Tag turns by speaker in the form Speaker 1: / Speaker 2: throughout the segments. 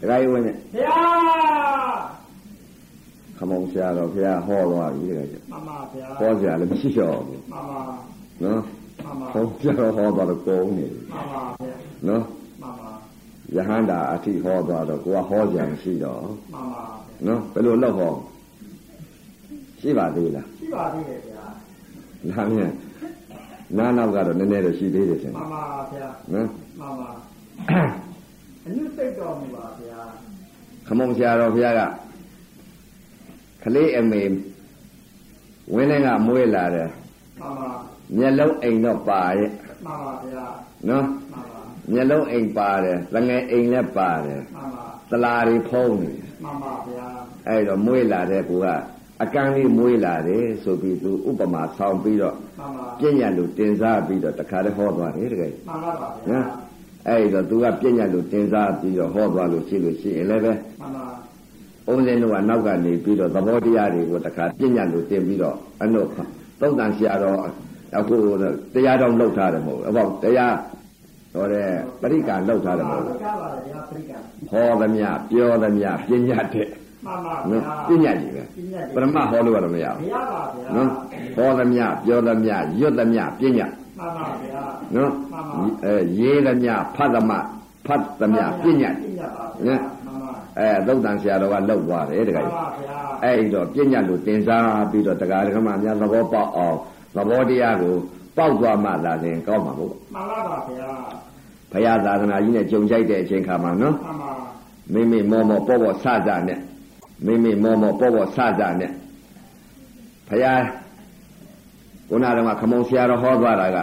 Speaker 1: ဒကာကြီးဝင်းမြင့်
Speaker 2: ဘုရား
Speaker 1: ခမောင်ဆရာတော်ဘုရားဟောသွားပြီတကယ်ကြီး
Speaker 2: မမဘုရား
Speaker 1: ဟောဆရာလည်းမရှိတော့ဘူး
Speaker 2: မမ
Speaker 1: နော်
Speaker 2: မမ
Speaker 1: ဟောဆရာတော်ဟောသွားတော့ကုန်နေပြီ
Speaker 2: မမဘုရား
Speaker 1: နော်
Speaker 2: မမ
Speaker 1: ယဟန္တာအထိဟောသွားတော့ကိုကဟောကြမရှိတော့
Speaker 2: မမ
Speaker 1: နော်ဘယ်လိုလုပ်ဟောရှိပါသေးလား
Speaker 2: ရှိပါသေးတယ်ဘုရား
Speaker 1: နားမင်းနားနောက်ကတော့နည်းနည်းတော့ရှိသေးတယ်ရှင်
Speaker 2: မမဘုရား
Speaker 1: နော်
Speaker 2: မမအညစ်စိတ်တော်မူပါဘုရား
Speaker 1: ခမောင်ဆရာတော်ဘုရားကကလေးအမေဝင်းထဲကမွေးလာတယ်
Speaker 2: မမ
Speaker 1: မျက်လုံးအိမ်တော့ပါရဲ့
Speaker 2: မမဘုရား
Speaker 1: နော်
Speaker 2: မမ
Speaker 1: မျက်လုံးအိမ်ပါတယ်လငယ်အိမ်လည်းပါတယ်
Speaker 2: မမ
Speaker 1: သလာတွေဖုံးနေတယ်
Speaker 2: မမဘုရား
Speaker 1: အဲ့တော့မွေးလာတဲ့ကူကအကန်းလေးမွေးလာတယ်ဆိုပြီးသူဥပမာဆောင်ပြီးတော့
Speaker 2: မမ
Speaker 1: ပြည့်ညတ်လို့တင်စားပြီးတော့တခါတည်းဟောသွားတယ်တကယ်
Speaker 2: မမပါဘု
Speaker 1: နော်
Speaker 2: ရား
Speaker 1: အဲ့တော့သူကပြည့်ညတ်လို့တင်စားပြီးတော့ဟောသွားလို့ရှိလို့ရှိရင်လည်းပဲ
Speaker 2: မမ
Speaker 1: အုံးလင်းတို့ကနောက်ကနေပြီးတော့သဘောတရားတွေကိုတခါပြည့်ညတ်လို့တင်ပြီးတော့အနုသုံးတန်ဆရာတော်အခုတရားတော်လောက်ထားတယ်မဟုတ်ဘူးအပေါ့တရားတော်တဲ့ပရိက္ခာလောက်ထားတယ်မဟုတ်ဘူး
Speaker 2: ကပါလေဘုရားပြိကံ
Speaker 1: ဟောသမျှပြောသမျှပြည့်ညတ်တဲ့
Speaker 2: မမဘု
Speaker 1: နော်
Speaker 2: ရား
Speaker 1: ပြည့်ညတ်ကြီးပဲ
Speaker 2: ပြိကံ
Speaker 1: ပရမဟောလို့ကတော့မရဘူး
Speaker 2: ဘုရားပါဘုရား
Speaker 1: နော်ဟောသမျှပြောသမျှရွတ်သမျှပြညာ
Speaker 2: မမဘုရား
Speaker 1: နော်
Speaker 2: မှန်ပါ
Speaker 1: အဲရေးသမျှဖတ်သမျှဖတ်သမျှပြညာ
Speaker 2: ပြညတ်ပါဘုရားမမ
Speaker 1: အဲအသုတ်တန်ဆရာတော်ကလောက်သွားတယ်တခါ
Speaker 2: မ
Speaker 1: ကြီး
Speaker 2: မဘုရား
Speaker 1: အဲ့ဒီတော့ပြညာလို့တင်စားပြီးတော့တရားဓမ္မများသဘောပေါက်အောင်သဘောတရားကိုပေါက်သွားမှသာလျှင်ကောင်းမှာပေါ့
Speaker 2: မှန်ပါပါဗျာ
Speaker 1: ဘုရားသာသနာကြီးနဲ့ကြုံကြိုက်တဲ့အချိန်ခါမှာနော်
Speaker 2: မှန်ပါ
Speaker 1: မိမိမောမောပေါ့ပေါ့ဆဆနဲ့မိမိမောမောပေါ့ပေါ့ဆဆနဲ့ဘုရား ခုနကတော့ခမုံဆရာတော်ဟောသွားတာက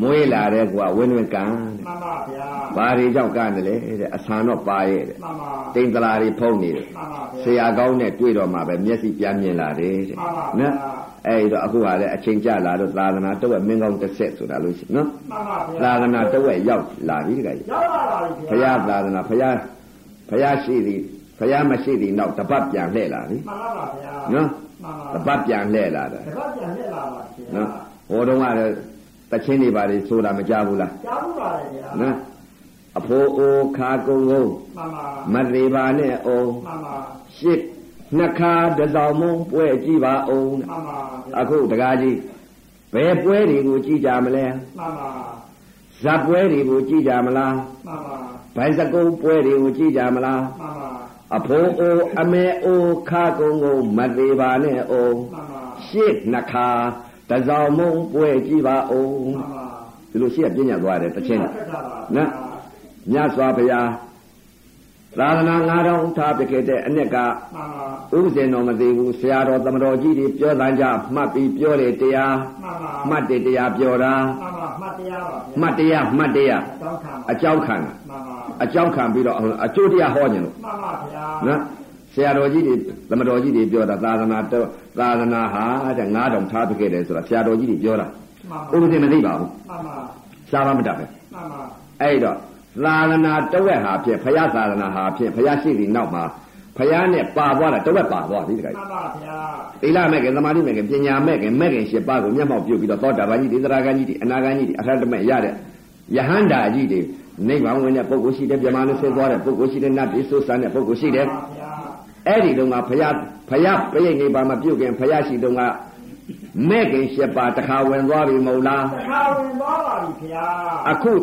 Speaker 1: မွေးလာတဲ့ကွာဝင်းဝင်းကန်တဲ့
Speaker 2: မှန်ပါဗျာ
Speaker 1: ဘာတွေကြောင့်ကန်တယ်လဲတဲ့အဆန်တော့ပါရဲ့တဲ့
Speaker 2: မှန်ပါ
Speaker 1: တိမ်တလာတွေဖုံးနေတယ်
Speaker 2: မှန်ပါ
Speaker 1: ဆ
Speaker 2: ဗျာ
Speaker 1: ရာကောင်းနဲ့တွေ့တော့မှပဲမျက်စိပြန်မြင်လာတယ်တဲ့
Speaker 2: မှန်ပါဗျာ
Speaker 1: အဲ့ဒီတော့အခုကလည်းအချိန်ကြလာတော့သာသနာတစ်ဝက်မင်းကောင်းတစ်ဆက်ဆိုတာလို့ရှိရင်နော်
Speaker 2: မှန်ပါဗျာ
Speaker 1: သာသနာတစ်ဝက်ရောက်လာပြီတခါကြီး
Speaker 2: ရောက်လာပါပြီ
Speaker 1: ဘုရားသာသနာဘုရားဘုရားရှိသည်ဘုရားမရှိသည်နောက်တပတ်ပြန်လှည့်လာပြီ
Speaker 2: မှန်ပါပါဗျာ
Speaker 1: နော်
Speaker 2: မှန်
Speaker 1: တ
Speaker 2: ပါ
Speaker 1: ပတ်ပြန်လှည့်လာတယ်
Speaker 2: တပတ်ပြန်လက်လာပါဗျာ
Speaker 1: နော်ဟိုတုန်းကလည်းတချင်းတွေပါလေဆိုတာမကြဘူးလား
Speaker 2: ကြားမှုပါလေဗျာ
Speaker 1: နော်အဖိုးအိုခါကုန်းကုန်း
Speaker 2: မှန်ပါ
Speaker 1: မ
Speaker 2: မှန်
Speaker 1: သေးပါနဲ့အောင်
Speaker 2: ပါမှန်
Speaker 1: ရှစ်နှစ်ခါတစ်ဆောင်မုံပွဲကြည့်ပါအောင်
Speaker 2: ပါမှန်ပါ
Speaker 1: အခုတကားကြီးဘယ်ပွဲတွေကိုကြည့်ကြမလဲ
Speaker 2: မှန်ပါ
Speaker 1: ဇက်ပွဲတွေကိုကြည့်ကြမလား
Speaker 2: မှန်ပါ
Speaker 1: ဘိုင်စကုပ်ပွဲတွေကိုကြည့်ကြမလား
Speaker 2: မှန်ပါ
Speaker 1: အဖိုးအိုအမေအိုခါကုန်းကုန်းမသေးပါနဲ့အောင်
Speaker 2: မှန်ပါ
Speaker 1: ရှစ်နှစ်ခါတစ်ဆောင်မုံပွဲကြည့်ပါအောင်
Speaker 2: မှန်ပါ
Speaker 1: ဒီလိုရှိရပြည့်ညတ်သွားတယ်တချင်း
Speaker 2: ဆက်တာပါ
Speaker 1: မြတ်စွာဘုရားသာသနာ9000ထားပြခဲ့တဲ့အနှစ်က
Speaker 2: မှန်ပါ
Speaker 1: ဥပဇင်တော်မသေးဘူးဆရာတော်သမတော်ကြီးတွေပြောတမ်းကြမှတ်ပြီးပြောတယ်တရား
Speaker 2: မှန်ပါ
Speaker 1: မှတ်တယ်တရားပြောတာ
Speaker 2: မှန်ပါမှတ်တရားပါဗျာ
Speaker 1: မှတ်တရားမှတ်တရား
Speaker 2: တောင်းခံ
Speaker 1: အ
Speaker 2: ပါ
Speaker 1: ကြောင်းခံတာ
Speaker 2: မှန်ပါ
Speaker 1: အကြောင်းခံပြီးတော့အကျိုးတရားဟောခြင်းလို့
Speaker 2: မှန်ပါဗျာ
Speaker 1: နော်ဆရာတော်ကြီးတွေသမတော်ကြီးတွေပြောတာသာသနာတော်သာသနာဟာတဲ့9000ထားပြခဲ့တယ်ဆိုတာဆရာတော်ကြီးတွေပြောတာ
Speaker 2: မှန်
Speaker 1: ဥပ
Speaker 2: ပါ
Speaker 1: ဇင်မသိပါဘူး
Speaker 2: မှန်ပါ
Speaker 1: စာမမတတ်ပဲ
Speaker 2: မှန်ပါ
Speaker 1: အဲ့တော့သာသနာတဝက်ဟာဖြင့်ဘုရားသာသနာဟာဖြင့်ဘုရားရှိသည့်နောက်မှာဘုရားနဲ့ပါသွားတာတဝက်ပါသွားပြီတခါကြီး
Speaker 2: မှန်ပါဗျာ
Speaker 1: သီလမဲ့ခင်သမာဓိမဲ့ခင်ပညာမဲ့ခင်မဲ့ခင်ရှစ်ပါးကိုမျက်မှောက်ပြုပြီးတော့သောတာပန်ကြီးဒေသရာဂန်ကြီးတွေအနာဂန်ကြီးတွေအထက်တမဲ့ရတဲ့ယဟန္တာကြီးတွေနိဗ္ဗာန်ဝင်တဲ့ပုဂ္ဂိုလ်ရှိတယ်ပြမလို့ဆင်းသွားတဲ့ပုဂ္ဂိုလ်ရှိတယ်နတ်ပြည်ဆိုးစံတဲ့ပုဂ္ဂိုလ်ရှိတယ်
Speaker 2: မှန်ပါဗျာ
Speaker 1: အဲ့ဒီတုန်းကဘုရားဘုရားပြိဋိနိဗ္ဗာန်မှာပြုတ်ခင်ဘုရားရှိတုန်းကမဲ့ခင်ရှစ်ပါးတခါဝင်သွားပြီမဟုတ်လား
Speaker 2: တခါဝင်သွားပါပြီဗျာ
Speaker 1: အခု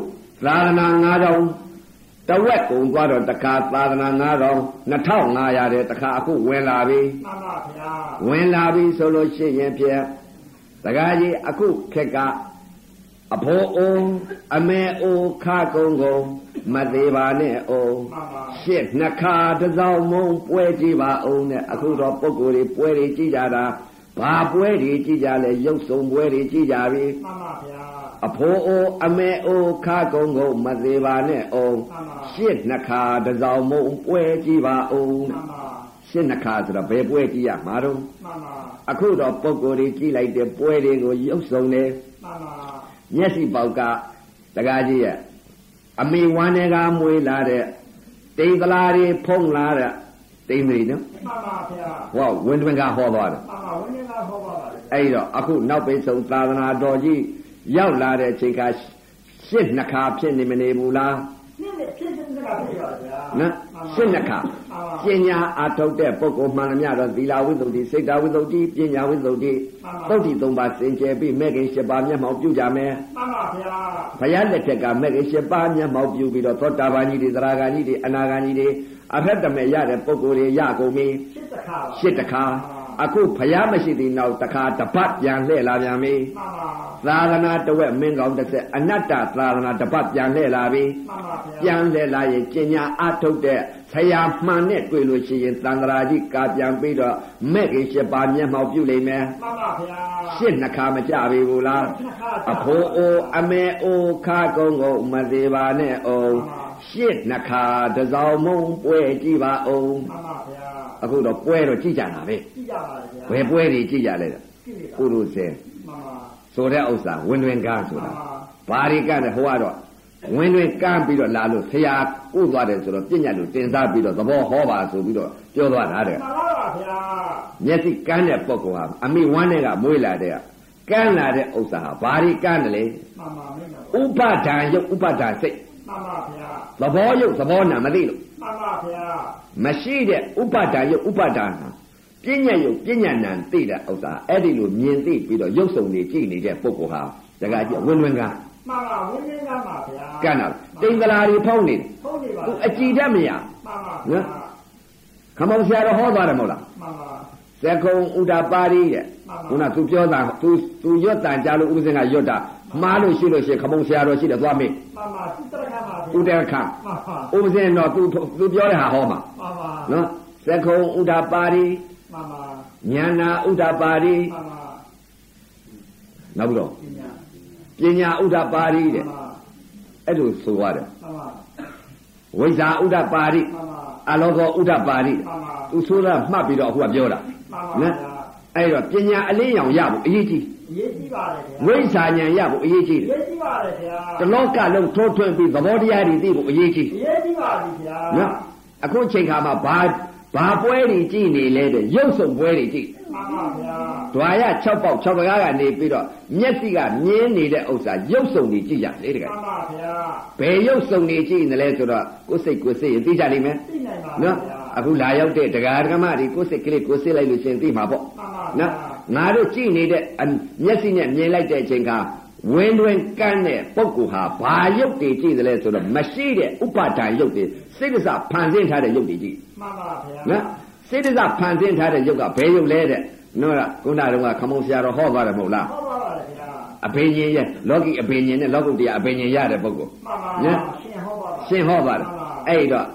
Speaker 1: သာသနာ9000တဝက်ကုန်သွားတော့တခါသာသနာ9000 2500တဲ့တခါအခုဝင်လာပြီ
Speaker 2: မှန်ပါဗျာ
Speaker 1: ဝင်လာပြီဆိုလို့ရှိရင်ဖြင့်တခါကြီးအခုခက်ကအဖိုးအုံအမေအိုခါကုံကုံမသေးပါနဲ့အုံ
Speaker 2: မှန်ပါ
Speaker 1: ရှစ်နှစ်ခါတစ်စောင်းမုံပွဲကြည့်ပါအောင်နဲ့အခုတော့ပုံကိုယ်တွေပွဲတွေကြည့်ကြတာဘာပွဲတွေကြည့်ကြလဲရုပ်စုံပွဲတွေကြည့်ကြပြီ
Speaker 2: မှန်ပါဗျာ
Speaker 1: အဖိုးအိုအမေအိုခါကုံကုံမသေးပါနဲ့အောင်
Speaker 2: မှန်ပါ
Speaker 1: ရှစ်နှစ်ခါတစ်စောင်းမုံပွဲကြည့်ပါအောင်
Speaker 2: မှန်ပါ
Speaker 1: ရှစ်နှစ်ခါဆိုတော့ဘယ်ပွဲကြည့်ရမှာတော့
Speaker 2: မှန်ပါ
Speaker 1: အခုတော့ပုံကိုယ်တွေကြည့်လိုက်တဲ့ပွဲတွေကိုရုပ်ဆောင်တယ်
Speaker 2: မှန်ပါ
Speaker 1: မျက်စိပေါက်ကတကားကြီးရဲ့အမေဝမ်းတွေကမွေးလာတဲ့တိမ်ကလာတွေဖုံးလာတဲ့တိမ်တွေနော်
Speaker 2: မှန်ပါဗျာ
Speaker 1: ဟောဝင်းတွင်ကဟောသွားတယ်
Speaker 2: မှန်ပါဝင်နေတာဟောပါပါလေ
Speaker 1: အဲ့တော့အခုနောက်ပိတ်ဆုံးသာသနာတော်ကြီးရောက်လာတဲ့အချိန်ကရှစ်နှစ်ခါဖြစ်နေမနေဘူးလား
Speaker 2: နင့်နဲ့ဖြစ်ဖြစ်နေတာဖြစ်ပါဗျာ
Speaker 1: နော်
Speaker 2: မှန်
Speaker 1: ရှင်းနှစ်ခါ
Speaker 2: အာပါ
Speaker 1: ပညာအာထုတ်တဲ့ပုဂ္ဂိုလ်မှန်သမျှတော့သီလဝိသုဒ္ဓိစိတ်တဝိသုဒ္ဓိပညာဝိသုဒ္ဓိသုဒ္ဓိ၃ပါးစင်ကြယ်ပြီးမဲ့ခင်၈ပါးမျက်မှောက်ပြုကြမယ်
Speaker 2: မှန်ပါဗျာ
Speaker 1: ဘုရားလက်ထက်ကမဲ့ခင်၈ပါးမျက်မှောက်ပြုပြီးတော့သောတာပန်ကြီးတွေသရဂါကြီးတွေအနာဂါကြီးတွေအဖက်တမဲ့ရတဲ့ပုဂ္ဂိုလ်တွေရကုန်ပြီ
Speaker 2: ရှစ်တခါပါ
Speaker 1: ရှစ်တခါအခုဖျားမရှိသေးနောက်တခါတပတ်ပြန်လှည့်လာပြန်ပြီ
Speaker 2: မှန်
Speaker 1: သာ
Speaker 2: ပါ
Speaker 1: သနာတဝက်မင်းကောင်းတစ်ဆက်အနတ္တသာသနာတပတ်ပြန်လှည့်လာပြီ
Speaker 2: မှန်ပါ
Speaker 1: ပြ
Speaker 2: ဗျာ
Speaker 1: န်လှည့်လာရင်ကျင်ညာအထုတ်တဲ့ဆရာမှန်နဲ့တွေ့လို့ရှိရင်သံဃာကြီးကာပြန်ပြီးတော့မဲ့ကြီးရှစ်ပါးမျက်မှောက်ပြုလိမ့်မယ်
Speaker 2: မှန်ပါဗျာ
Speaker 1: ရှစ်နှစ်ခါမကြပြီဘူးလား
Speaker 2: နှစ်ခါ
Speaker 1: အဖိုးအိုအမေအိုခါကုန်းကုန်မသေးပါနဲ့အောင်ရှစ်နှစ်ခါတစ်စောင်းမုံပွဲကြည့်ပါအောင်
Speaker 2: မှန်ပါဗျာ
Speaker 1: အခုတော့ပွဲတော့ကြည့်ကြတာပဲ
Speaker 2: ကြည့်ရပါ
Speaker 1: ဘ
Speaker 2: လေဗျာ
Speaker 1: ယ်ပွဲတွေကြည့်ကြလဲ
Speaker 2: ကြည့်ရ
Speaker 1: ပုရုဇေ
Speaker 2: မှန်ပါ
Speaker 1: ဆိုတဲ့ဥစ္စာဝင်တွင်ကား
Speaker 2: မှ
Speaker 1: ဆို
Speaker 2: န်
Speaker 1: တာ
Speaker 2: ပါ
Speaker 1: ဘာတွေကနေဟိုကတော့ဝင်တွင်ကားပြီးတော့လာလို့ဆရာဥသွားတယ်ဆိုတော့ပြညတ်လို့တင်စားပြီးတော့သဘောဟောပါဆိုပြီးတော့ပြောသွားတာတဲ့
Speaker 2: မှန်ပါပါဗျာ
Speaker 1: မျက်စိကန်းတဲ့ပုဂ္ဂိုလ်ဟာအမိဝမ်းတဲ့ကမွေးလာတဲ့ကကန်းလာတဲ့ဥစ္စာဟာဘာတွေကန်းတယ်လဲ
Speaker 2: မှန်ပါမင်းတော်
Speaker 1: ဥပဒံယုတ်ဥပဒံစိတ်
Speaker 2: မှန်ပါဗျာ
Speaker 1: သဘောယုတ်သဘောနာမသိလို့
Speaker 2: မှန်ပါဗျာ
Speaker 1: မရှိတဲ့ဥပဒံယုတ်ဥပဒံဟာပြညတ်ယုတ်ပြညတ်နံသိတဲ့ဥစ္စာအဲ့ဒီလိုမြင်သိပြီးတော့ယုတ်ဆုံနေကြည့်နေတဲ့ပုဂ္ဂိုလ်ဟာတကကြည့်ဝင်တွင်ကား
Speaker 2: မှန်ပါဝင်းနေကပါဗျာ
Speaker 1: ကန့်တာတိမ်္ဂလာတွေဖောက်နေတယ်
Speaker 2: ဟုတ်နေပါ
Speaker 1: သူအကြည်တတ်မရ
Speaker 2: မှန်ပါဗျာ
Speaker 1: ခမောင်ဆရာတော်ဟောသွားတယ်မဟုတ်လား
Speaker 2: မှန်ပါ
Speaker 1: ဇကုံဥဒပါရီတဲ့
Speaker 2: မှန်ပါ
Speaker 1: ခုနသူပြောတာသူသူရွတ်တန်ကြလို့ဥပဇင်ကရွတ်တာမှားလို့ရှိလို့ရှိရင်ခမောင်ဆရာတော်ရှိတယ်သွားမေး
Speaker 2: မှန်ပါစိတ်တခါပါဗျာ
Speaker 1: ဥဒခ
Speaker 2: မှန်ပါ
Speaker 1: ဥပဇင်တော့သူသူပြောတဲ့ဟာဟောမှာ
Speaker 2: မှန်ပါ
Speaker 1: နော်ဇကုံဥဒပါရီ
Speaker 2: မှန်ပါ
Speaker 1: ညာနာဥဒပါရီ
Speaker 2: မှန်ပါ
Speaker 1: နောက်ပြီးတော့
Speaker 2: ပ
Speaker 1: ပညာ
Speaker 2: ညာ
Speaker 1: ဥဒပါရီ
Speaker 2: မှ
Speaker 1: တဲ့
Speaker 2: န်ပါ
Speaker 1: အဲ့လိုဆိုရတယ်
Speaker 2: မှန်ပါ
Speaker 1: ဝိဇာဥဒပါရီ
Speaker 2: မှန်ပါ
Speaker 1: အလောကောဥဒပါရီ
Speaker 2: မှန်ပါ
Speaker 1: သူဆိုတာမှတ်ပြီးတော့အခုကပြောတာ
Speaker 2: မှန်ပါဗျာ
Speaker 1: အဲ့တော့ပညာအလင်းရောင်ရဖို့အရေးကြီး
Speaker 2: ရေးကြည့်ပါလေ
Speaker 1: ဝိ
Speaker 2: ဗျာ
Speaker 1: ဇ္ဇာဉာဏ်ရဖို့အရေးကြီးတယ်
Speaker 2: ရေးကြည့်ပါလေဗျာ
Speaker 1: တလောကလုံးထိုးထွင်းပြီးသဘောတရားတွေသိဖို့အရေးကြီး
Speaker 2: ရေးကြည့်ပါလေဗျာ
Speaker 1: နော်အခုချိန်ခါမှာဘာဘာပွဲတွေကြည့်နေလဲတဲ့ရုပ်ဆုံပွဲတွေကြည့်
Speaker 2: မှန်ပါဗျာ
Speaker 1: ဒွါရ6ပေါက်6ပကားကနေပြီးတော့မျက်စိကမြင်နေတဲ့ဥစ္စာရုပ်ဆုံတွေကြည့်ရလေတက
Speaker 2: မှ
Speaker 1: ယ်
Speaker 2: န်ပါဗျာ
Speaker 1: ဘယ်ရုပ်ဆုံတွေကြည့်နေလဲဆိုတော့ကိုယ်စိတ်ကိုယ်စိတ်ရင်သိကြလိမ့်မယ်
Speaker 2: သိနိုင်ပါ
Speaker 1: နော်
Speaker 2: ဗျာ
Speaker 1: အခုလာရောက်တဲ့တရားဓမ္မတွေကိုယ်စိတ်ကလေးကိုယ်စိတ်လိုက်လို့ရှရင်သိမှာပေါ့
Speaker 2: မှန်ပါ
Speaker 1: နော်ငါတို့ကြည့်နေတဲ့အမျက်စိနဲ့မြင်လိုက်တဲ့အချိန်ကဝင်းတွင်ကန်းတဲ့ပုဂ္ဂိုလ်ဟာဘာရုပ်တွေကြည့်တယ်လဲဆိုတော့မရှိတဲ့ဥပါဒံရုပ်တွေစိတ္တစဖန်ဆင်းထားတဲ့ရုပ်တွေကြည့်
Speaker 2: မှန်ပါဗျာ
Speaker 1: နော်စိတ္တစဖန်ဆင်းထားတဲ့ရုပ်ကဘယ်ရုပ်လဲတဲ့နော်ကခုနကတော့ခမုံဆရာတော်ဟောသွားတယ်မဟုတ်လား
Speaker 2: ဟုတ်ပါပါလေဗျာ
Speaker 1: အဘိညာဉ်ရဲ့လောကီအဘိညာဉ်နဲ့လောကုတ္တရာအဘိညာဉ်ရတဲ့ပုဂ္ဂိုလ်
Speaker 2: မှန်ပါ
Speaker 1: နော်
Speaker 2: ရှင်ဟုတ်ပါပါ
Speaker 1: ရှင်းဟောပါတယ်
Speaker 2: မှန်ပါ
Speaker 1: အဲ့ဒီတော့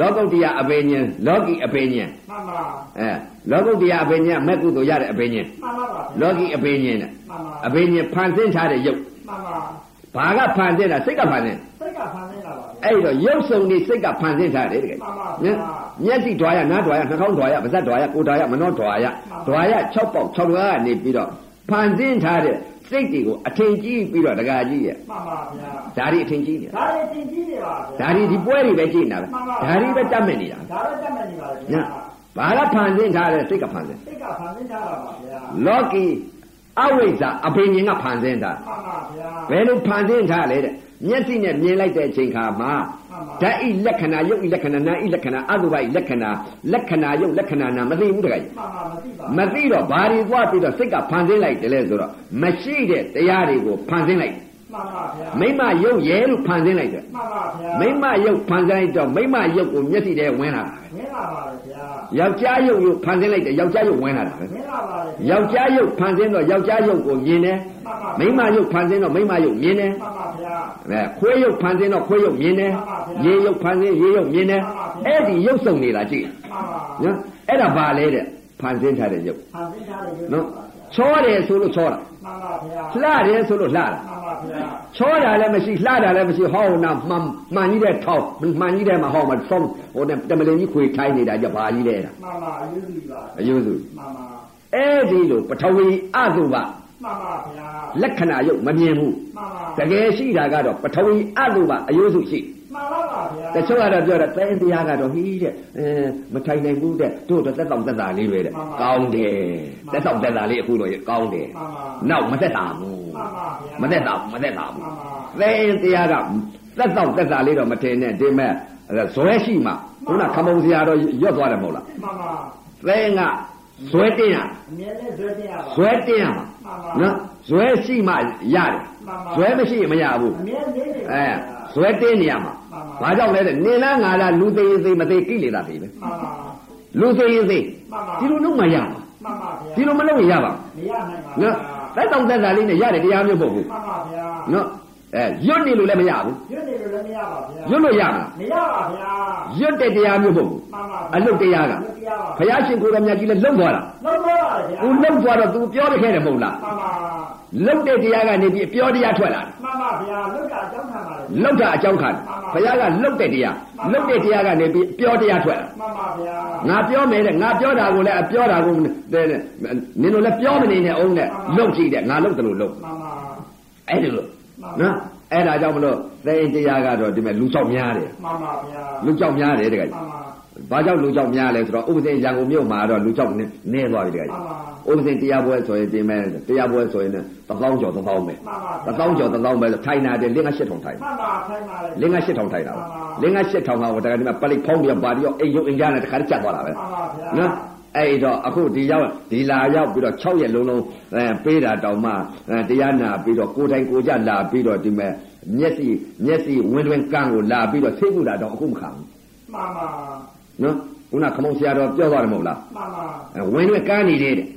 Speaker 1: လောကုတ္တရာအဘိညာဉ်လောကီအဘိညာဉ်
Speaker 2: မှန်ပါ
Speaker 1: အဲလောကုတ္တရာအဘိညာဉ်မဲ့ကုသိုလ်ရတဲ့အဘိညာဉ်
Speaker 2: မှန်ပါပါဗျာ
Speaker 1: လောကီအဘိညာဉ်နဲ့
Speaker 2: မှန်ပါ
Speaker 1: အဘိညာဉ်ဖန်ဆင်းထားတဲ့ရုပ်
Speaker 2: မှန်ပါ
Speaker 1: ဘာကဖန်ဆင်းတာစိတ်ကဖန်ဆင်း
Speaker 2: စိတ်ကဖန်နေတာပါဗျာ
Speaker 1: အဲ့ဒီတော့ရုပ်စုံတွေစိတ်ကဖန်ဆင်းထားတယ်တကယ်
Speaker 2: မှန်ပါဗျာ
Speaker 1: နော်မျက်စိဓာရနားဓာရနှာခေါင်းဓာရပါးစပ်ဓာရကိုယ်ဓာရမနှောဓာရ
Speaker 2: မှန်ပါ
Speaker 1: ဓာရ6ပေါက်6လွှာကနေပြီးတော့ဖန်ဆင်းထားတဲ့စိတ်တွေကိုအထင်ကြီးပြီးတော့ဒကာကြီးရဲ့
Speaker 2: မှန်ပါဗျာ
Speaker 1: ဓာရီအထင်ကြီးနေတာ
Speaker 2: ဒါတွေတင်ကြည့်နေပါဗျာ
Speaker 1: ဓာရီဒီပွဲတွေပဲကြည့်နေတာ
Speaker 2: မှန်ပါ
Speaker 1: ပဲဓာရီပဲတတ်မဲ့နေတာ
Speaker 2: ဒါပဲတတ်မှတ်နေပါဗျာ
Speaker 1: နော်ဘာကဖန်ဆင်းထားတဲ့စိတ်ကဖန်ဆင်း
Speaker 2: စိတ်ကဖန်ဆင်းထားတာပါဗျာ
Speaker 1: လောကီအဝိဇ္ဇာအဘိညာဉ်ကဖန်ဆင်းတာ
Speaker 2: မှန်ပါဗျာ
Speaker 1: ဘယ်လိုဖန်ဆင်းထားလဲတဲ့မျက်စိနဲ့မြင်လိုက်တဲ့အချိန်ခါမှာ
Speaker 2: မှန်ပါ
Speaker 1: ဓာတ်ဤလက္ခဏာယုတ်ဤလက္ခဏာနာဤလက္ခဏာအတုပဤလက္ခဏာလက္ခဏာယုတ်လက္ခဏာနာမသိဘူးတခါကြီး
Speaker 2: မှန်
Speaker 1: မ
Speaker 2: ပါမသိပါ
Speaker 1: သိတော့ဘာတွေသွားပြီးတော့စိတ်ကဖန်ဆင်းလိုက်တယ်လဲဆိုတော့မရှိတဲ့တရားတွေကိုဖန်ဆင်းလိုက်တယ်
Speaker 2: မှန်ပါ
Speaker 1: မိမ
Speaker 2: ဗျာ
Speaker 1: ယုတ်ရဲလို့ဖန်ဆင်းလိုက်တယ်
Speaker 2: မှန်ပါ
Speaker 1: မိမ
Speaker 2: ဗျာ
Speaker 1: ယုတ်ဖန်ဆင်းလိုက်တော့မိမယုတ်ကိုမျက်စိထဲဝင်လာတာပဲ
Speaker 2: မင်းလာပါဗျာ
Speaker 1: ယောက်ျားယုတ်ကိုဖန်ဆင်းလိုက်တယ်ယောက်ျားယုတ်ဝင်လာတာပဲ
Speaker 2: မင်းလာပါဗျာ
Speaker 1: ယောက်ျားယုတ်ဖန်ဆင်းတော့ယောက်ျားယုတ်ကိုမြင်တယ်
Speaker 2: မှန်
Speaker 1: မိ
Speaker 2: ပါ
Speaker 1: မယုတ်ဖန်ဆင်းတော့မိမယုတ်မြင်တယ်
Speaker 2: မှန်ပါဗျာ
Speaker 1: အဲခွေးယုတ်ဖန်ဆင်းတော့ခွေးယုတ်မြင်တယ်
Speaker 2: မှန်ပါဗျာ
Speaker 1: ရေယုတ်ဖန်ဆင်းရေယုတ်မြင်တယ်
Speaker 2: မှန်ပါဗျာ
Speaker 1: အဲ့ဒီယုတ်စုံနေတာကြည့်
Speaker 2: မှန်ပါ
Speaker 1: နော်အဲ့ဒါဘာလဲတဲ့ဖန်ဆင်းထားတဲ့ရုပ်
Speaker 2: ဖန်ဆင်းထားတယ်
Speaker 1: နော်ချောတယ်ဆိုလို့ချောတာ
Speaker 2: မှန်ပါဗျာ
Speaker 1: လှတယ်ဆိုလို့လှတာ
Speaker 2: မှန်ပါဗျာ
Speaker 1: ချောတာလည်းမရှိလှတာလည်းမရှိဟောင်းနာမှန်မှန်ကြီးတဲ့ထောင်းမှန်ကြီးတဲ့မှာဟောင်းမှာဆုံးဟိုတဲ့တမလင်ကြီးခွေထိုင်းနေတာကြဘာကြီးလဲတာ
Speaker 2: မှန်ပါအယူကြီးပါ
Speaker 1: အယုစု
Speaker 2: မှန်ပါ
Speaker 1: အဲ့ဒီလိုပထဝီအတုပ
Speaker 2: မှန်ပါဗျာ
Speaker 1: လက္ခဏာရုပ်မမြင်ဘူး
Speaker 2: မှန်ပါ
Speaker 1: တကယ်ရှိတာကတော့ပထဝီအတုပအယုစုရှိ
Speaker 2: မှန်ပါပါဗျာ
Speaker 1: တချို့ကတော့ပြောတာတိုင်းတရားကတော့ဟီးတဲ့အဲမထိုင်နိုင်ဘူးတဲ့တို့တော့သက်တောင့်သက်သာလေးပဲတဲ့ကောင်းတယ်သက်တောင့်သက်သာလေးအခုတော့ကောင်းတယ်
Speaker 2: မှန်ပါ
Speaker 1: နောက်မသက်တာဘူး
Speaker 2: မှန်
Speaker 1: မသ
Speaker 2: ပါဗျာ
Speaker 1: က်တာဘူးမသက်တာ
Speaker 2: မှ
Speaker 1: ဘူး
Speaker 2: န်ပါ
Speaker 1: သဲအင်းတရားကသက်တော့သက်တာလေးတော့မထင်နဲ့ဒီမဲ့ အဲ့ဒါဇွဲရှိမှခုနခမုံဆရာတော့ရွတ်သွားတယ်မဟုတ်လား
Speaker 2: မှန်ပါ
Speaker 1: သဲငါဇွဲတင်ရ
Speaker 2: အမြဲတမ်းဇွဲတင်ရပါ
Speaker 1: ဇွဲတင်ရမှာ
Speaker 2: မှန်ပါ
Speaker 1: နော်ဇွဲရှိမှရတယ်
Speaker 2: မှန်ပါ
Speaker 1: ဇွဲမရှိရင်မရဘူး
Speaker 2: အမြဲနေနေပါ
Speaker 1: အဲ
Speaker 2: အဲ
Speaker 1: ဇွဲတင်နေရမှာ
Speaker 2: မှ
Speaker 1: ဘာ
Speaker 2: န်ပါ
Speaker 1: ကြောင့်လဲတဲ့နေလားငါလားလူသိရင်သိမသိကိလေသာသိပဲ
Speaker 2: မှန်ပါ
Speaker 1: လူသိရင်သိ
Speaker 2: မှန်ပါ
Speaker 1: ဒီလိုလုပ်မှရမှာ
Speaker 2: မှန်ပါဗျာ
Speaker 1: ဒီလိုမလုပ်ရင်ရပါဘူး
Speaker 2: မရနိုင်ပါ
Speaker 1: နော်တိုက်တောင်တက်တာလေးနဲ့ရတယ်တရားမျိုးမဟုတ်ဘူး
Speaker 2: မှန်ပါဗျာ
Speaker 1: နော်အဲရွတ်နေလို့လည်းမရဘူး
Speaker 2: ရွတ်နေလို့လည်းမရပါဗျာ
Speaker 1: ရွတ်လို့ရမှာ
Speaker 2: မရပါဗျာ
Speaker 1: ရွတ်တဲ့တရားမျိုးမဟုတ်ဘူး
Speaker 2: မှန်ပါ
Speaker 1: အလုပ်တရားက
Speaker 2: လုပ်တရားပါ
Speaker 1: ဘုရားရှင်ကိုယ်တော်မြတ်ကြီးလည်းလုံသွားတာ
Speaker 2: လုံးတော့ပါ
Speaker 1: ။
Speaker 2: ဗျာ
Speaker 1: သူလုံသွားတော့သူပြောခဲ့တယ်မဟုတ်လား
Speaker 2: မှန်ပါ
Speaker 1: ။လုံတဲ့တရားကနေပြီးပြောတရားထွက်လာတယ်
Speaker 2: မှန်ပါဗျာလုတ်တာအကြောင်းခံပါလေ
Speaker 1: ။လုံတာအကြောင်းခံတယ်။ဘုရားကလုံတဲ့တရား။လုံတဲ့တရားကနေပြီးပြောတရားထွက်လာ
Speaker 2: မှန်ပါဗျာ
Speaker 1: ။ငါပြောမယ်တဲ့ငါပြောတာကိုလည်းအပြောတာကိုတဲ့တဲ့နင်တို့လည်းပြောမနေနဲ့အောင်နဲ့လုံကြည့်တဲ့ငါလုံတယ်လို့လုံ
Speaker 2: မှန်ပါ
Speaker 1: ။အဲ့ဒီလိုနော်အဲ့ဒါကြောင့်မလို့သင်တရားကတော့ဒီမဲ့လူကြောက်များတယ်
Speaker 2: မှန်ပါဗျာ
Speaker 1: လူကြောက်များတယ်တကယ်
Speaker 2: မှန်ပါ
Speaker 1: ။ဘာကြောင့်လူကြောက်များလဲဆိုတော့ဥပဒေရန်ကုန်မြို့မှာတော့လူကြောက်နည်းနည်းသွားပြီတကယ်
Speaker 2: မှ
Speaker 1: ။
Speaker 2: န်ပ
Speaker 1: ဥ
Speaker 2: ါ
Speaker 1: ပဒေတရားပွဲဆိုရင်ဒီမဲ့တရားပွဲဆိုရင်လည်းတစ်ပေါင်းကျော်တစ်ပေါင်းပဲ
Speaker 2: မှန်ပါ
Speaker 1: တစ်ပေါင်းကျော်တစ်ပေါင်းပဲထိုင်တာတယ်၄၈000ထိုင်
Speaker 2: မှန်ပါဆိုင်ပါလေ
Speaker 1: ၄၈000ထိုင်တာ၄၈000ကဟိုတကယ်ဒီမှာပလိဖောင်းပြပါတရောအိမ်ရုံအိမ်ကြားနဲ့တခါတည်းကျသွားတာပဲ
Speaker 2: မှန်ပါဗျာ
Speaker 1: နော်အဲ့တော့အခုဒီရောက်ဒီလာရောက်ပြီးတော့6ရက်လုံးလုံးအဲပေးတာတောင်မှအဲတရားနာပြီးတော့ကိုယ်တိုင်ကိုယ်ကြလာပြီးတော့ဒီမဲ့မျက်စိမျက်စိဝင်တွင်ကန်းကိုလာပြီးတော့သိကုတာတော့အခုမခံဘူး
Speaker 2: မှန်ပါ
Speaker 1: နော်ခုနခမုံဆရာတော်ပြောသွားတယ်မဟုတ်လား
Speaker 2: မှန်ပါ
Speaker 1: အဲဝင်တွင်ကန်းနေတယ်တဲ့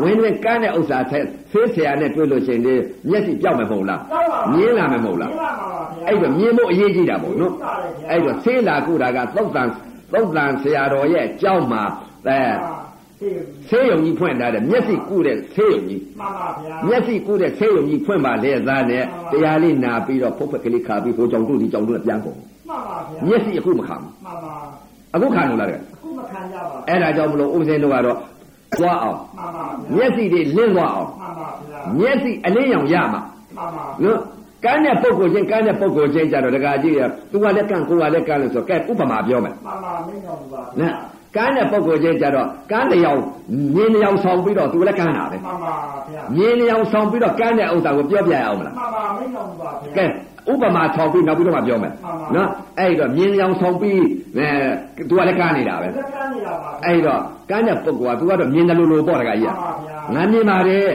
Speaker 2: မှ
Speaker 1: ဝ
Speaker 2: န်ပါ
Speaker 1: င်ဝင်ကန်းတဲ့ဥစ္စာထဲဖေးဆရာနဲ့တွေ့လို့ရှိရင်ဒီမျက်စိပြောက်မယ်မဟုတ်လား
Speaker 2: ကြောက်ပါဘူး
Speaker 1: မြင်လာမယ်မဟုတ်လား
Speaker 2: မြင်လာပါပါဗျာ
Speaker 1: အဲ့တော့မြင်ဖို့အရေးကြီးတာပေါ့နော်အဲ့တော့ဆေးလာကုတာကသုတ်တန်သုတ်တန်ဆရာတော်ရဲ့အကြောင်းမှာအဲ
Speaker 2: သိရ
Speaker 1: ဆေးရုံကြီးဖွင့်ထားတယ်မျက်စိကုတဲ့ဆေးရုံကြီး
Speaker 2: မှာပါဗျာ
Speaker 1: မျက်စိကုတဲ့ဆေးရုံကြီးဖွင့်ပါလေသားနဲ့
Speaker 2: မှန်ပါ
Speaker 1: တရားလေးနာပြီးတော့ဖုတ်ဖက်ကလေးခါပြီးဟိုကြောင့်တို့ဒီကြောင့်တို့နဲ့ပြန်ကုန်
Speaker 2: မှာပါဗျာ
Speaker 1: မျက်စိအခုမခံဘူး
Speaker 2: မှာပါ
Speaker 1: အခုခံလို့လားတဲ့
Speaker 2: အခုမခံကြပါဘူး
Speaker 1: အဲ့ဒါကြောင့်မလို့ဦးစင်းတို့ကတော့သွားအောင်
Speaker 2: မှာပါဗျာ
Speaker 1: မျက်စိတွေလင်းသွားအောင်
Speaker 2: မှာပါဗျာ
Speaker 1: မျက်စိအလင်းရောင်ရမှာ
Speaker 2: မှာပါ
Speaker 1: နော်ကမ်းတဲ့ပုံကိုချင်းကမ်းတဲ့ပုံကိုချင်းကြတော့တကကြီးကသူကလည်းကန့်ကိုကလည်းကန့်လို့ဆိုကဲဥပမာပြောမယ်
Speaker 2: မှာပါမင်းတော်ဘူးပါ
Speaker 1: နဲကမ်းတဲ့ပုံကိုချင်းကြတော့ကမ်းတစ်ယောက်မြင်းတစ်ယောက်ဆောင်ပြီးတော့သူလည်းကမ်းတာပဲ
Speaker 2: မှာပါဗျာ
Speaker 1: မြင်းတစ်ယောက်ဆောင်ပြီးတော့ကမ်းတဲ့ဥစ္စာကိုပြောပြရအောင်မလား
Speaker 2: မှာပါမင်းတော်ဘူးပါဗျာ
Speaker 1: ကဲဥပမာဆောင်ပြီးနောက်ပြီးတော့မှပြောမယ်
Speaker 2: မှန်ပါ
Speaker 1: နော်အဲ့ဒီတော့မြင်းတစ်ယောက်ဆောင်ပြီးအဲသူကလည်းကမ်းနေတာပဲ
Speaker 2: လက်ကမ်းနေတာပါ
Speaker 1: အဲ့ဒီတော့ကမ်းတဲ့ပုံကသူကတော့မြင်းတယ်လို့လို့ပေါ့တကကြီး
Speaker 2: မှာ
Speaker 1: က
Speaker 2: ပါဗျာ
Speaker 1: ငါမြင်ပါတယ်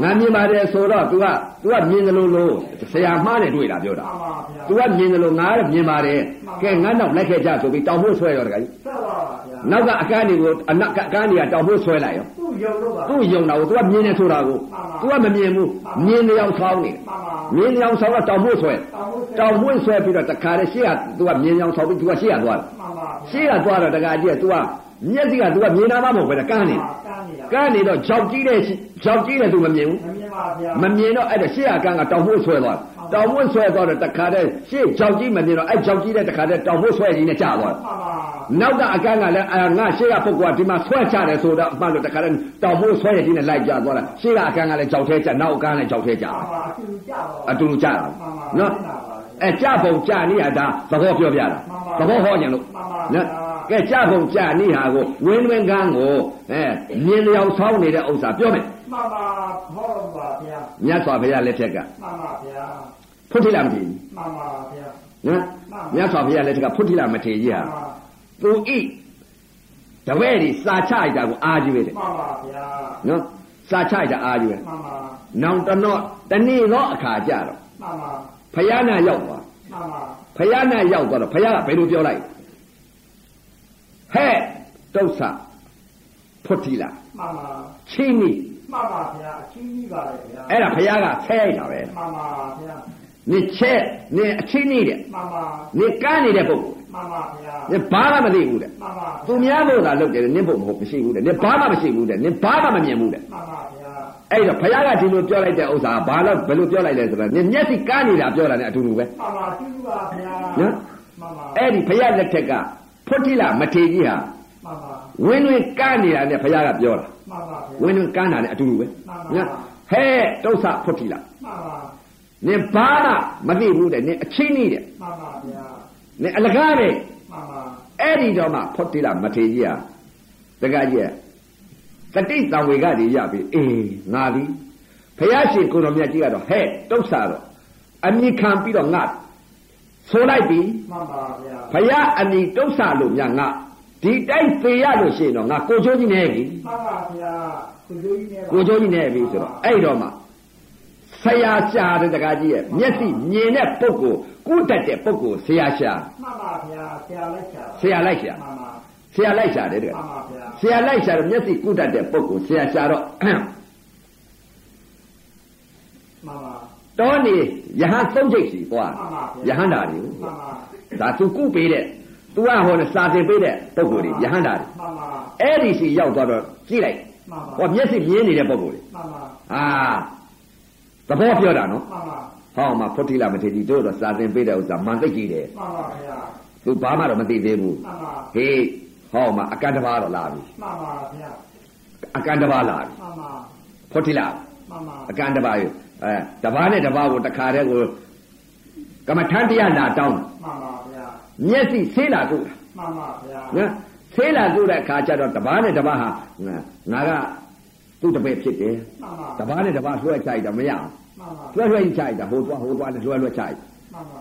Speaker 2: မှ
Speaker 1: ငါ
Speaker 2: န်ပါ
Speaker 1: မြင်ပါတယ်ဆိုတော့ तू က तू ကမြင်တယ်လို့လို့ဆရာမှားတယ်တွေ့တာပြောတာ
Speaker 2: မှာပါဗျာ
Speaker 1: तू ကမြင်တယ်လို့ငါကမြင်ပါတယ်
Speaker 2: မှန်ပါ
Speaker 1: ကဲငါနောက်လက်ခဲ့ကြဆိုပြီးတောင်ဖို့ဆွဲရောတခါကြီး
Speaker 2: ဆက်ပါပါဗျာ
Speaker 1: နောက်ကအကန်းတွေကိုအနောက်ကအကန်းတွေကတောင်ဖို့ဆွဲလိုက်ရော
Speaker 2: သူ့ရုံတော့ပါ
Speaker 1: သူ့ယုံတာကို तू ကမြင်တယ်ဆိုတာကို तू ကမ
Speaker 2: မှန်ပါ
Speaker 1: မြင်ဘူးမြင်တယ်အောင်ဆောင်းနေတယ်
Speaker 2: မှာပါ
Speaker 1: မြင်တယ်အောင်ဆောင်းတော့တောင်ဖို့ဆွဲ
Speaker 2: တောင်
Speaker 1: တောင်
Speaker 2: ဖို့
Speaker 1: ဖို့ဆွဲပြီးတော့တခါတည်းရှေ့က तू ကမြင်တယ်အောင်ဆောင်းပြီး तू ကရှေ့ကသွားတယ်
Speaker 2: မှာပါ
Speaker 1: ရှေ့ကသွားတော့တခါကြီးက तू ကမျက်စိက तू ကမြင်တာမှမဟုတ်ပဲနဲ့ကန်းနေတယ်
Speaker 2: ကမ်းနေ
Speaker 1: ကန်းနေ
Speaker 2: တာ
Speaker 1: တော့ကြောက်ကြီးတဲ့ကြောက်ကြီးတဲ့ तू မမြင်ဘူး
Speaker 2: မမြင်ပါဗျာ
Speaker 1: မမြင်တော့အဲ့ဒါရှေ့အကန်းကတောင်ဖို့ဆွဲသွားတယ်တောင်ဖို့ဆွဲသွားတော့တခါတည်းရှေ့ကြောက်ကြီးမမြင်တော့အဲ့ကြောက်ကြီးတဲ့တခါတည်းတောင်ဖို့ဆွဲကြီးနဲ့ကြာသွားတယ်
Speaker 2: မှာပါ
Speaker 1: နောက်ကအကန်းကလည်းအာငါရှေ့ကပုဂ္ဂိုလ်ကဒီမှာဆွဲချတယ်ဆိုတော့အမှန်လို့တခါတည်းတောင်ဖို့ဆွဲရည်ကြီးနဲ့လိုက်ကြသွားတာရှေ့ကအကန်းကလည်းကြောက်သေးကြနောက်အကန်းလည်းကြောက်သေးကြ
Speaker 2: မှာပါသူ
Speaker 1: အတူတူကြ
Speaker 2: ကြတော့
Speaker 1: တာ
Speaker 2: မှာပါ
Speaker 1: နော်
Speaker 2: မှာပါ
Speaker 1: အဲ့ကြပုံကြနေရတာသဘောပြောပြတာသဘောဟောကြလို့
Speaker 2: မှန်ပါ
Speaker 1: နော်
Speaker 2: ဗျာ
Speaker 1: ကဲကြပုံကြနေဟာကိုဝင်းဝင်းကန်းကိုအဲမြင်လျောင်ဆောင်းနေတဲ့ဥစ္စာပြောမယ်
Speaker 2: မှန်ပါဘောလုံးပါဗျာ
Speaker 1: မြတ်စွာဘုရားလက်ထက်က
Speaker 2: မှန်ပါဗျာ
Speaker 1: ဖုတ်ထိလာမကြည့်ဘူး
Speaker 2: မှန်ပါဗျာ
Speaker 1: နော်မြတ်စွာဘုရားလက်ထက်ကဖုတိလမထေရကြီး
Speaker 2: မှ
Speaker 1: ဟာသူဤတ
Speaker 2: န်ပါ
Speaker 1: ပည့်တွေစာချလိုက်တာကိုအာကြီးပဲတဲ့
Speaker 2: မှန်ပါဗျာ
Speaker 1: နော်စာချလိုက်တာအာကြီးပဲ
Speaker 2: မှန်ပါ
Speaker 1: နောင်တနော့တနေ့တော့အခါကြတော့
Speaker 2: မှန်ပါ
Speaker 1: ဘုရားနာရောက်သွား
Speaker 2: မှန်ပါ
Speaker 1: ဘုရားနာရောက်သွားတော့ဘုရားကဘယ်လိုပြောလိုက်ဟဲ့တုတ်ဆာဖုတိလ
Speaker 2: မှန်ပါ
Speaker 1: ချင်းနီ
Speaker 2: မှန်ပါဗျာအချင်းကြီးပါလေဗျာ
Speaker 1: အဲ့ဒါဘုရားကဆဲလိုက်တာပဲ
Speaker 2: မှန်ပါဗျာ
Speaker 1: နင်ချဲနင်အချင်းနီတဲ့
Speaker 2: မှန်ပါ
Speaker 1: နင်ကန်းနေတဲ့ပုဂ္ဂိုလ်
Speaker 2: မှန်ပါဗျာ
Speaker 1: နင်ဘာမှမသိဘူးတဲ့
Speaker 2: မှန်ပါ
Speaker 1: သူများလို့သာလုပ်တယ်နင့်ဖို့မဟုတ်မရှိဘူးတဲ့နင်ဘာမှမရှိဘူးတဲ့နင်ဘာမှမမြင်ဘူးတဲ့
Speaker 2: မှန်ပါဗျာ
Speaker 1: အဲ့တော့ဘုရားကဒီလိုပြောလိုက်တဲ့ဥစ္စာကဘာလို့ဘယ်လိုပြောလိုက်လဲဆိုတော့နင်မျက်စိကားနေတာပြောတာ ਨੇ အတူတူပဲ
Speaker 2: မှန်ပါသူ့ပါဗျာမှန်ပါ
Speaker 1: အဲ့ဒီဘုရားလက်ထက်ကဖွတ်တိလမထေရကြီးဟာ
Speaker 2: မှန်ပါ
Speaker 1: ဝင်းဝင်းကားနေတာ ਨੇ ဘုရားကပြောတာ
Speaker 2: မှန်ပါဗျာ
Speaker 1: ဝင်းဝင်းကားတာ ਨੇ အတူတူပဲနော်ဟဲ့တုတ်ဆဖွတ်တိလ
Speaker 2: မှန်ပါ
Speaker 1: နင်ဘာမှမသိဘူးတဲ့နင်အချင်းကြီးတဲ့
Speaker 2: မှန်ပါဗျာ
Speaker 1: နင်အလကားတဲ့
Speaker 2: မှန်ပါ
Speaker 1: အဲ့ဒီတော့မှဖွတ်တိလမထေရကြီးဟာတကကြီးက တတိတံဝေကတွေရပြီအေးငါသည်ဘုရားရှင်ကိုယ်တော်မြတ်ကြီးကတော့ဟဲ့တုတ်ဆာတော့အမိခံပြီးတော့ငါ ဆိုလိုက်ပြီ
Speaker 2: မှန်ပါဗျာ
Speaker 1: ဘုရားအနီတုတ်ဆလို့ညငါဒီတိုက်သေးရလို့ရှိရင်တော့ငါကိုချိုးကြီးနေပြီ
Speaker 2: မှန်ပါဗျာကိုကျိုးကြီးနဲ့
Speaker 1: ကိုချိုးကြီးနေပြီဆိုတော့အဲ့တော့မှဆရာရှာတဲ့တကားကြီးရဲ့မျက်စိမြင်တဲ့ပုဂ္ဂိုလ်ကုတတ်တဲ့ပုဂ္ဂိုလ်ဆရာရှာ
Speaker 2: မှန်ပါဗျာဆရာလက်ချာ
Speaker 1: ဆရာလိုက်ရှာ
Speaker 2: မှန်ပါ
Speaker 1: ဆရာလိုက်ရှာတယ်တကား
Speaker 2: မှန်ပါဗျာ
Speaker 1: ဆရာလိုက်ရှာတော့မျက်စိကုတတ်တဲ့ပုဂ္ဂိုလ်ဆရာရှာတော့
Speaker 2: မှန်ပါ
Speaker 1: တောနေယဟန်သုံးချိတ်စီကွာ
Speaker 2: မှန်ပါဗျာ
Speaker 1: ယဟန်တာတွေ
Speaker 2: မှန်ပါ
Speaker 1: ဒါသူကုပေးတဲ့သူကဟောနဲ့စာသင်ပေးတဲ့ပုဂ္ဂိုလ်တွေယဟန်တာတွေ
Speaker 2: မှန်ပါ
Speaker 1: အဲ့ဒီစီရောက်သွားတော့ကြည့်လိုက်
Speaker 2: မှန်ပါ
Speaker 1: ဟောမျက်စိမြင်နေတဲ့ပုဂ္ဂိုလ်တွေ
Speaker 2: မှန်ပါ
Speaker 1: ဟာသဘောပြောတာနော်
Speaker 2: မှန်ပါ
Speaker 1: ဟောမှာဖုတ်တိလာမထေရီတို့တော့စာသင်ပေးတဲ့ဥစ္စာမှန်သိကြည့်တယ်
Speaker 2: မှန်ပါဗျာ
Speaker 1: သူဘာမှတော့မသိသေးဘူး
Speaker 2: မှန်ပါ
Speaker 1: ဟေးဟောမှာအကန့်တစ်ပါးတော့လာပြီ
Speaker 2: မှန်ပါဗျာ
Speaker 1: အကန့်တစ်ပါးလာပြီ
Speaker 2: မှန်ပါ
Speaker 1: ဖုတ်တိလာ
Speaker 2: မှန်ပါ
Speaker 1: အကန့်တစ်ပါးယူအဲတစ်ပါးနဲ့တစ်ပါးကိုတစ်ခါတည်းကိုကမ္မထန်တရားလာတောင်းတာ
Speaker 2: မှန်ပါဗျာ
Speaker 1: မျက်စိဆေးလာတို့
Speaker 2: မှန်ပါဗျာ
Speaker 1: တာနော်ဆေးလာတို့တဲ့အခါကျတော့တစ်ပါးနဲ့တစ်ပါးဟာငါငါကသူ့တပည့်ဖြစ်တယ်
Speaker 2: မှန်
Speaker 1: တစ်
Speaker 2: ပါ
Speaker 1: ပါးနဲ့တစ်ပါးလွှဲချိုက်တာမရဘူးလွှဲ
Speaker 2: မှန်ပါ
Speaker 1: လွှဲကြီးချိုက်တာဟိုသွားဟိုသွားနဲ့လွှဲလွှဲချိုက်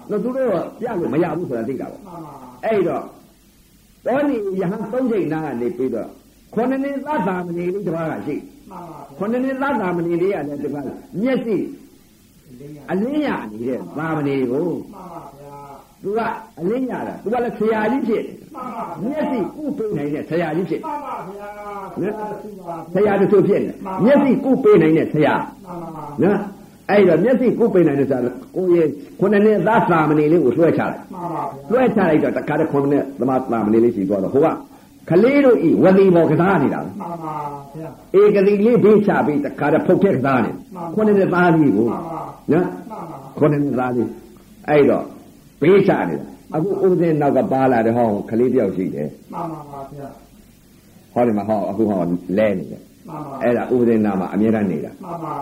Speaker 2: မှန်ပါ
Speaker 1: တော့သူတို့ကပြလို့မရဘူးဆိုတာသိတာပေါ့
Speaker 2: မှန်ပါ
Speaker 1: အဲ့တော့တော်နေရဟန်းသုံးချိန်နာကနေပြီးတော့ခொနနေသတ္တာမဏေလေးတစ်ပါးကရှိ
Speaker 2: မှန်ပါ
Speaker 1: ခொနနေသတ္တာမဏေလေးကလည်းတစ်ပါးမျက်စိ
Speaker 2: လေးရ
Speaker 1: အလင်းရနေတဲ့သာမဏေကို
Speaker 2: မှန်ပါဗျာ
Speaker 1: သူကအလင်းရတာသူကလည်းဆရာကြီးဖြစ်တယ်
Speaker 2: မှ
Speaker 1: မျ
Speaker 2: န်ပါဗျာ
Speaker 1: က်စိကုပေးနိုင်တဲ့ဆရာကြီးဖြစ်တယ်
Speaker 2: မှန်ပါဗျာဆရာ
Speaker 1: ဆရာ
Speaker 2: သူပါ
Speaker 1: တစ်ချို့ဖြစ်တယ်မျက်စိကုပေးနိုင်တဲ့ဆရာ
Speaker 2: မှန်ပါမှန်
Speaker 1: နော်အဲ့တော့မျက်စိကုပေးနိုင်တဲ့ဆရာကိုယ့်ရဲ့ခုနှစ်နှစ်သားသာမဏေလေးကိုလွှဲချလိုက်
Speaker 2: ပါ
Speaker 1: လွှဲချလိုက်တော့တခါတည်းခုနှစ်နှစ်သမာသာမဏေလေးရှိသွားတော့ဟိုကကလေးတို့ဤဝတိဘောကစားနေတာပဲ
Speaker 2: မှန်ပါဗျာ
Speaker 1: ဧကတိလေးဘေးချပြီးတခါတည်းဖုတ်တဲ့ကစားနေခုနှစ်နှစ်သားကြီးကို
Speaker 2: မှန်ပါ
Speaker 1: နော်
Speaker 2: မှ
Speaker 1: ခေါင်းနဲ့
Speaker 2: န်ပါ
Speaker 1: သားလေးအဲ့တော့ဘေးချနေတာအခုဦးစင်းနောက်ကပါလာတဲ့ဟောင်းကလေးတယောက်ရှိတယ်
Speaker 2: မှန်ပါပါဗျာ
Speaker 1: ဟောဒီမှာဟောအခုဟောလဲနေတယ်
Speaker 2: မှန်ပါ
Speaker 1: အဲ့ဒါဦးစင်းနာမှာအမြဲတမ်းနေတာ
Speaker 2: မှန်ပါ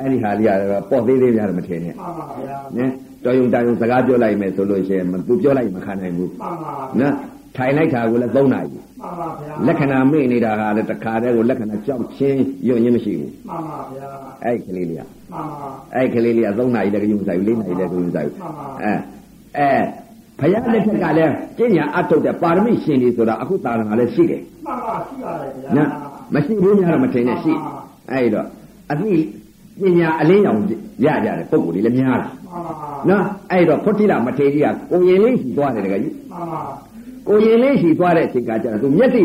Speaker 1: အဲ့ဒီဟာလေးကတော့ပေါ့သေးသေးများတော့မထင်နဲ့
Speaker 2: မှန်ပါဗျာ
Speaker 1: နဲတော်ယုံတာယုံစကားပြောလိုက်မယ်ဆိုလို့ရှိရင်မသူပြောလိုက်ရင်မခံနိုင်ဘူး
Speaker 2: မှန်ပါ
Speaker 1: နော်ထိုင်လိုက်တာကိုလည်းသုံးနိုင်ပြီ
Speaker 2: မှန်ပါဗျာ
Speaker 1: လက္ခဏာမေ့နေတာကလည်းတစ်ခါတည်းကိုလက္ခဏာကြောက်ချင်းယွံ့ရင်းမရှိဘူး
Speaker 2: မှန်ပါဗျာ
Speaker 1: အဲ့ကလေးလေးက
Speaker 2: မှန်ပါ
Speaker 1: အဲ့ကလေးလေးကသုံးနိုင်တယ်ကယူဆိုင်ဘူးလေးနိုင်တယ်ကယူဆိုင်ဘူး
Speaker 2: မှန်ပါ
Speaker 1: အဲအဲဘုရားလက်ထက်ကလည်းကျင့်ညာအထုတ်တဲ့ပါရမီရှင်တွေဆိုတာအခုသာသနာလည်းရှိတယ်
Speaker 2: မှန်ပါရှိပါတယ်ဗျာ
Speaker 1: နော်မရှိဘူးများတော့မထင်နဲ့ရှိအဲဒီတော့အသိပညာအလင်းရောင်ရကြတယ်ပုံကိုယ်တွေလည်းများလာ
Speaker 2: မှန်ပါ
Speaker 1: နော်အဲဒီတော့ဖုတ်တိလမထေရကြီးကကိုရင်လေးရှိသွားတယ်တကယ်ကြီး
Speaker 2: မှန်ပါ
Speaker 1: ကိုရင်လေးရှိသွားတဲ့အချိန်ကကျတော့သူမျက်စိ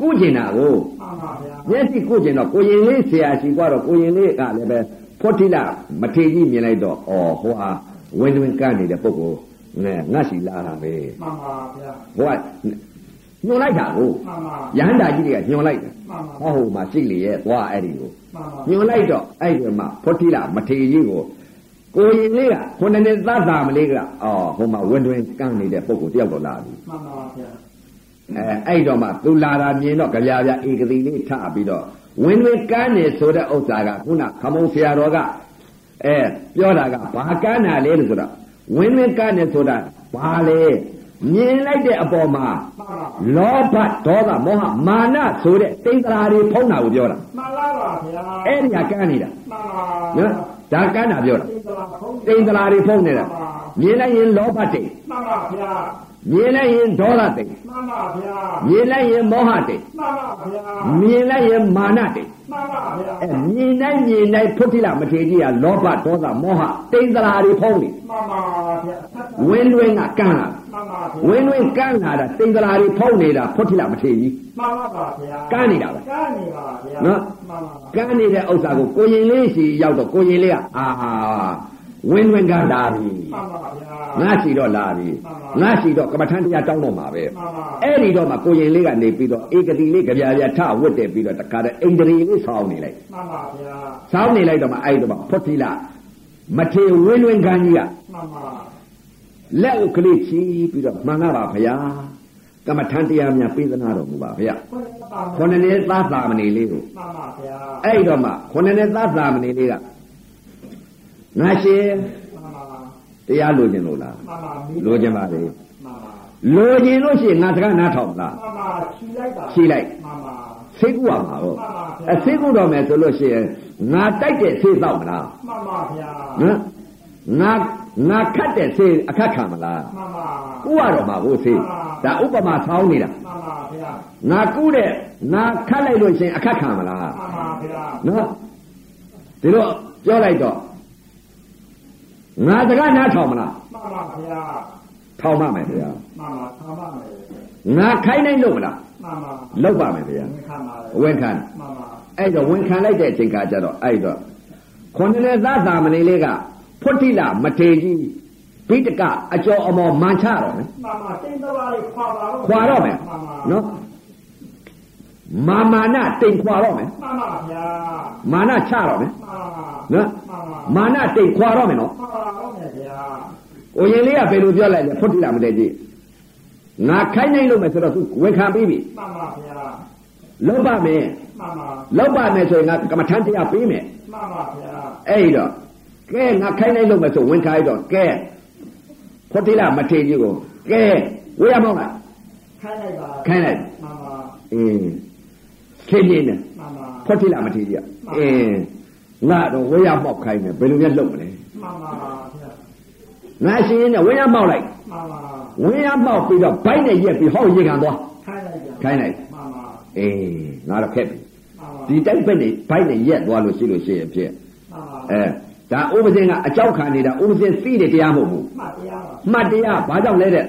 Speaker 1: ကုကျင်တာကို
Speaker 2: မှန်ပါဗျာ
Speaker 1: မျက်စိကုကျင်တော့ကိုရင်လေးဆရာရှိသွားတော့ကိုရင်လေးကလည်းပဲဖုတ်တိလမထေရကြီးမြင်လိုက်တော့အော်ဟိုဟာဝင်းဝင်းကန်းနေတဲ့ပုံကိုယ်နဲ့ငတ်စီလာတာပဲ
Speaker 2: မှန်ပါဗျာ
Speaker 1: ဟိုကညွန်လိုက်တာကို
Speaker 2: မှ
Speaker 1: ရ
Speaker 2: န်ပါ
Speaker 1: ဟန္တာကြီးတွေကညွန်လိုက်တယ်
Speaker 2: မှ
Speaker 1: ဟော
Speaker 2: န်ပါ
Speaker 1: ဟိုမှာရှိလေရဲ့သွားအဲ့ဒီကို
Speaker 2: မှန်ပါ
Speaker 1: ညွန်လိုက်တော့အဲ့ဒီမှာဖောတိလမထေရကြီးကိုကိုရင်လေးကခုနှစ်နှစ်သားသားမလေးကအော်ဟိုမှာဝင်တွင်ကန်းနေတဲ့ပုံကိုလ်တယောက်တော့လာပြီ
Speaker 2: မှန်ပါဗျာ
Speaker 1: အဲအဲ့တော့မှသူလာတာမြင်တော့ကြပြပြဧကတိလေးထပြီးတော့ဝင်တွင်ကန်းနေဆိုတဲ့ဥစ္စာကခုနခမုံဆရာတော်ကအဲပြောတာကဘာကန်းတာလဲလို့ဆိုတော့ဝင်တွင်ကန်းနေဆိုတာဘာလဲမြင်လိုက်တဲ့အပေါ်မှာ
Speaker 2: မှန်ပါ
Speaker 1: လောဘဒေါသမောဟမာနဆိုတဲ့တိတ်္တရာတွေဖုံးတာကိုပြောတာ
Speaker 2: မှန်လားပါဗျာ
Speaker 1: အဲ့ဒီဟာကန်းနေတာ
Speaker 2: မှန်ပါ
Speaker 1: နော်ဒါကန်းတာပြောတာ
Speaker 2: တိတ်တလားဖုံး
Speaker 1: တိတ်္တရာတွေဖုံးနေတာမြင်လိုက်ရင်လောဘတိတ်
Speaker 2: မှန်ပါဗျာ
Speaker 1: မြင်လိုက်ရင်ဒေါသတိတ်
Speaker 2: မှန်ပါဗျာ
Speaker 1: မြင်လိုက်ရင်မောဟတိတ်
Speaker 2: မှန်ပါဗျာ
Speaker 1: မြင်လိုက်ရင်မာနတိတ်
Speaker 2: မှန်ပါဗျာ
Speaker 1: အဲမြင်တိုင်းမြင်တိုင်းဖုတ်တိလမထေရကြီးကလောဘဒေါသမောဟတိတ်္တရာတွေဖုံးနေ
Speaker 2: မှန်ပါဗျာ
Speaker 1: ဝင်းတွင်းကကန်းလာ
Speaker 2: မှန်ပါဗျာ
Speaker 1: ဝင်းတွင်းကန်းလာတာတိတ်္တရာတွေဖုံးနေတာဖုတ်တိလမထေရကြီး
Speaker 2: မှန်ပါပါဗျာ
Speaker 1: ကန်းနေတာပဲ
Speaker 2: ကန်းနေပါဗျာ
Speaker 1: နော်
Speaker 2: မှန်ပါပါ
Speaker 1: ကန်းနေတဲ့ဥစ္စာကိုကိုရင်လေးစီရောက်တော့ကိုရင်လေးကအာဝင်းဝင်းကန်းလာပြီ
Speaker 2: မှန်ပါဗျာ
Speaker 1: ငါစီတော့လာပြီငါစီတော့ကမ္မထန်တရားတောင်းတော့မှာပဲ
Speaker 2: မှန်ပါ
Speaker 1: အဲ့ဒီတော့မှကိုရင်လေးကနေပြီးတော့ဧကတိလေးကြပြပြထဝတ်တယ်ပြီးတော့တခါတည်းအိန္ဒြေလေးဆောင်းနေလိုက်
Speaker 2: မှန်ပါဗျာ
Speaker 1: ဆောင်းနေလိုက်တော့မှအဲ့ဒီတော့မှဖုတ်တိလမထေဝင်းဝင်းကန်းကြီးက
Speaker 2: မှန်ပါ
Speaker 1: လက်ဥကလေးချီပြီးတော့မှန်တာပါဗျာကမ္မထန်တရားများပေးသနာတော်မူပါဗျာ
Speaker 2: ခွင့်ပါပါ
Speaker 1: ခொနည်းသာသာမဏေလေးကို
Speaker 2: မှန်ပါဗျာ
Speaker 1: အဲ့ဒီတော့မှခொနည်းနဲ့သတ္တာမဏေလေးကငါရှင်
Speaker 2: မှန်ပါ
Speaker 1: တရားလိုချင်လို့လား
Speaker 2: မှန်ပါ
Speaker 1: လိုချင်ပါလေ
Speaker 2: မှန်ပါ
Speaker 1: လိုချင်လို့ရှိရင်ငါစကားနားထောင်မလား
Speaker 2: မှန်ပါခြီလိုက်တာ
Speaker 1: ဖြေလိုက်
Speaker 2: မှန်ပါ
Speaker 1: စိတ်ကူရမှာပေါ့
Speaker 2: မှန်ပါဗျာ
Speaker 1: အစိတ်ကူတော့မယ်ဆိုလို့ရှိရင်ငါတိုက်တဲ့စိတ်တော့မလား
Speaker 2: မှန်ပါဗျာ
Speaker 1: ဟမ်ငါ ငါခတ်တဲ့ဆေးအခက်ခံမလား
Speaker 2: မှန်ပါ
Speaker 1: ဥရတော့မှာဘို့ဆေးဒါဥပမာဆောင်းနေတာ
Speaker 2: မှန်ပါဗျာ
Speaker 1: ငါကုတဲ့ငါခတ်လိုက်လို့ရှရင်အခက်ခံမလား
Speaker 2: မှန်ပါဗျာ
Speaker 1: နော်ဒီတော့ပြောလိုက်တော့ငါတကနားထောင်မလား
Speaker 2: မှန်ပါဗျာ
Speaker 1: ထောင်ပါမယ်ဗျာ
Speaker 2: မှန်ပါသာမန်လေ
Speaker 1: ငါခိုင်းနိုင်လို့မလား
Speaker 2: မှန်ပါ
Speaker 1: လောက်ပါမယ်ဗျာ
Speaker 2: ဝင်ခံပါလေ
Speaker 1: ဝန်ခံ
Speaker 2: မှန်ပါ
Speaker 1: အဲ့တော့ဝန်ခံလိုက်တဲ့အချိန်ကကြတော့အဲ့တော့ခွန်နဲ့သာသာမဏေလေးကဖွတ်တိလမထေကြီးဘိတကအကျော်အမော်မန်ချတော့မယ်
Speaker 2: မှန်ပါတင်တော်ပါလေခွာပါတော့
Speaker 1: ခွာတော့မယ်
Speaker 2: မှန်ပါ
Speaker 1: နော်မာမာနတိမ်ခွာတော့မယ်
Speaker 2: မှန်ပါဗျာ
Speaker 1: မာနချတော့မယ်
Speaker 2: မှန်ပါ
Speaker 1: နော်
Speaker 2: မှန်ပါ
Speaker 1: မာနတိမ်ခွာတော့မယ်နော်
Speaker 2: ခွာပါတော့မယ်ဗျာ
Speaker 1: ။ကိုရင်လေးကဘယ်လိုပြောလိုက်လဲဖွတ်တိလာမတဲ့ကြီး။ငါခိုင်းနိုင်လို့မယ်ဆိုတော့သူဝန်ခံပြီးပြီ
Speaker 2: မှန်ပါဗျာ
Speaker 1: ။လောက်ပါမယ်
Speaker 2: မှန်ပါ
Speaker 1: ။လောက်ပါမယ်ဆိုရင်ငါကမ္မထမ်းတရားပေးမယ်
Speaker 2: မှန်ပါဗျာ
Speaker 1: ။အဲ့ဒီတော့ကဲငါခိုင်းနိုင်လို့မယ်ဆိုဝန်ခံရတော့ကဲဖွတ်တိလာမထေကြီးကိုကဲဝေးရမောင်းလား
Speaker 2: ခိုင်းလိုက်ပါ
Speaker 1: ခိုင်းလိုက်
Speaker 2: မှန်ပါ
Speaker 1: ။အင်းခင်းနေတယ်
Speaker 2: မှန်ပါ
Speaker 1: ဖွတ်တိလာမထေကြီးကအင်းငါတော့ဝေးရမောက်ခိုင်းမယ်ဘယ်လိုများလုပ်မလဲ
Speaker 2: မှန်ပါဗျာ
Speaker 1: ။ငါရှင်ရင်နဲ့ဝေးရမောက်လိုက်
Speaker 2: မှန်ပါ
Speaker 1: ဝေးရမောက်ပြီးတော့ဘိုက်နဲ့ရက်ပြီးဟောက်ရေခံသွား
Speaker 2: ခိုင်းလိုက်ပါ
Speaker 1: ခိုင်းလိုက်
Speaker 2: မှန်ပါ
Speaker 1: အေးငါတော့ခက်ပြီ
Speaker 2: မှန်ပါ
Speaker 1: ဒီတိုက်ဘက်နေဘိုက်နဲ့ရက်သွားလို့ရှိလို့ရှိရင်ဖြစ်
Speaker 2: မှန်ပါ
Speaker 1: အဲဒါဥပဇင်းကအကြောက်ခံနေတာဥပဇင်းသိတဲ့တရားမဟုတ်ဘူး
Speaker 2: မှတ်တရားပါ
Speaker 1: မှတ်တရားဘာကြောင့်လဲတဲ့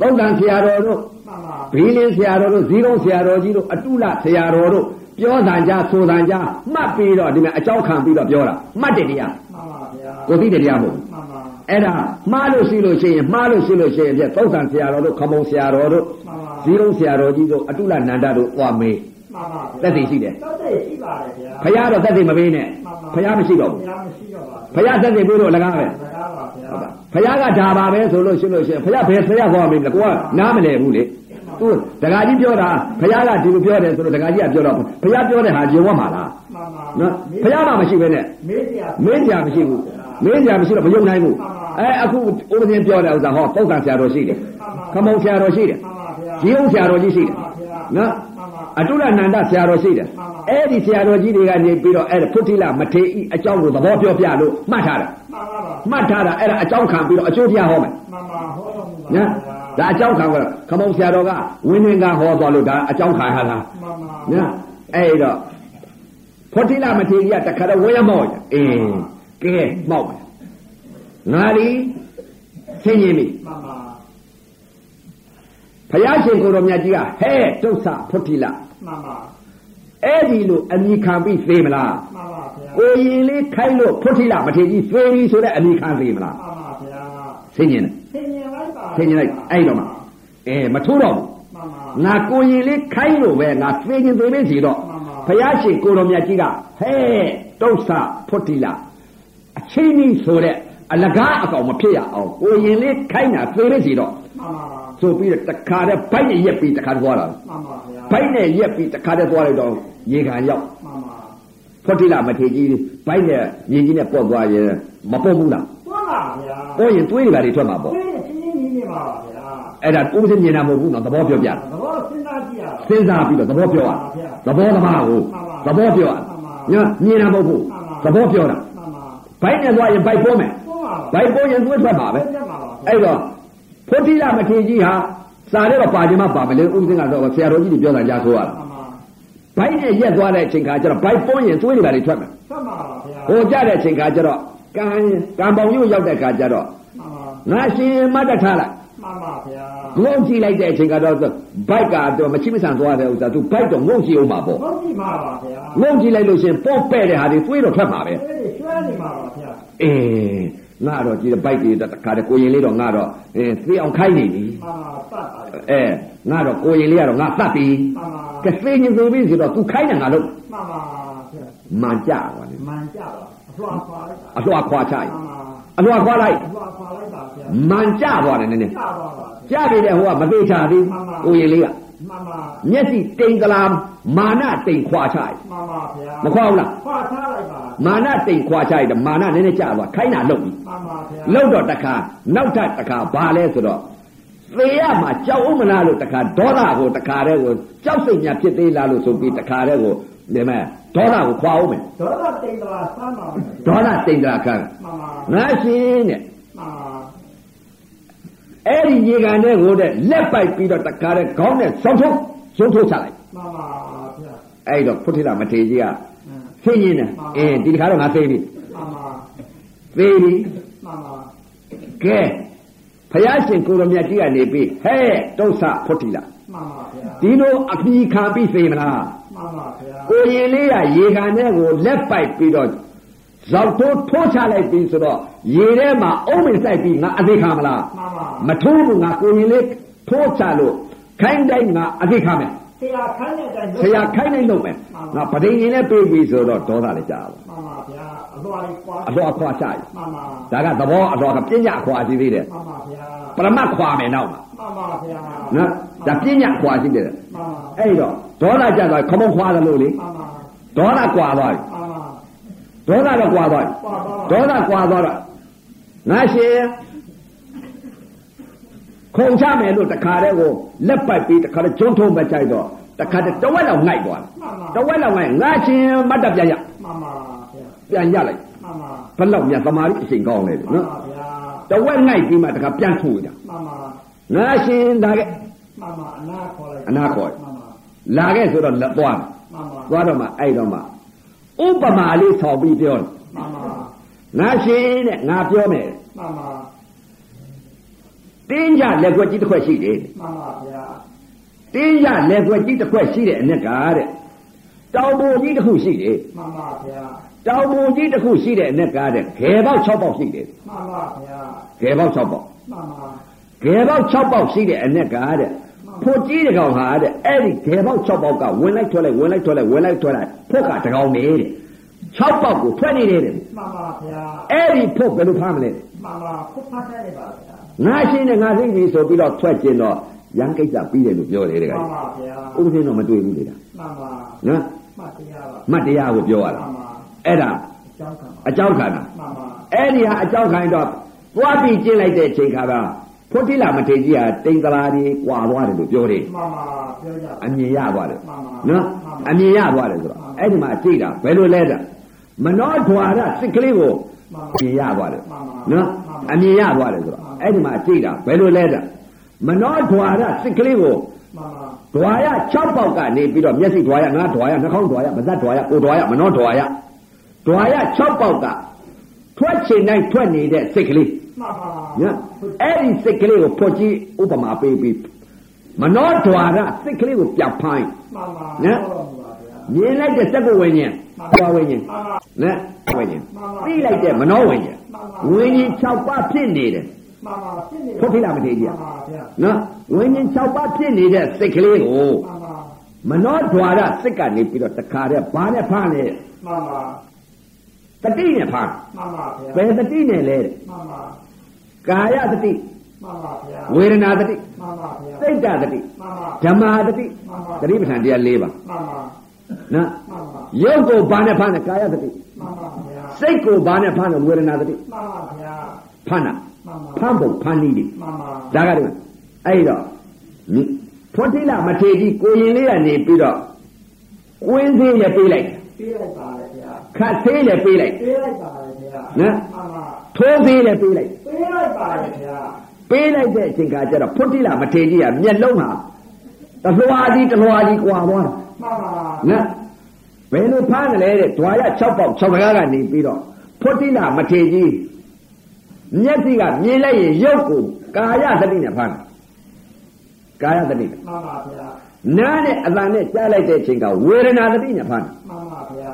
Speaker 1: သုံးတန်ဆရာတော်တို့
Speaker 2: မှန်ပါ
Speaker 1: ဘီလင်းဆရာတော်တို့ဇီးကုန်းဆရာတော်ကြီးတို့အတုလဆရာတော်တို့ပြောတန်ကြဆိုတန်ကြမှတ်ပြီးတော့ဒီမှာအကြောက်ခံပြီးတော့ပြောတာမှတ်တဲ့တရား
Speaker 2: မှန်ပါဗျာ
Speaker 1: ကိုသိတဲ့တရားမဟုတ်ဘူး
Speaker 2: မှန်ပါ
Speaker 1: အဲ့ဒါမှားလို့ရှိလို့ရှိရင်မှားလို့ရှိလို့ရှိရင်ပြသုံးတန်ဆရာတော်တို့ခမုံဆရာတော်တို့
Speaker 2: မှန်ပါ
Speaker 1: ဇီးကုန်းဆရာတော်ကြီးတို့အတုလနန္ဒတို့သွားမေး
Speaker 2: မှန်ပါဗျာ
Speaker 1: သက်သေရှိတယ်
Speaker 2: သက်သေရှိပါတယ်ဗျာ
Speaker 1: ဖရာတော့တက်သိမပေးနဲ့
Speaker 2: မှန်ပါ
Speaker 1: ဖရာမရှိတော့ဘူး
Speaker 2: ဖျားမရှိတော့ပါ
Speaker 1: ဖယားသက်သေပြီးတော့လကားပဲ
Speaker 2: ဘူးဒါပါဗျာ
Speaker 1: ဟုတ်ပါဖယားကဒါပါပဲဆိုလို့ရှိလို့ရှိရင်ဖယားဘယ်ဆရာသွားမလဲကိုကနားမလည်ဘူးလေသူဒကာကြီးပြောတာဖယားကဒီလိုပြောတယ်ဆိုတော့ဒကာကြီးကပြောတော့ဖယားပြောတဲ့ဟာကျေဝတ်မှာလား
Speaker 2: မှန်ပါ
Speaker 1: နော်
Speaker 2: မေး
Speaker 1: ဖယားမှမရှိပဲနဲ့
Speaker 2: မေးစရာ
Speaker 1: မင်းကြာမရှိဘူးမင်းကြာမရှိတော့မယုံနိုင်ဘူးအဲအခုဦးပဇင်းပြောတဲ့ဥစ္စာဟောပုတ်ကံဆရာတော်ရှိတယ်ခမုံဆရာတော်ရှိတယ်
Speaker 2: မှန်ပါဗျာ
Speaker 1: ဂျီုံဆရာတော်ကြီးရှိတယ်
Speaker 2: မှန်ပါဗျာ
Speaker 1: နော်
Speaker 2: မှန်ပါ
Speaker 1: အတုလနန္ဒဆရာတော်ရှိတယ်အဲ့ဒီဆရာတော်ကြီးတွေကနေပြီးတော့အဲ့ဒါဖုတ်တိလမထေဤအကြောင်းကိုသဘောပြောပြလို့မှတ်ထားတယ်
Speaker 2: မှ
Speaker 1: မှ
Speaker 2: န်ပါပါ
Speaker 1: တ်ထားတာအဲ့ဒါအကြောင်းခံပြီးတော့အကျိုးတရားဟောမယ်
Speaker 2: မှန်ပါဟောတော်မူပါ
Speaker 1: နော်
Speaker 2: ဗျာ
Speaker 1: ဒါအကြောင်းခံကခမုံဆရာတော်ကဝင်းဝင်းကဟောသွားလို့ဒါအကြောင်းခံရတာ
Speaker 2: မှန်ပါ
Speaker 1: နော်အဲ့တော့ဖောတိလမထေရီကတခါတော့ဝင်းရမောက်ရအေးကဲမောက်မယ်ငါဒီသိရင်ပြီ
Speaker 2: မှန်ပါ
Speaker 1: ဘုရားရှင်ကိုယ်တော်မြတ်ကြီးကဟဲ့ဒုက္ခဖောတိလ
Speaker 2: မှန်ပါ
Speaker 1: အဲ့ဒီလိုအမိခံပြီးသေမလား
Speaker 2: မှန်ပါဗျာ
Speaker 1: ကိုရင်လေးခိုင်းလို့ဖောတိလမထေရီသေပြီဆိုတဲ့အမိခံသေမလား
Speaker 2: မှန်ပါဗျာ
Speaker 1: သိရင်လား
Speaker 2: သင်ញင်လိုက်ပါ
Speaker 1: သိရင်လိုက်အဲ့တော့မှအဲမထိုးတော့ဘူး
Speaker 2: မှန်ပါ
Speaker 1: ငါကိုရင်လေးခိုင်းလို့ပဲငါသေခြင်းသေမင်းစီတော့
Speaker 2: မှန်ပါ
Speaker 1: ဘုရားရှင်ကိုတော်မြတ်ကြီးကဟဲ့ဒုစဖုတ်တိလာအချင်းကြီးဆိုတဲ့အလကားအကောင်မဖြစ်ရအောင်ကိုရင်လေးခိုင်းတာသေမင်းစီတော့
Speaker 2: မှန်ပါ
Speaker 1: ဆိုပြီးတော့တခါတည်းဘိုက်နဲ့ရက်ပြီးတခါတည်းသွားတာ
Speaker 2: မှန်ပါဗျာ
Speaker 1: ဘိုက်နဲ့ရက်ပြီးတခါတည်းသွားလိုက်တော့ရေခံရောက်
Speaker 2: မှန်ပါ
Speaker 1: ဖုတ်တိလာမထေကြီးဘိုက်နဲ့ရေကြီးနဲ့ပေါ့သွားရင်မပေါ့ဘူးလား
Speaker 2: သွားပါဗျာ
Speaker 1: ပေါ့ရင်တွေးတွေပါတွေထွက်မှာ
Speaker 2: ဘ
Speaker 1: ပေါ့
Speaker 2: ယ်နဲ့ချင်းချင်းညီနေပါပါဗျာ
Speaker 1: အဲ့ဒါဥပဒေမြင်တာမဟုတ်ဘူးနော်သဘောပြောပြတာ
Speaker 2: သဘောစဉ်းစားကြည့်ရအောင်
Speaker 1: စဉ်းစားပြီးတော့သဘောပြောရသဘောသမားကို
Speaker 2: မှ
Speaker 1: သ
Speaker 2: န်ပါ
Speaker 1: ဘောပြောရ
Speaker 2: မှန်
Speaker 1: နော်မြင်
Speaker 2: ပါ
Speaker 1: တာမဟုတ်
Speaker 2: မှ
Speaker 1: ဘူး
Speaker 2: န်
Speaker 1: သ
Speaker 2: ပါ
Speaker 1: ဘောပြောတာ
Speaker 2: မှန်ပါ
Speaker 1: ဘိုက်နဲ့သွားရင်ဘိုက်ပေါ်မယ်
Speaker 2: သွားပါ
Speaker 1: ဘိုက်ပေါ်ရင်သွေးထွက်ပါပဲ
Speaker 2: ကျက်ပါပါ
Speaker 1: အဲ့တော့ဖုတိလမထေရကြီးဟာစာထဲတော့ပါခြင်းမပါမလဲဥပဒေကတော့ဆရာတော်ကြီးတွေပြောတာကြားဆိုရတာ
Speaker 2: မှန်ပါ
Speaker 1: ဘိုက်နဲ့ရက်သွားတဲ့အချိန်ခါကျတော့ဘိုက်ပေါ်ရင်သွေးတွေပါတွေထွက်မယ်
Speaker 2: ဆက်ပါပါဗျာ
Speaker 1: ဟိုကြတဲ့အချိန်ခါကျတော့ကံကံပေါင်ရုပ်ရောက်တဲ့ခါကျတော့
Speaker 2: မှန်ပါ
Speaker 1: ငါရှင်မတ်တထားလိုက်
Speaker 2: မှန်ပါဗျာ
Speaker 1: ငုံကြည့်လိုက်တဲ့အချိန်ခါတော့ဘိုက်ကတော့မချိမဆန်သွားတဲ့ဥစ္စာသူဘိုက်တော့ငုံကြည့်အောင်ပါပေါ့
Speaker 2: ဘုန်းကြီးပါပါဗျာ
Speaker 1: ငုံကြည့်လိုက်လို့ရှရင်ပေါ့ပဲ့တဲ့ဟာတွေတွေးတော့ထွက်မှာပဲ
Speaker 2: ဘယ်နဲ့ကျွမ်းနေပါပါဗျာ
Speaker 1: အေးငါတော့ဒီဘိုက်တွေတခါတည်းကိုရင်လေးတော့ငါတော့အဲသေအောင်ခိုင်းနေပြီ
Speaker 2: မှန်ပါပတ်ပါဗျာ
Speaker 1: အဲငါတော့ကိုရင်လေးကတော့ငါတတ်ပြီ
Speaker 2: မှန်ပါ
Speaker 1: ကသိညင်သူပြီဆိုတော့ तू ခိုင်းတယ်ငါလို့
Speaker 2: မှန်ပါဗျာ
Speaker 1: မှန်ကြပါလေ
Speaker 2: မှန်ကြပါအလွှာခွာလိုက်ပါ
Speaker 1: အလွှာခွာချရ
Speaker 2: မှန်ပါ
Speaker 1: အလွှာခွာလိုက်
Speaker 2: အလွှာခွာလိုက်ပါဗျာ
Speaker 1: မှန်ကြသွားတယ်နည်းနည်း
Speaker 2: ကျပါပါဗျာ
Speaker 1: ကြပြီတဲ့ဟိုကမသေးချသေး
Speaker 2: မှန်ပါ
Speaker 1: ကိုရင်လေးက
Speaker 2: မှန်ပါ
Speaker 1: မျက်စိတိမ်ကလာမာနတိမ်ခွာချရ
Speaker 2: မှန်ပါဗျာ
Speaker 1: မခွာဘူးလား
Speaker 2: ခွာထားလိုက်ပါ
Speaker 1: မာနတိမ်ခွာချရတယ်မာနနည်းနည်းကြသွားခိုင်းတာလုပ်ပြီ
Speaker 2: မှန်ပါဗျာ
Speaker 1: လောက်တော့တခါနောက်ထပ်တခါဘာလဲဆိုတော့သေရမှာကြောက်ဥမလားလို့တခါဒေါသကိုတခါတည်းကိုကြောက်စိတ်ညာဖြစ်သေးလားလို့ဆိုပြီးတခါတည်းကို ဒီမဲ့ဒေါသကိုခွာအောင်မယ်
Speaker 2: ဒေါသတိတ်တလားစမ်းပါမယ်
Speaker 1: ဒေါသတိန်္ဒရာခံ
Speaker 2: မှန်ပါ
Speaker 1: ငါရှင်တဲ့
Speaker 2: မှန်ပါ
Speaker 1: အဲ့ဒီညီကန်တဲ့ကိုတဲ့လက်ပိုက်ပြီးတော့တခါတဲ့ခေါင်းနဲ့ဆုံထုံးဆုံထိုးချလိုက်
Speaker 2: မှန်ပါဗျာ
Speaker 1: အဲ့ဒီတော့ဖုထိလာမထေကြီးက
Speaker 2: အင်း
Speaker 1: ဆင်းရင်းတယ်အင်းဒီတခါတော့ငါသိပြီ
Speaker 2: မှန်ပါ
Speaker 1: သိပြီ
Speaker 2: မှန်ပါ
Speaker 1: ကဲဖယားရှင်ကိုရမြတ်ကြီးကနေပြီးဟဲ့ဒုစဖုထိလာ
Speaker 2: မှန်ပါဗျာ
Speaker 1: ဒီလိုအမိခံပြီးသိမလား
Speaker 2: မှန်ပါဗျာ
Speaker 1: ကိုရင်လေးကရေကန်တဲ့ကိုလက်ပိုက်ပြီးတော့ဇောက်ထိုးထိုးချလိုက်ပြီဆိုတော့ရေထဲမှာအုံးမင်ဆိုင်ပြီးငါအသိခံမလား
Speaker 2: မှန်ပါ
Speaker 1: မထိုးဘူးငါကိုရင်လေးထိုးချလို့ခိုင်းတိုင်းငါအသိခမယ်
Speaker 2: ဆရာခန်းတဲ့အတိုင်း
Speaker 1: ဆရာခိုင်းတိုင်းလုပ်မယ်ငါပဒိန်ရင်နဲ့ပြေးပြီဆိုတော့ဒေါသလည်းကြာပါ
Speaker 2: မှန်ပါဗျာအလွာလေးကွာ
Speaker 1: အတော်အခွာချရ
Speaker 2: မှန်ပါ
Speaker 1: ဒါကသဘောအတော်ကပညာအခွာရှိသေးတယ်
Speaker 2: မှန်ပါဗျာ
Speaker 1: ပရမတ်ခွာမယ်နောက်မှာ
Speaker 2: မှန်ပါဗျာ
Speaker 1: နော်ဒါပညာအခွာရှိသေးတယ်
Speaker 2: မှန်ပါ
Speaker 1: အဲ့တော့ဒေါသကြာသွားခမုံခွာတယ်လို့လေ
Speaker 2: မှန်ပါ
Speaker 1: ဒေါသကွာသွားပြီ
Speaker 2: မှန်ပါ
Speaker 1: ဒေါသလည်းကွာသွားပြီ
Speaker 2: ကွာပါ
Speaker 1: ဒေါသကွာသွားတော့ငါရှင်ခုံချမယ်လို့တခါတည်းကိုလက်ပတ်ပြီးတခါတည်းကျုံထုံးမကြိုက်တော့တခါတည်းတဝက်လောက်နိုင်သွားတယ်တ
Speaker 2: မှန်ပါ
Speaker 1: ဝက်လောက်လိုက်ငါချင်းမတ်တပ်ပြန်ရ
Speaker 2: မှန်ပါဗျာ
Speaker 1: ပြန်ရလိုက်
Speaker 2: မှန်ပါ
Speaker 1: ဘယ်လောက်များသမာဓိအချိန်ကောင်းလဲလေ
Speaker 2: မှန်
Speaker 1: နော်
Speaker 2: ပါဗျာ
Speaker 1: တဝက်နိုင်ပြီးမှတခါပြန်ထူကြ
Speaker 2: မှန်ပါ
Speaker 1: ငါရှင်ဒါကဲ
Speaker 2: မှန်ပါအနာခေါ်လိုက်မှန်ပါ
Speaker 1: လာခဲ့ဆိုတော့လက်သွားမယ်
Speaker 2: မှန်ပါ
Speaker 1: သွားတော့မှအဲ့တော့မှဥပမာလေးဆောင်းပြီးပြောတယ်
Speaker 2: မှန်ပါ
Speaker 1: ငါရှင်တဲ့ငါပြောမယ်
Speaker 2: မှန်ပါ
Speaker 1: တင်းကြလက်ခွက်ကြီးတစ်ခွက်ရှိတယ်
Speaker 2: မှန်ပါဗျာ
Speaker 1: တင်းကြလက်ခွက်ကြီးတစ်ခွက်ရှိတဲ့အနက်ကတဲ့တောင်ပုံကြီးတစ်ခုရှိတယ်
Speaker 2: မှန်ပါဗျာ
Speaker 1: တောင်ပုံကြီးတစ်ခုရှိတဲ့အနက်ကတဲ့ခဲပေါက်6ပေါက်ရှိတယ်
Speaker 2: မှန်ပါဗျာ
Speaker 1: ခဲပေါက်6ပေါက်
Speaker 2: မှန်ပါ
Speaker 1: ဂဲပေါက်6ပေါက်ရှိတဲ့အနက်ကတဲ့ဖို့ကြီးတကောင်ဟာတဲ့အဲ့ဒီဂဲပေါက်6ပေါက်ကဝင်လိုက်ထွက်လိုက်ဝင်လိုက်ထွက်လိုက်ဝင်လိုက်ထွက်လိုက်ဖို့ကတကောင်နေတဲ့6ပေါက်ကိုထွက်နေတယ်တဲ့
Speaker 2: မှန်ပါဗျာ
Speaker 1: အဲ့ဒီဖို့ဘယ်လိုဖမ်းမလဲတဲ့
Speaker 2: မှန်ပါခုတ်ဖတ်တတ်တယ်ပါဗျာ
Speaker 1: ငါရှင်းတယ်ငါသိပြီဆိုပြီးတော့ထွက်ကျင်တော့ရန်ကိစ္စပြီးတယ်လို့ပြောတယ်တဲ့
Speaker 2: မှ
Speaker 1: က
Speaker 2: န်ပါဗျာ
Speaker 1: ဥပဒေတော့မတွေ့ဘူးလေဒါ
Speaker 2: မှန်ပါ
Speaker 1: နော်
Speaker 2: မှတ်တရားပါ
Speaker 1: မတ်တရားကိုပြောရ
Speaker 2: မှ
Speaker 1: တာ
Speaker 2: န်ပါ
Speaker 1: အဲ့ဒါ
Speaker 2: အကြောင်းကံ
Speaker 1: အကြောက်ခံ
Speaker 2: ပါ
Speaker 1: တာ
Speaker 2: မှန်ပါ
Speaker 1: အဲ့ဒီဟာအကြောက်ခံတော့သွားပြီးကျင်လိုက်တဲ့အချိန်ခါကဖို့တိလာမထေကြီးဟာတိန်တလာကြီးကွာသွားတယ်လို့ပြောတယ်
Speaker 2: မှန်ပါပြောကြ
Speaker 1: အမြင်ရသွားတယ်
Speaker 2: မှန်ပါ
Speaker 1: နော်အမြင်ရသွားတယ်ဆိုတော့အဲ့ဒီမှာကြည့်တာဘယ်လိုလဲတာမနောဓွာရစိတ်ကလေးကို
Speaker 2: မှန်
Speaker 1: အ
Speaker 2: ပါ
Speaker 1: မြင်ရသွားတယ်နော်အမြင်ရသွားတယ်ဆိုတော့အဲ့ဒီမှာကြည့်တာဘယ်လိုလဲတာမနောဓွာရစိတ်ကလေးကို
Speaker 2: မှန်ပါ
Speaker 1: ဓွာရ6ပေါက်ကနေပြီးတော့မျက်စိဓွာရငါးဓွာရနှာခေါင်းဓွာရပါးစပ်ဓွာရကိုယ်ဓွာရမနောဓွာရဓွာရ6ပေါက်ကထွက်ချင်တိုင်းထွက်နေတဲ့စိတ်ကလေး
Speaker 2: မှန်ပါ
Speaker 1: နော်အဲ့ဒီစိတ်ကလေးကိုဖွင့်ကြည့်ဥပမာပေးပြီးမနောဓွာရစိတ်ကလေးကိုပြန်ဖိုင်း
Speaker 2: မှန်ပါ
Speaker 1: နော်
Speaker 2: ဟုတ်ပါဗျာ
Speaker 1: မြင်လိုက်တဲ့စက္ကဝိညာဉ်ဘာဝိညာဉ်
Speaker 2: မှန်ပါ
Speaker 1: နဲ့ဝိညာဉ်
Speaker 2: မှန်ပါ
Speaker 1: သိလိုက်တဲ့မနောဝိညာဉ်
Speaker 2: မှန်ပါ
Speaker 1: ဝိညာဉ်6ပါးဖြစ်နေတယ်
Speaker 2: မှန်ပါဖြစ်နေ
Speaker 1: ဖုတ်ဖိလာမထေကြီးက
Speaker 2: မှန်ပါဗျာ
Speaker 1: နော်ဝိညာဉ်6ပါးဖြစ်နေတဲ့စိတ်ကလေးကို
Speaker 2: မှန်ပါ
Speaker 1: မနောဓွာရစိတ်ကနေပြီးတော့တခါတည်းဘာနဲ့ဖမ်းလဲ
Speaker 2: မှန်ပါ
Speaker 1: တတိနဲ့ဖမ်း
Speaker 2: မှန်ပါဗျာ
Speaker 1: ဘယ်တတိနဲ့လဲ
Speaker 2: မှန်ပါ
Speaker 1: ကာယတတိ
Speaker 2: မှန်ပါဗျာ
Speaker 1: ဝေဒနာတတိ
Speaker 2: မှန်ပါဗျာ
Speaker 1: စိတ်တတတိ
Speaker 2: မှ
Speaker 1: ဓ
Speaker 2: န်ပါ
Speaker 1: မ္မာတတိ
Speaker 2: မှန်ပါ
Speaker 1: တတိပဋ္ဌာန်တရား၄ပါး
Speaker 2: မှန်ပါ
Speaker 1: နော်
Speaker 2: မှန်ပါ
Speaker 1: ရုပ်ကိုဘာနဲ့ဖမ်းလဲကာယတတိ
Speaker 2: မှန်ပါဗျာ
Speaker 1: စိတ်ကိုဘာနဲ့ဖမ်းလဲဝေဒနာတတိ
Speaker 2: မှန်ပါဗျာ
Speaker 1: ဖမ်းတာ
Speaker 2: မှ
Speaker 1: ဖ
Speaker 2: န်ပါ
Speaker 1: မ်းဖို့ဖမ်းနည်းတွေ
Speaker 2: မှန်ပါ
Speaker 1: ဒါကတည်းကအဲ့တော့နိဖွတိလမထေကြီးကိုရင်လေးကနေပြီးတော့ကွင်းသေးလည်းပေးလိုက်
Speaker 2: ပြေးလိုက်ပါလေဗျာ
Speaker 1: ခတ်သေးလည်းပေးလိုက်
Speaker 2: ပြေးလိုက်ပါလေဗျာ
Speaker 1: နော်
Speaker 2: မှန်ပါ
Speaker 1: ထိုးသေးလည်းပေးလိုက်
Speaker 2: ပြေးလိုက်ပါလေဗျာ
Speaker 1: ပေးလိုက်တဲ့အချိန်ကကျတော့ဖွတိလမထေကြီးကမျက်လုံးဟာတလွာကြီးတလွာကြီးကွာသွားတာ
Speaker 2: မှန်ပါ
Speaker 1: နော်ဘယ်လိုဖမ်းတယ်လဲတဲ့ဓွာရ6ပေါက်6ကားကနေပြီးတော့ဖွတိလမထေကြီးမျက်စိကမြင်လိုက်ရင်ရုပ်ကိုကာယသတိနဲ့ဖမ်းတယ်ကာယသတိနဲ့
Speaker 2: မှန်ပါဗျာ
Speaker 1: နားနဲ့အတန်နဲ့ကြားလိုက်တဲ့အချိန်ကဝေဒနာသတိနဲ့ဖမ်းတယ်
Speaker 2: မှန်ပါဗျာ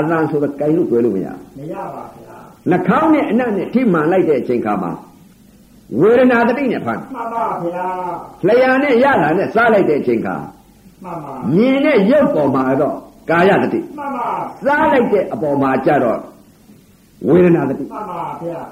Speaker 1: အတန်ဆိုတော့ကြိုင်လို့တွေ့လို့မရဘူး
Speaker 2: မရပါဗျာ
Speaker 1: နှာခေါင်းနဲ့အနံ့နဲ့ထိမှန်လိုက်တဲ့အချိန်ခါမှာဝေဒနာတတိနဲ့ဖမ်း
Speaker 2: မှန်ပါဗျာ
Speaker 1: လျာနဲ့ရလာနဲ့စားလိုက်တဲ့အချိန်ခါ
Speaker 2: မှန်ပါ
Speaker 1: မြင်တဲ့ရုပ်ပေါ်မှာတော့ကာယတတိ
Speaker 2: မှန်ပါ
Speaker 1: စားလိုက်တဲ့အပေါ်မှာကြတော့ဝေဒနာတတိ
Speaker 2: မှန်ပါဗျာ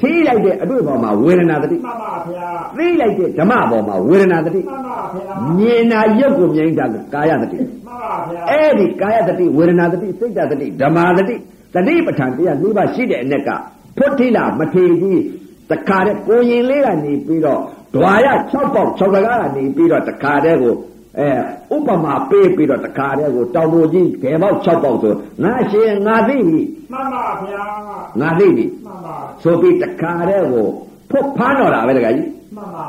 Speaker 1: ထိလိုက်တဲ့အတွေ့အပေါ်မှာဝေဒနာတတိ
Speaker 2: မှန်ပါဗျာ
Speaker 1: သိလိုက်တဲ့ဓမ္မပေါ်မှာဝေဒနာတတိ
Speaker 2: မှန်ပါဗျာ
Speaker 1: မြင်တာရုပ်ကိုမြင်တာကကာယတတိ
Speaker 2: မှန်ပါဗျာ
Speaker 1: အဲ့ဒီကာယတတိဝေဒနာတတိစိတ်တတိဓမ္မာတတိတတိပဋ္ဌာန်တရား၄ပါးရှိတဲ့အ ਨੇ ကဖွတ်ထိလာမထေကြီးတခါတဲ့ကိုရင်လေးကနေပြီးတော့ဓွာရ6ပေါက်6ကကားကနေပြီးတော့တခါတဲ့ကို အဲဥပမာပေးပြီးတော့တခါတည်းကိုတောင်ပေါ်ကြီးဘယ်ပေါက်6ပေါက်ဆိုနာရှင်ငါသိပြီ
Speaker 2: မှန်ပါဗျာ
Speaker 1: ငါသိပြီ
Speaker 2: မှန်ပါ
Speaker 1: ဆိုပြီးတခါတည်းကိုဖွတ်ဖမ်းတော့တာပဲတခါကြီး
Speaker 2: မှန်ပါ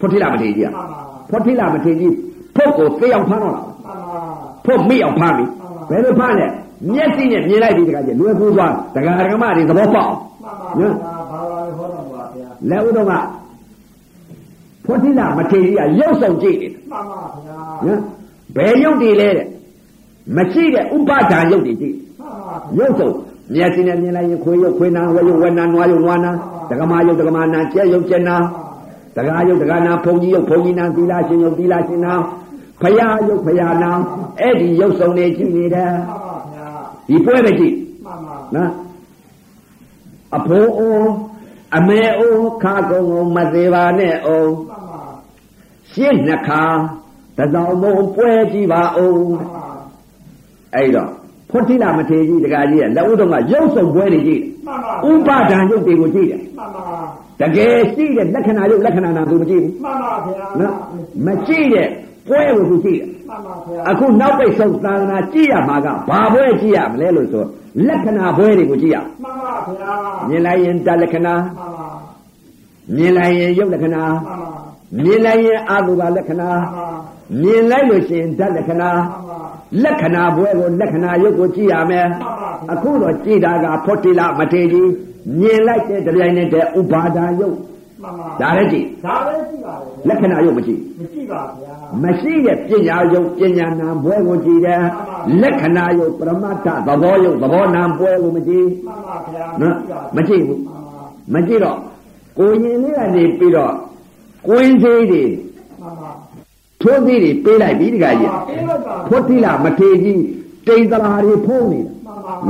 Speaker 1: ဖွတ်ထိလာမထေကြီးက
Speaker 2: မှန်ပါ
Speaker 1: ဖွတ်ထိလာမထေကြီးဖွတ်ကိုသိအောင်ဖမ်းတော့တာပဲ
Speaker 2: မှန်ပါ
Speaker 1: ဖွတ်မိအောင်ဖမ်းပြီ
Speaker 2: မှ
Speaker 1: ဘ
Speaker 2: န်
Speaker 1: ယ်လိုဖ
Speaker 2: ပါ
Speaker 1: မ်းလဲမျက်စိနဲ့မြင်လိုက်ပြီတခါကြီးလွယ်ကူသွားတခါဓမ္မတွေသဘောပေါက်အောင်
Speaker 2: ်ပါဗျာဘာသာဟောတော်မူပါဗျာ
Speaker 1: လက်ဦးတော့ကဖွတ်တိလာမထေရီကရုပ်ဆောင်ကြည့်နေ
Speaker 2: မှန်ပါဗျာ
Speaker 1: တယ်နော်ဘယ်ရုပ်တွေလဲတဲ့မရှိတဲ့ဥပါဒာရုပ်တွေကြည့်
Speaker 2: မှ
Speaker 1: ရု
Speaker 2: န်ပါ
Speaker 1: ပ်ဆောင်မျက်စိနဲ့မြင်လိုက်ရင်ခွေရုပ်ခွေနာဝေရုပ်ဝေနာနွားရုပ်နွားနာဒကမရုပ်ဒကမနာကျက်ရုပ်ကျက်နာဒကာရုပ်ဒကာနာဖုန်ကြီးရုပ်ဖုန်ကြီးနာသီလရှင်ရုပ်သီလရှင်နာဖရာရုပ်ဖရာနာအဲ့ဒီရုပ်ဆောင်တွေကြည့်နေတယ်
Speaker 2: မှန်ပါဗျာ
Speaker 1: ဒီပွဲပဲကြည့်
Speaker 2: မှန်ပါ
Speaker 1: နော်အဖိုးအိုးအမေအိုးခါကုံကုံမသေးပါနဲ့အိုး
Speaker 2: မှန်ပါ
Speaker 1: ရှင်းနှခါတစောင်းမုံပွဲကြည့်ပါအိုး
Speaker 2: မှန်ပါ
Speaker 1: အဲ့တော့ဖွတ်တိလာမထေကြီးတကကြီးကလက်ဦးတော်ကရုပ်ဆောင်ပွဲတွေကြည့်
Speaker 2: မှန်ပါ
Speaker 1: တယ်ဥပါဒံရုပ်တွေကိုကြည့်တယ်
Speaker 2: မှန်ပါ
Speaker 1: တကယ်ရှိတဲ့လက္ခဏာရုပ်လက္ခဏာနာသူမကြည့်ဘူး
Speaker 2: မှန်ပါဗျာ
Speaker 1: နော်မကြည့်တဲ့ပွဲကိုသူကြည့်တယ်
Speaker 2: မှန်ပါဗျာ
Speaker 1: အခုနောက်ပိတ်ဆုံးသာသနာကြည့်ရမှာကဘာပွဲကြည့်ရမလဲလို့ဆိုလက္ခဏာပွဲတွေကိုကြည့်ရအောင်
Speaker 2: မှန်ပါဗျာ
Speaker 1: မြင်လိုက်ရင်တလက္ခဏာ
Speaker 2: မှန်ပါ
Speaker 1: မြင်လိုက်ရင်ယုတ်လက္ခဏာ
Speaker 2: မှန်ပါ
Speaker 1: မြင်လိုက်ရင်အတုပါလက္ခဏာ
Speaker 2: မှန်ပါ
Speaker 1: မြင်လိုက်လို့ရှိရင်ဓာတ်လက္ခဏာ
Speaker 2: မှန်ပါ
Speaker 1: လက္ခဏာဘွဲကိုလက္ခဏာယုတ်ကိုကြည့်ရမယ်
Speaker 2: မှန်ပါဗျာ
Speaker 1: အခုတော့ကြည့်တာကဖောတိလမထေကြီးမြင်လိုက်တဲ့ကြိုင်နဲ့တဲ့ဥပါဒာယုတ်
Speaker 2: မှန်ပါ
Speaker 1: ဒါလည်းကြည့်
Speaker 2: ဒါလည်းရှိပါလေ
Speaker 1: လက္ခဏာယုတ်မကြည့်
Speaker 2: မရှိပါဗျာ
Speaker 1: မရှိတဲ့ပညာယုတ်ပညာနာဘွဲကိုကြည့်တယ်လ
Speaker 2: မှန်ပါဗျာ
Speaker 1: က္ခဏာယုတ်ပရမတ္ထသဘောယုတ်သဘောနာဘွဲကိုမကြည့်
Speaker 2: မှန်ပါဗျာ
Speaker 1: နော်မကြည့်ဘူး
Speaker 2: မှန်ပါ
Speaker 1: မကြည့်တော့ကိုရင်လေးကနေပြီးတော့ကွင်းသေးတွေ
Speaker 2: မှန်ပါ
Speaker 1: ထိုးသေးတွေပေးလိုက်ပြီတခါကြီး
Speaker 2: ပြေလိုက်ပါ
Speaker 1: ဖွတ်တိလာမထေကြီးတိန်တလာတွေဖုံးနေတာ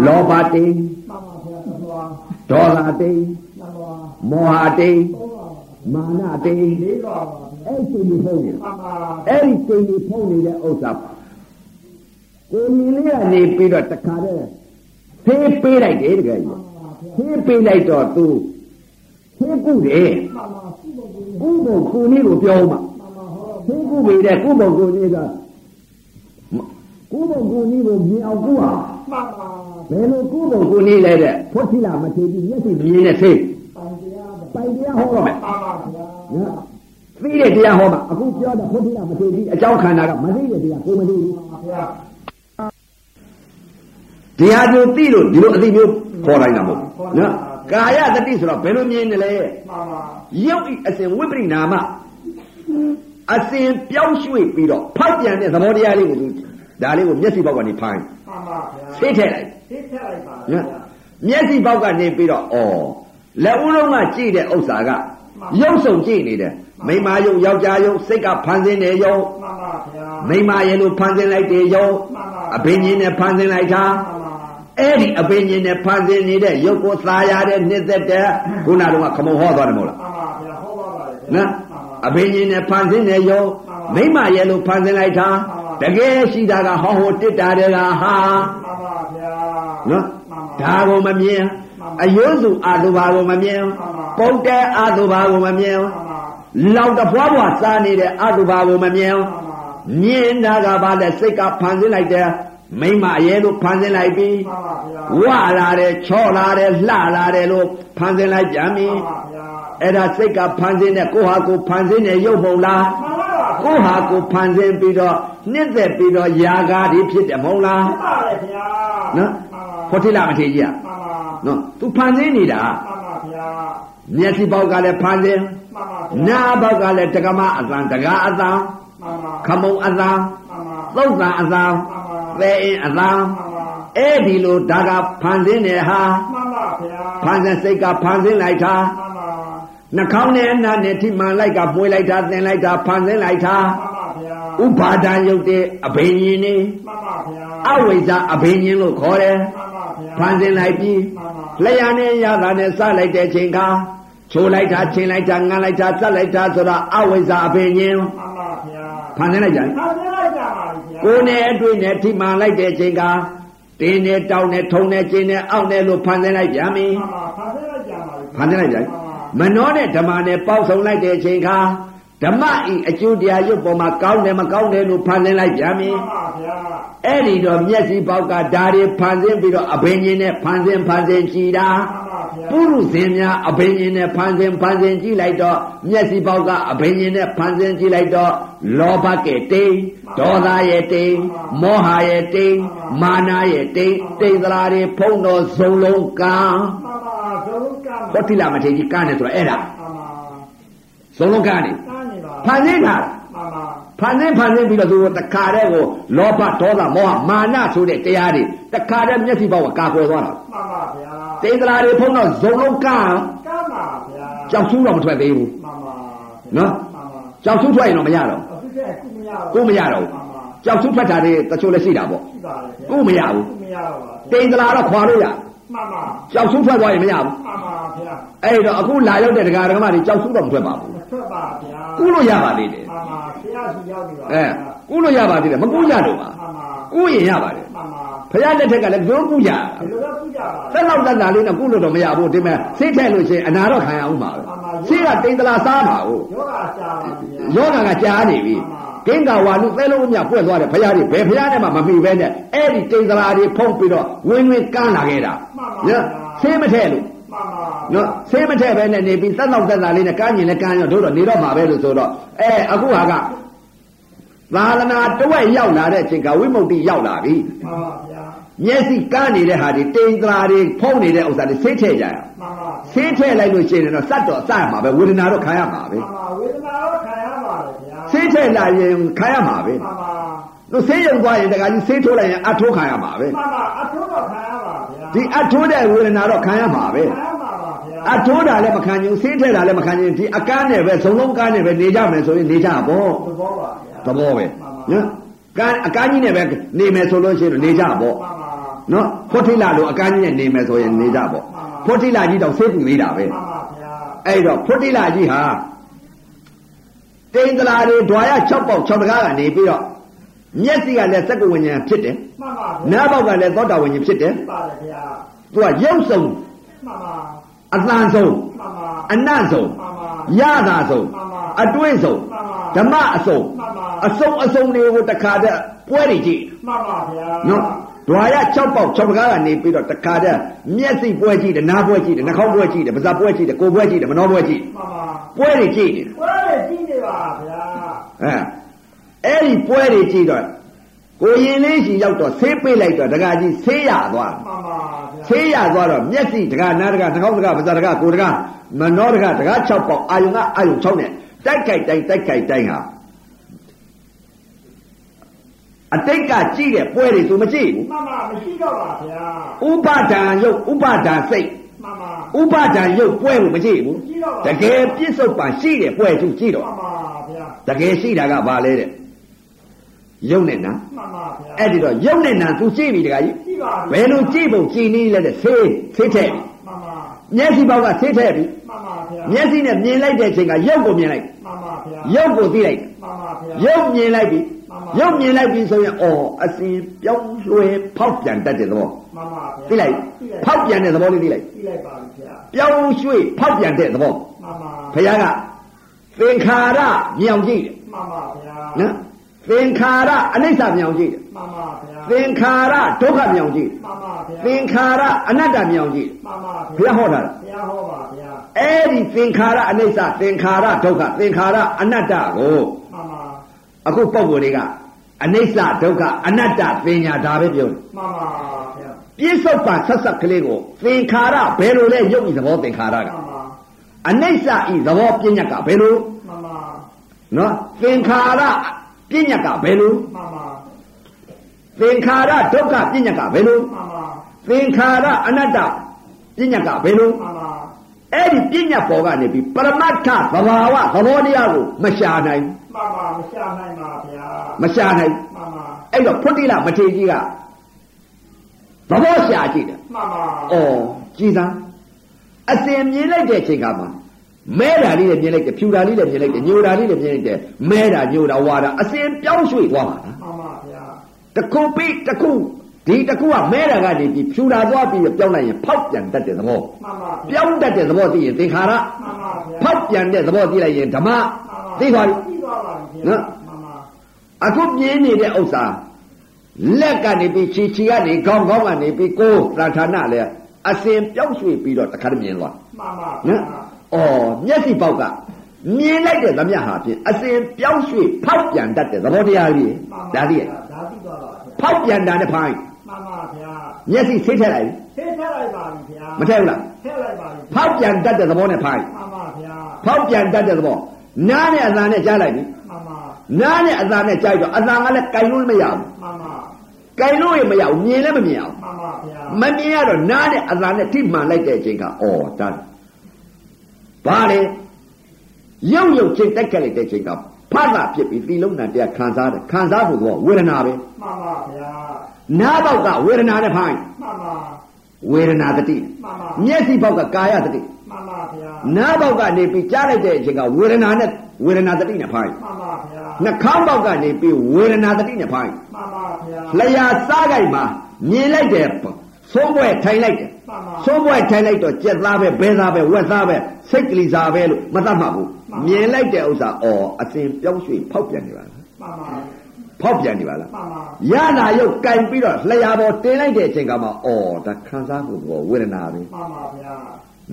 Speaker 2: မှန်ပါ
Speaker 1: လောဘတိန်
Speaker 2: မှန်ပါဗျာသဘော
Speaker 1: ဒေါသတိန်
Speaker 2: မှန်ပါ
Speaker 1: မောဟတိန်
Speaker 2: ဟုတ်ပါပါ
Speaker 1: မာနတိန်
Speaker 2: လေးပါပါဗျ
Speaker 1: အဲ့ဒီလိုဖုံးနေတာ
Speaker 2: ာမှန်ပါ
Speaker 1: အဲ့ဒီတိန်တွေဖုံးနေတဲ့ဥစ္စာကိုရင်လေးကနေပြီးတော့တခါတည်းသေးပေးလိုက်တယ်တခါကြီး
Speaker 2: မှန်
Speaker 1: သေး
Speaker 2: ပါဗျာ
Speaker 1: ပေးလိုက်တော့သူသေးကုတယ်
Speaker 2: မှန်ပါစီ
Speaker 1: ကု
Speaker 2: မံကိန်း
Speaker 1: ဘုံခုနည်းကိုပြောမှာ
Speaker 2: မှန်ပါဟော
Speaker 1: ဘုကုပေတဲ့ကုဘုံကိုကြီးကကုဘုံကိုကြီးကိုမြင်အောင်ကုဟာ
Speaker 2: မှန်ပါ
Speaker 1: ဘယ်လိုကုဘုံကိုကြီးလဲတဲ့ဖွတ်သီလာမထေကြီးမျက်စိမြင်တဲ့သိ
Speaker 2: ပန်တရားမှန်
Speaker 1: ပိုင်တရားဟောတော့မယ်
Speaker 2: ပါဗျာ
Speaker 1: နော်သိတဲ့တရားဟောမှာအခုပြောတဲ့ဖွတ်သီလာမထေကြီးအကြောင်းခန္ဓာကမသိတဲ့တရားကိုမသိဘူး
Speaker 2: မှန်ပါဗျာ
Speaker 1: တရားမျိုးသိလို့ဒီလိုအသိမျိုးခေါ်တိုင်းတာမဟုတ်ဘူးနော်ကာယတတိဆိုတော့ဘယ်လိုမြင်တယ်လဲ
Speaker 2: မှန်ပါ
Speaker 1: ရုပ်ဤအစဉ်ဝိပရိနာမအစဉ်ပြောင်းရွှေ့ပြီးတော့ဖောက်ပြန်တဲ့သဘောတရားလေးကိုသူဒါလေးကိုမျက်စိပေါက်ကနေဖိုင်း
Speaker 2: မှန်ပါဗျာ
Speaker 1: သိထည့်လိုက်
Speaker 2: သိထက်လိုက်ပါဗျာ
Speaker 1: နော်မျက်စိပေါက်ကနေပြီးတော့ဩလက်ဦးလုံးကကြည့်တဲ့ဥစ္စာက
Speaker 2: မှန်ပါ
Speaker 1: ရုပ်စုံကြည့်နေတယ်မိမယုံယောက်ျားယုံစိတ်ကဖန်ဆင်းနေယုံ
Speaker 2: မှန်ပါဗျာ
Speaker 1: မိမရဲ့လို့ဖန်ဆင်းလိုက်တယ်ယုံ
Speaker 2: မှန်ပါ
Speaker 1: အဘိညာဉ်နဲ့ဖန်ဆင်းလိုက်တာ
Speaker 2: မှန်ပါ
Speaker 1: အဲ့ဒီအဘိညာဉ်နဲ့ဖန်ဆင်းနေတဲ့ရုပ်ကိုသာရတဲ့နှစ်သက်တဲ့ခုနကတော့ခမုံဟောသွားတယ်မဟုတ်လား
Speaker 2: မှန်ပါဗျာဟောပါပါလေ
Speaker 1: နော်
Speaker 2: မှန်ပါ
Speaker 1: အဘိညာဉ်နဲ့ဖန်ဆင်းနေယုံ
Speaker 2: မှ
Speaker 1: မိ
Speaker 2: န်
Speaker 1: မ
Speaker 2: ပါ
Speaker 1: ရဲ့လို့ဖန်ဆင်းလိုက်တာ
Speaker 2: မှန်ပါ
Speaker 1: တကယ်ရှိတာကဟောဟိုတစ်တာတဲ့ကဟာ
Speaker 2: မှန်ပါဗျာ
Speaker 1: နော်
Speaker 2: မှ
Speaker 1: ဒါကိုမ
Speaker 2: န်ပါ
Speaker 1: မြင်
Speaker 2: မှန်ပါ
Speaker 1: အယုဇုအာတုဘာကိုမမြင်
Speaker 2: မှန်ပါ
Speaker 1: ပုတ်တဲအာတုဘာကိုမမြင်
Speaker 2: မှန်ပါ
Speaker 1: လောက်တဖွားဖွားစားနေတဲ့အတုဘာကိုမမြင်
Speaker 2: မှ
Speaker 1: မြင်
Speaker 2: န်ပါ
Speaker 1: တာကဘာလဲစိတ်ကဖန်ဆင်းလိုက်တယ်မိမ့်မရဲလို့ဖန်ဆင်းလိုက်ပြီ
Speaker 2: မှန်ပါ
Speaker 1: ဝ
Speaker 2: ဗျာ
Speaker 1: လာတယ်ချော့လာတယ်လှလာတယ်လို့ဖန်ဆင်းလိုက်ပြန်ပြီ
Speaker 2: မှန်ပါဗျာ
Speaker 1: အဲ့ဒါစိတ်ကဖန်ဆင်းတဲ့ကိုယ့်ဟာကိုယ်ဖန်ဆင်းတဲ့ရုပ်ပုံလား
Speaker 2: မှန်ပါပါ
Speaker 1: ကိုယ့်ဟာကိုယ်ဖန်ဆင်းပြီးတော့နှစ်သက်ပြီးတော့ຢာကားတွေဖြစ်တယ်မဟုတ်လား
Speaker 2: မှန်ပါလေဗျာ
Speaker 1: နော်
Speaker 2: မှန်
Speaker 1: ဖော
Speaker 2: ပါ
Speaker 1: တိလမထေကြီးอ่ะ
Speaker 2: မှန်ပါ
Speaker 1: နော်သူဖန်ဆင်းနေတာ
Speaker 2: မှန်ပါဗျာ
Speaker 1: မျက်စိပေါက်ကလည်းဖန်ဆင်း
Speaker 2: မှန်ပါ
Speaker 1: နားပေါက်က
Speaker 2: ဗျာ
Speaker 1: လည်းတက္ကမအသံတကားအသံ
Speaker 2: မှန်ပါ
Speaker 1: ခမုံအသံ
Speaker 2: မှန်ပါ
Speaker 1: သုတ်သံအသံသဲအင်းအသံ
Speaker 2: မှန်ပါ
Speaker 1: အဲ့ဒီလိုဒါကဖန်ဆင်းနေဟာ
Speaker 2: မှန်ပါဗျာ
Speaker 1: ဖန်ဆင်းစိတ်ကဖန်ဆင်းလိုက်တာ
Speaker 2: မှန်ပါ
Speaker 1: နှာခေါင်းနဲ့အနားနဲ့ထိမှန်လိုက်ကပွေလိုက်တာသင်လိုက်တာဖန်ဆင်းလိုက်တာ
Speaker 2: မှန်ပါ
Speaker 1: ဥ
Speaker 2: ဗျာ
Speaker 1: ပါဒံယုတ်တဲ့အဘိညာဉ်နေ
Speaker 2: မှန်ပါဗျာ
Speaker 1: အဝိဇ္ဇာအဘိညာဉ်လို့ခေါ်တယ်
Speaker 2: မှန်ပါဗျာ
Speaker 1: ဖန်ဆင်းလိုက်ပြီး
Speaker 2: မှန်ပါ
Speaker 1: လျာနဲ့ရတာနဲ့စလိုက်တဲ့ချိန်ကချိုးလိုက်တာချင်းလိုက်တာငန်းလိုက်တာစက်လိုက်တာဆိုတာအဝိဇ္ဇာအပင်ချင်း
Speaker 2: မှန်ပါဗျာ
Speaker 1: ဖန်ဆင်းလိုက်ကြတယ်
Speaker 2: ဖန်ဆင်းလိုက်ကြပါလိ
Speaker 1: ကို
Speaker 2: မ့်ဗျာ
Speaker 1: ယ်နဲ့အတွေ့နဲ့ထိမှန်လိုက်တဲ့ချိန်ကတင်းနဲ့တောင်းနဲ့ထုံနဲ့ကျင်းနဲ့အောင့်နဲ့လို့ဖန်ဆင်းလိုက်ပြန်ပြီ
Speaker 2: မှန်ပါဖန်ဆင်းလိုက်
Speaker 1: ဖန်ဆင်းလိုက်ကြ
Speaker 2: ကြပါလိမ့်
Speaker 1: တယ်မနှောနဲ့ဓမ္မနဲ့ပေါက်ဆုံလိုက်တဲ့ချိန်က ဓမ္မဤအကျိုးတရားရုပ်ပေါ်မှာကောင်းတယ်မကောင်းတယ်လို့ဖန်ဆင်းလိုက်ပြန်ပြီ
Speaker 2: မှန်ပါဗျာ
Speaker 1: အဲ့ဒီတော့မျက်စိပေါက်ကဓာတွေဖန်ဆင်းပြီးတော့အဘိညာဉ်နဲ့ဖန်ဆင်းဖန်ဆင်းကြည်တာ
Speaker 2: မှန်
Speaker 1: ပုရု
Speaker 2: ပါဗျာ
Speaker 1: ဇဉ်များအဘိညာဉ်နဲ့ဖန်ဆင်းဖန်ဆင်းကြည်လိုက်တော့မျက်စိပေါက်ကအဘိညာဉ်နဲ့ဖန်ဆင်းကြည်လိုက်တော့လောဘရဲ့တိမ်ဒေါသရဲ့တိမ်မောဟရဲ့တိမ်မာနရဲ့တိမ်တိမ်သလားတွေဖုံးတော်ဇုံလုံးကံ
Speaker 2: မှန်ပါဇလုံးကမ်း
Speaker 1: ဟောတိလမထေရကြီးကံနဲ့ဆိုတော့အဲ့ဒါ
Speaker 2: မှန်ပါ
Speaker 1: ဇုံလုံးကံနေ
Speaker 2: တားနေပါ
Speaker 1: ဖန်ဆင်းတာ
Speaker 2: မှန်ပါ
Speaker 1: ဖန်ဆင်းဖန်ဆင်းပြီးတော့သူတို့တခါတည်းကိုလောဘဒေါသမောဟမာနဆိုတဲ့တရားတွေတခါတည်းမျက်စိပေါက်ကကာကွယ်သွားတာ
Speaker 2: မှန်ပါဗျာ
Speaker 1: တိတ်တလားတွေဖုံးတော့ဇုံလုံးကန်း
Speaker 2: ကမ်းပါဗျာ
Speaker 1: ကြောက်ဆူးတော့မထွက်သေးဘူး
Speaker 2: မှန်ပါမှန်ပါ
Speaker 1: ကြောက်ဆူးထွက်ရင်တော့မရတော့
Speaker 2: အခုကကုမရဘူး
Speaker 1: ကိုယ်မရတော့ဘူး
Speaker 2: မှန်ပါ
Speaker 1: ကြောက်ဆူးထွက်တာတွေတချို့လည်းရှိတာပေါ့
Speaker 2: ရှိပါလေဗျာ
Speaker 1: ကိုယ်မရဘူး
Speaker 2: ကုမရပါဘူး
Speaker 1: တိတ်တလားတော့ခွာလို့ရ
Speaker 2: မှန်ပါ
Speaker 1: ကြောက်ဆူးထွက်သွားရင်မရဘူး
Speaker 2: မှန်ပါဗျာ
Speaker 1: အဲ့ဒီတော့အခုလာရောက်တဲ့တရားဓမ္မတွေကြောက်ဆူးတော့မထွက်ပါဘူး
Speaker 2: မထွက်ပါဗျာ
Speaker 1: ကုလို့ရပါသေးတယ်
Speaker 2: မှန်ပါဆရာကြီးရောက်နေပါ
Speaker 1: အဲကုလို့ရပါသေးတယ်မကုရတော့ပါ
Speaker 2: မှန်ပါ
Speaker 1: ကုရင်ရပါတယ်
Speaker 2: မှန်ပါ
Speaker 1: ဖရဲလက်ထက်ကလည်းဘယ်လိုကုရတာ
Speaker 2: ဒီလိုတော့ပြ
Speaker 1: သက်
Speaker 2: ကြပါလား
Speaker 1: လောက်တက်တာလေးနဲ့ကုလို့တော့မရဘူးဒီမဲ့စိတ်ထက်လို့ရှိရင်အနာတော့ခံရအောင်ပါပဲ
Speaker 2: အာမပါ
Speaker 1: စိတ်ကတိမ်တလာစားပါဘူး
Speaker 2: ယောဂအရှာပါ
Speaker 1: ယောဂါက
Speaker 2: ဗျာ
Speaker 1: ကြားနေပြီ
Speaker 2: အာမ
Speaker 1: ကိင်္ဂါဝါလူသဲလုံးအမြပွက်သွားတယ်ဘုရားတွေဘယ်ဘုရားနဲ့မှမမိပဲနဲ့အဲ့ဒီတိမ်တလာတွေဖုံးပြီးတော့ဝင်းဝင်းကန်းလာခဲ့တာစိတ်မထက်လို့
Speaker 2: မှန်ပါ
Speaker 1: နော်စိတ်မထက်ပဲနဲ့နေပြီးသက်လောက်တက်တာလေးနဲ့ကန်းကျင်လည်းကန်းရောတို့တော့နေတော့မှာပဲလို့ဆိုတော့အဲအခုဟာကသာသနာတဝက်ရောက်လာတဲ့အချိန်ကဝိမု ക്തി ရောက်လာပြီ
Speaker 2: မှန်ပါဗျာ
Speaker 1: မျက်စိကန်းနေတဲ့ဟာတွေတိမ်တလာတွေဖုံးနေတဲ့ဥစ္စာတွေစိတ်ထက်ကြရအောင်
Speaker 2: မှန်ပါဗျာ
Speaker 1: ဆေးထည့်လိုက်လို့ရှိရင်တော့စတ်တော့စရမှာပဲဝေဒနာတော့ခံရမှာပဲ
Speaker 2: မှန်ပါဝေဒနာတော့ခံရပါလေဗျာ
Speaker 1: ဆေးထည့်လာရင်ခံရမှာပဲ
Speaker 2: မှန်ပါ
Speaker 1: သူဆေးရုံသွားရင်တခါကြီးဆေးထိုးလိုက်ရင်အထိုးခံရမှာပဲ
Speaker 2: မှန်ပါအထုတော့ခံရပါဗျာ
Speaker 1: ဒီအထိုးတဲ့ဝေဒနာတော့ခံရမှာပဲ
Speaker 2: ခံရပါပါဗျာ
Speaker 1: အထိုးတာလည်းမခံရင်ဆေးထည့်တာလည်းမခံရင်ဒီအကန်းနဲ့ပဲဇုံလုံးကန်းနဲ့ပဲနေကြမယ်ဆိုရင်နေကြပေါ့
Speaker 2: သဘောပါဗျာ
Speaker 1: သဘောပဲ
Speaker 2: မှန်ပါ
Speaker 1: နော်ကန်းအကန်းကြီးနဲ့ပဲနေမယ်ဆိုလို့ရှိရင်နေကြပေါ့
Speaker 2: မှန်ပါ
Speaker 1: နော်ဖို့ထိလာလို့အကန်းကြီးနဲ့နေမယ်ဆိုရင်နေကြပေါ့
Speaker 2: မှန်ပါ
Speaker 1: ဖို့ထိလာကြီးတော့ဆေးပူသေးတာပဲ
Speaker 2: မှန်ပါဗျာ
Speaker 1: အဲ့တော့ဖုတ္တိလကြီးဟာတိန်တလာတွေဓွာရ6ပေါက်6တကားကနေပြီးတော့မျက်စိကလည်းသက္ကဝဉ္ဉဏ်ဖြစ်တယ်
Speaker 2: မှန်ပါ
Speaker 1: ။
Speaker 2: ဗျာ
Speaker 1: နားပေါက်ကလည်းသောတာဝဉ္ဉဏ်ဖြစ်တယ်
Speaker 2: ပါလေဗျာ
Speaker 1: ။သူကရုပ်ဆုံး
Speaker 2: မှန်ပါ
Speaker 1: အသံဆုံး
Speaker 2: မှန်ပါ
Speaker 1: အနတ်ဆုံး
Speaker 2: မှန်ပါ
Speaker 1: ရတာဆုံး
Speaker 2: မှန်ပါ
Speaker 1: အတွေးဆုံး
Speaker 2: မှန်ပါ
Speaker 1: ဓမ္မအဆုံး
Speaker 2: မှန်ပါ
Speaker 1: အဆုံးအဆုံးတွေကိုတစ်ခါတည်းပွဲတွေကြည့်
Speaker 2: မှန်ပါဗျာ
Speaker 1: နော်ဓွာရ6ပေါက်6တကားကနေပြီးတော့တစ်ခါတည်းမျက်စိပွဲကြည့်တယ်နားပွဲကြည့်တယ်နှာခေါင်းပွဲကြည့်တယ်ပါးစပ်ပွဲကြည့်တယ်ကိုယ်ပွဲကြည့်တယ်မနှောပွဲကြည့်
Speaker 2: မှန်ပါ
Speaker 1: ပွဲတွေကြည့်နေတယ်
Speaker 2: ကိုယ်လည်းကြည့်နေပါဗျာ
Speaker 1: အဲအဲ့ဒီပွဲတွေကြည့်တော့ကိုရင်လေးရှင်ရောက်တော့ဆေးပေးလိုက်တော့ဒကာကြီးဆေးရသွား
Speaker 2: မှန်ပါဗျာ
Speaker 1: ဆေးရသွားတော့မျက်စိဒကာနားဒကာနှာခေါင်းဒကာပါးစပ်ဒကာကိုယ်ဒကာမနောဒကာဒကာ6ပေါက်အာယုံကအာယုံ6နဲ့တိုက်ခိုက်တိုင်းတိုက်ခိုက်တိုင်းဟာအတိတ်ကကြည့်တဲ့ပွဲတွေသူမကြည့်
Speaker 2: မှန်ပါမရှိတော့ပါဗျာ
Speaker 1: ဘူးဥပါဒံရုပ်ဥပါဒံစိတ်
Speaker 2: မှန်ပါ
Speaker 1: ဥပါဒံရုပ်ပွဲကိုမကြည့်ဘူး
Speaker 2: ကြည့်တော့ပါ
Speaker 1: တကယ်ပြစ္ဆုတ်ပန်ရှိတဲ့ပွဲသူကြည့်
Speaker 2: မှ
Speaker 1: တော့
Speaker 2: န်ပါဗျာ
Speaker 1: တကယ်ရှိတာကဘာလဲတဲ့ရုပ်နဲ့နာ
Speaker 2: မှန်ပါဗျာ
Speaker 1: အဲ့ဒီတော့ရုပ်နဲ့နာသူကြည့်ပြီတခါကြီး
Speaker 2: ကြည့်ပါ
Speaker 1: ဘယ်လိုကြည့်ဖို့ကြည်နည်းလဲတဲ့ဆေးဆေးထည့်ပြီ
Speaker 2: မှန်ပါ
Speaker 1: မျက်စိပေါက်ကဆေးထည့်ပြီ
Speaker 2: မှန်ပါဗျာ
Speaker 1: မျက်စိနဲ့မြင်လိုက်တဲ့အချိန်ကရုပ်ကိုမြင်လိုက်
Speaker 2: မှန်ပါဗျာ
Speaker 1: ရုပ်ကိုသိလိုက်
Speaker 2: မှန်ပါဗျာ
Speaker 1: ရုပ်မြင်လိုက်ပြီ
Speaker 2: မှန်ပါ
Speaker 1: ရုပ်မြင်လိုက်ပြီဆိုရင်အော်အစီပြောင်းလွှဲဖောက်ပြန်တတ်တဲ့သဘော
Speaker 2: မှန်ပါဗျာ
Speaker 1: သိလိုက်
Speaker 2: ကြည့်
Speaker 1: ဖောက်ပြန်တဲ့သဘောလေးသိလိုက်
Speaker 2: ကြည့်လိုက်ပါဗျာ
Speaker 1: ပြောင်းရွှေ့ဖောက်ပြန်တဲ့သဘော
Speaker 2: မှန်ပါ
Speaker 1: ဘုရားကသင်္ခါရမြောင်ကြည့်
Speaker 2: မှန်ပါဗျာ
Speaker 1: တယ်နော်သင်္ခါရအနိစ္စမြောင်ကြည့်တယ်
Speaker 2: မှန်ပါဗျာ
Speaker 1: သင်္ခါရဒုက္ခမြောင်ကြည့်တယ်
Speaker 2: မှန်ပါဗျာ
Speaker 1: သင်္ခါရအနတ္တမြောင်ကြည့်တယ်
Speaker 2: မှန်
Speaker 1: ဘုရားဟော
Speaker 2: ပါ
Speaker 1: တာလား
Speaker 2: ဘုရားဟောပါဗျာ
Speaker 1: အဲ့ဒီသင်္ခါရအနိစ္စသင်္ခါရဒုက္ခသင်္ခါရအနတ္တကို
Speaker 2: မှန်ပါ
Speaker 1: အခုပုံကိုယ်တွေကအနိစ္စဒုက္ခအနတ္တပညာဒါပဲပြောတယ်
Speaker 2: မှန်ပါဗျာ
Speaker 1: ပြစ္ဆုတ်ပါဆက်ဆက်ကလေးကိုသင်္ခါရဘယ်လိုလဲယုတ်ဤသဘောသင်္ခါရက
Speaker 2: မှန်ပါ
Speaker 1: အနိစ္စဤသဘောပညာကဘယ်လို
Speaker 2: မှန်ပါ
Speaker 1: နော်သင်္ခါရပညာကဘယ်လို
Speaker 2: မှန်ပါ
Speaker 1: သင်္ခါရဒုက္ခပညာကဘယ်လို
Speaker 2: မှန်ပါ
Speaker 1: သင်္ခါရအနတ္တပညာကဘယ်လို
Speaker 2: မှန်ပါ
Speaker 1: အဲ့ဒီပညာပေါ်ကနေပြီးပရမတ္ထသဘာဝသဘောတရားကိုမရှာနိုင်ဘူး
Speaker 2: မှန်ပါမရှာနိုင်ပါဗျာ
Speaker 1: မရှာနိုင်ဘူး
Speaker 2: မှန်ပါ
Speaker 1: အဲ့တော့ဖုတ္တိလမထေရကြီးကသဘောရှာကြည့်တယ်
Speaker 2: မှန်ပါ
Speaker 1: ။အော်ကြည်သာအစဉ်မြင်လိုက်တဲ့အချိန်ကမှမဲတာလေးလည်းမြင်လိုက်တယ်ဖြူတာလေးလည်းမြင်လိုက်တယ်ညိုတာလေးလည်းမြင်လိုက်တယ်မဲတာညိုတာဝါတာအစဉ်ပြောင်းရွှေ့သွားပါလား
Speaker 2: မှန်ပါဗျာ
Speaker 1: ။တစ်ခုပြီးတစ်ခုဒီတစ်ခုကမဲတာကနေပြီးဖြူတာသွားပြီးပြောင်းလိုက်ရင်ဖောက်ပြန်တတ်တဲ့သဘော
Speaker 2: မှန်ပါ
Speaker 1: ။
Speaker 2: ဗျာ
Speaker 1: ပြောင်းတတ်တဲ့သဘောသိရင်သင်္ခါရ
Speaker 2: မှန်ပါဗျာ
Speaker 1: ဖောက်ပြန်တဲ့သဘောသိလိုက်ရင်ဓမ္မ
Speaker 2: မှန်ပါ
Speaker 1: သိသွားပြီ
Speaker 2: သိသွားပါပြီ
Speaker 1: နော်
Speaker 2: မမ
Speaker 1: အခုပြင်းနေတဲ့ဥစ္စာလက်ကနေပြီးခြေခြေကနေခေါင်းခေါင်းကနေပြီးကိုယ်သံဌာနလဲအစဉ်ပြောင်းရွှေ့ပြီးတော့တခါတည်းမြင်သွား
Speaker 2: မမ
Speaker 1: နော်အော်မျက်စိပေါက်ကမြင်လိုက်တဲ့သမျှဟာဖြင့်အစဉ်ပြောင်းရွှေ့ဖောက်ပြန်တတ်တဲ့သဘောတရားကြီးဒါကြီးရဲ့
Speaker 2: ဒါသိသွားပါဗျာ
Speaker 1: ဖောက်ပြန်တာနဲ့ဖိုင်း
Speaker 2: မမဗျာ
Speaker 1: မျက်စိဆိတ်ထက်လိုက်ပြီ
Speaker 2: သိထက်လိုက်ပါပြီဗျာ
Speaker 1: မထက်ဘူးလား
Speaker 2: ထက်လိုက်ပါပြီ
Speaker 1: ဖောက်ပြန်တတ်တဲ့သဘောနဲ့ဖိုင်း
Speaker 2: မမဗျာ
Speaker 1: ဖောက်ပြန်တတ်တဲ့သဘောနားနဲ့အသံနဲ့ကြားလိုက်ပြီ
Speaker 2: မမ
Speaker 1: နားနဲ့အသံနဲ့ကြားပြီးတော့အသံကလည်းကြိုင်လို့မရဘူး
Speaker 2: မမ
Speaker 1: ကြိုင်လို့ရင်မရဘူးမြင်လည်းမမြင်အောင်
Speaker 2: မမဗျာ
Speaker 1: မမြင်ရတော့နားနဲ့အသာနဲ့ထိမှန်လိုက်တဲ့အချိန်ကအော်ဒါဘာလဲရုပ်ရုပ်ချင်းတက်ကြလိုက်တဲ့အချိန်ကဖတ်တာဖြစ်ပြီးသီလုံးနာတရားခံစားတယ်ခံစားဖို့ကဝေဒနာပဲ
Speaker 2: မမဗျာ
Speaker 1: နားပေါက်ကဝေဒနာနဲ့ဖိုင်း
Speaker 2: မမ
Speaker 1: ဝေဒနာတတိ
Speaker 2: မမ
Speaker 1: မျက်စိပေါက်ကကာယတတိ
Speaker 2: မမဗျာ
Speaker 1: နားပေါက်ကနေပြီးကြားလိုက်တဲ့အချိန်ကဝေဒနာနဲ့ဝေဒနာတတိနဲ့ဖိုင်း
Speaker 2: မမဗျာ
Speaker 1: နှာခေါင်းပေါက်ကနေပြီးဝေဒနာတတိနဲ့ဖိုင်း
Speaker 2: မမဗျာ
Speaker 1: လျာစားကြိုက်မှာမြင်လိုက်တယ်သုံးဘွဲထိုင်လိုက်တယ်
Speaker 2: မမ
Speaker 1: သုံးဘွဲ့ထိုင်လိုက်တော့ကြက်သားပဲဘဲသားပဲဝက်သားပဲစိတ်ကလေးစားပဲလို့မတတ်မှတ်ဘူးမြင်လိုက်တဲ့ဥစ္စာအော်အစဉ်ပြောင်းရွှေ့ဖောက်ပြန်နေပါလား
Speaker 2: မမ
Speaker 1: ဖောက်ပြန်နေပါလား
Speaker 2: မမ
Speaker 1: ရတာရုပ်ကင်ပြီးတော့လျှာပေါ်တင်လိုက်တဲ့အချိန်ကမှအော်ဒါခံစားမှုကဝေဒနာပဲ
Speaker 2: မမဗျာ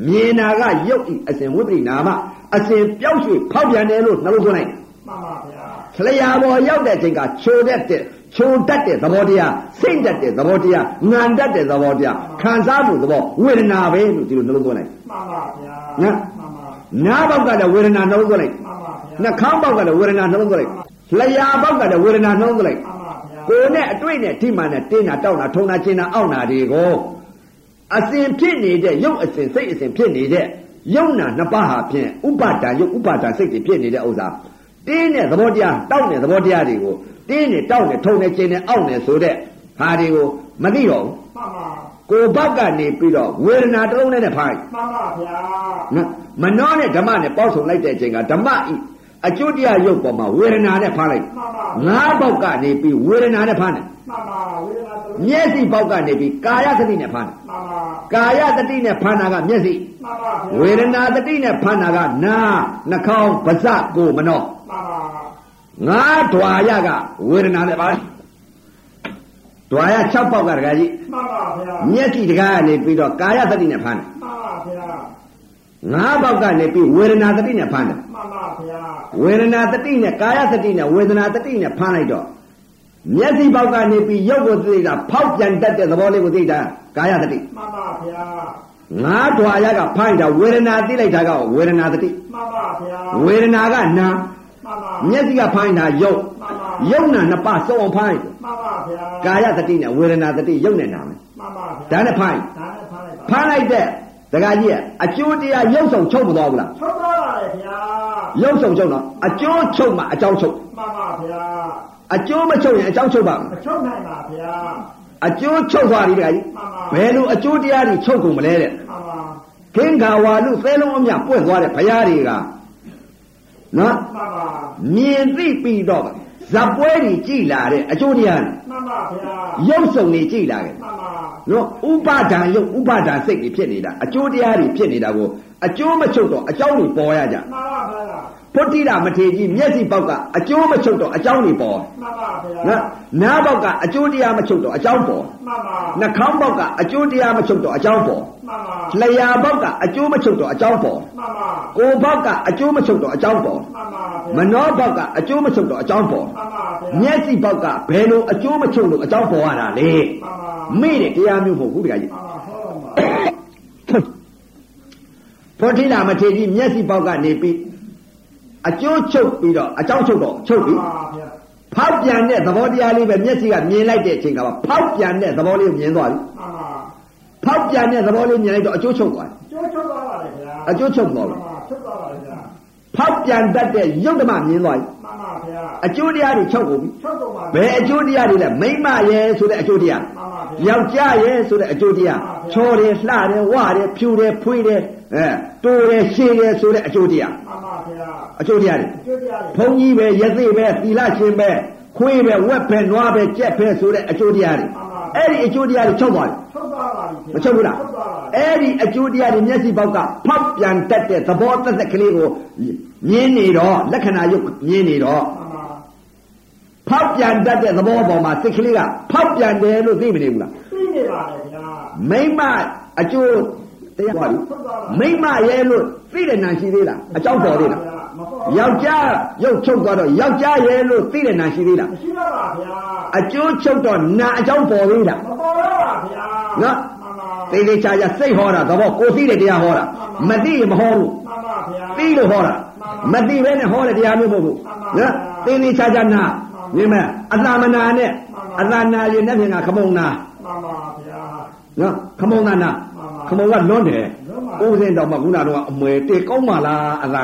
Speaker 1: မြင်တာကရုပ်ဤအစဉ်ဝိပရိနာမအစဉ်ပြောင်းရွှေ့ဖောက်ပြန်တယ်လို့နှလုံးသွင်းလိုက်တယ်
Speaker 2: မမဗျာ
Speaker 1: လျှာပေါ်ရောက်တဲ့အချိန်ကချိုတတ်တဲ့ချုံတတ်တဲ့သဘောတရားစိတ်တတ်တဲ့သဘောတရားငန်တတ်တဲ့သဘောတရားခံစားမှုသဘောဝေဒနာပဲလို့ဒီလိုနှလုံးသွင်းလိုက်
Speaker 2: မမဗျာ
Speaker 1: နော်
Speaker 2: မမ
Speaker 1: နားပေါက်ကလည်းဝေဒနာနှလုံးသွင်းလိုက်
Speaker 2: မမဗျာ
Speaker 1: နှာခေါင်းပေါက်ကလည်းဝေဒနာနှလုံးသွင်းလိုက်လျှာပေါက်ကလည်းဝေဒနာနှလုံးသွင်းလိုက်
Speaker 2: မမဗျာ
Speaker 1: ကိုယ်နဲ့အတွေ့နဲ့ထိမှန်နဲ့တင်းတာတောက်တာထုံတာကျင်တာအောင့်တာတွေကိုအစဉ်ဖြစ်နေတဲ့ရုပ်အစဉ်စိတ်အစဉ်ဖြစ်နေတဲ့ယုံနာနှစ်ပါးဟာဖြင့်ဥပါဒံယုတ်ဥပါဒံစိတ်တွေဖြစ်နေတဲ့ဥစ္စာတင်းတဲ့သဘောတရားတောက်တဲ့သဘောတရားတွေကိုတင်းနေတောက်နေထုံနေကျင်နေအောင့်နေဆိုတဲ့ဟာတွေကိုမသိတော့ဘူး
Speaker 2: မမ
Speaker 1: ကိုယ်ဘက်ကနေပြီးတော့ဝေဒနာတစ်လုံးနဲ့နဲ့ဖိုင်း
Speaker 2: မမဗျာ
Speaker 1: နော်မနှောနဲ့ဓမ္မနဲ့ပေါင်းစုံလိုက်တဲ့အချိန်ကဓမ္မဤအကျိုးတရားရုပ်ပေါ်မှာဝေဒနာနဲ့ဖားလိုက်
Speaker 2: မမ
Speaker 1: ငါးပေါက်ကနေပြီးဝေဒနာနဲ့ဖားတယ်
Speaker 2: မမဝေဒနာတုံး
Speaker 1: မျက်စိပေါက်ကနေပြီးကာယသတိနဲ့ဖားတယ်
Speaker 2: မမ
Speaker 1: ကာယသတိနဲ့ဖားတာကမျက်စိ
Speaker 2: မမဗျာ
Speaker 1: ဝေဒနာသတိနဲ့ဖားတာကနာနှာခေါင်းပါးစပ်ကိုယ်မနှော
Speaker 2: မမ
Speaker 1: ငါးဓွာရကဝေဒနာနဲ့ပါဓွာရ6ပေါက်ကတခါကြီး
Speaker 2: မမဗျာ
Speaker 1: မျက်စိတခါကနေပြီးတော့ကာယသတိနဲ့ဖားတယ်
Speaker 2: မမဗျာ
Speaker 1: ငါးပေါက်ကနေပြီးဝေဒနာသတိနဲ့ဖားတယ်
Speaker 2: မမဗျာ
Speaker 1: ဝေဒနာတတိနဲ့ကာယတတိနဲ့ဝေဒနာတတိနဲ့ဖမ်းလိုက်တော့မျက်စိပေါက်ကနေပြီးရုပ်ကိုသိတာဖောက်ပြန်တတ်တဲ့သဘောလေးကိုသိတာကာယတတိ
Speaker 2: မမဗျာ
Speaker 1: ငါးဓွာရကဖမ်းတာဝေဒနာသိလိုက်တာကဝေဒနာတတိ
Speaker 2: မမဗျာ
Speaker 1: ဝေဒနာကနာ
Speaker 2: မမ
Speaker 1: မျက်စိကဖမ်းတာရုပ်
Speaker 2: မမ
Speaker 1: ရုပ်နာနှစ်ပါးစုံအောင်ဖမ်းလိုက်
Speaker 2: မမဗျာ
Speaker 1: ကာယတတိနဲ့ဝေဒနာတတိရုပ်နဲ့နာမယ်
Speaker 2: မမဗျာ
Speaker 1: ဒါနဲ့ဖမ်း
Speaker 2: ဒါနဲ့ဖမ်း
Speaker 1: ဖမ်းလို
Speaker 2: လိုက်ပါ
Speaker 1: က်တဲ့ဒကာကြီးကအကျိုးတရားရုပ်ဆောင်ချုပ်မသွားဘူးလား
Speaker 2: ထုတ်သွားပါလေဗျာ
Speaker 1: ရုပ်ဆောင်ချုပ်တော့အကျိုးချုပ်မှအကြောင်းချုပ်
Speaker 2: မမဗျာ
Speaker 1: အကျိုးမချုပ်ရင်အကြောင်းချုပ်ပါ့မလား
Speaker 2: မချုပ်နိုင်ပါဗျာ
Speaker 1: အကျိုးချုပ်သွားပြီတခါကြီး
Speaker 2: မမ
Speaker 1: ဘယ်လိုအကျိုးတရားတွေချုပ်ကုန်မလဲတဲ့
Speaker 2: မမ
Speaker 1: ခင်္ခါဝါလူသဲလုံးအမြပွင့်သွားတဲ့ဘုရားတွေကနော်
Speaker 2: မမ
Speaker 1: မြင်သိပြီးတော့ဇပ်ပွဲတွေကြည်လာတဲ့အကျိုးတရားတွေ
Speaker 2: မမဗျာ
Speaker 1: ရုပ်ဆောင်တွေကြည်လာတယ်
Speaker 2: မမ
Speaker 1: နော်ဥပါဒံရုပ်ဥပါဒံစိတ်တွေဖြစ်နေတာအကျိုးတရားတွေဖြစ်နေတာကိုအကျိုးမချုပ်တော့အကြောင်းတွေပေါ်ရကြ
Speaker 2: မမဗျာ
Speaker 1: ဖုတ္တိရမထေရကြီးမျက်စိပေါက်ကအကျိုးမချုပ်တော့အကြောင်းတွေပေါ်
Speaker 2: မမဗျာ
Speaker 1: နော်နားပေါက်ကအကျိုးတရားမချုပ်တော့အကြောင်းပေါ်
Speaker 2: မမ
Speaker 1: နှာခေါင်းပေါက်ကအကျိုးတရားမချုပ်တော့အကြောင်းပေါ်
Speaker 2: မမ
Speaker 1: လျာဘောက်ကအကျိုးမချုပ်တော့အကြောင်းပေါ်
Speaker 2: မမ
Speaker 1: ကိုယ်ဘောက်ကအကျိုးမချုပ်တော့အကြောင်းပေါ်
Speaker 2: မမဗျာ
Speaker 1: မနှောဘောက်ကအကျိုးမချုပ်တော့အကြောင်းပေါ်
Speaker 2: မမဗျာ
Speaker 1: မျက်စိဘောက်ကဘယ်လိုအကျိုးမချုပ်လို့အကြောင်းပေါ်ရတာလဲ
Speaker 2: မမ
Speaker 1: မိတဲ့တရားမျိုးမဟုတ်ဘူးတရားကြီး
Speaker 2: မမဟောတော့မှာ
Speaker 1: ဖောတိလာမထေရကြီးမျက်စိဘောက်ကနေပြီးအကျိုးချုပ်ပြီးတော့အကြောင်းချုပ်တော့ချုပ်
Speaker 2: မ
Speaker 1: ပြီး
Speaker 2: မဗျာ
Speaker 1: ဖောက်ပြန်တဲ့သဘောတရားလေးပဲမျက်စိကမြင်လိုက်တဲ့အချိန်ကမှဖောက်ပြန်တဲ့သဘောလေးကိုမြင်သွားပြီ
Speaker 2: မမ
Speaker 1: ဖောက်ပြန်တဲ့သဘောလေးမြင်လိုက်တော့အကျိုးချုပ်သွားတယ်
Speaker 2: ကျိုးချုပ်သွားပါလေဗျာ
Speaker 1: အကျိုးချုပ်သွား
Speaker 2: မ
Speaker 1: ပြီ
Speaker 2: မချုပ်သွားပါလေဗျာ
Speaker 1: ဖောက်ပြန်တတ်တဲ့ယုတ်ဓမ္မမြင်သွားပြီ
Speaker 2: မမဗျာ
Speaker 1: အကျိုးတရားတွေချုပ်ကုန်ပြီ
Speaker 2: ချုပ်ကုန်ပါ
Speaker 1: ဘယ်အကျိုးတရားတွေလဲမိမရဲ့ဆိုတဲ့အကျိုးတရား
Speaker 2: မမဗျာ
Speaker 1: ယောက်ျားရဲ့ဆိုတဲ့အကျိုးတရား
Speaker 2: မှန်ပါဗျာ
Speaker 1: ချော်တယ်လှတယ်ဝတယ်ဖြူတယ်ဖွေးတယ်အဲတိုးတယ်ရှည်တယ်ဆိုတဲ့အကျိုးတရား
Speaker 2: မမဗျာ
Speaker 1: အကျိုးတရားတွေ
Speaker 2: ကျိုးပြလေ
Speaker 1: ဘုံကြီးပဲရသေပဲသီလရှင်ပဲခွေးပဲဝက်ပဲနွားပဲကြက်ပဲဆိုတဲ့အကျိုးတရားတွေအဲ့ဒီအကျိုးတရားတွေချုပ်သွားတယ်
Speaker 2: ချုပ်သွားပါ ပါပြီ
Speaker 1: မချုပ်ဘူးလားအဲ့ဒီအကျိုးတရားတွေမျက်စိပေါက်ကဖောက်ပြန်တတ်တဲ့သဘောသက်သက်ကလေးကိုမြင်နေတော့လက္ခဏာရုပ်မြင်နေတော့
Speaker 2: အမှန်
Speaker 1: ဖောက်ပြန်တတ်တဲ့သဘောပေါ်မှာစိတ်ကလေးကဖောက်ပြန်တယ်လို့သိမနေဘူးလား
Speaker 2: သိနေပါလေဗျာ
Speaker 1: မိမ့်မအကျိုးတရားဟောပြီမိမ့်မရဲလို့သိတဲ့နာရှိသေးလားအကြောက်တော်သေးလား
Speaker 2: မဟုတ်
Speaker 1: ယောက်ျားရုပ်ချုပ်သွားတော့ယောက်ျားရဲလို့သိတဲ့နာရှိသေးလား
Speaker 2: မရှိတော့ပါဗျာ
Speaker 1: အကျိုးချုပ်တော့နာအကြောက်ပေါ်သေးလား
Speaker 2: မပေါ်တော့ပါဗျာ
Speaker 1: နော်
Speaker 2: မှန်ပါ
Speaker 1: သေသေးချာချာစိတ်ဟောတာသဘောကိုသိတဲ့တရားဟောတာမသိရင်မဟောဘူး
Speaker 2: မှန်ပါဗျာ
Speaker 1: သိလို့ဟောတာမသိဘဲနဲ့ဟောတဲ့တရားမျိုးမဟုတ်ဘူး
Speaker 2: မှန်
Speaker 1: နော်
Speaker 2: ပါ
Speaker 1: သိနေချာချာနာ
Speaker 2: မှ
Speaker 1: မြင်မ
Speaker 2: န်ပါ
Speaker 1: လားအတမနာနဲ့
Speaker 2: မှန်ပါ
Speaker 1: အတနာရင်နဲ့ပြင်တာခမုံနာ
Speaker 2: မှန်ပါဗျာ
Speaker 1: နော်ခမုံနာနာခ
Speaker 2: မှ
Speaker 1: မုံ
Speaker 2: န်ပါ
Speaker 1: ကလွန်းတယ်
Speaker 2: လွန်းပါ
Speaker 1: ဥစဉ်တော်မှခုနကတော့အမွေတေကောင်းပါလားအသာ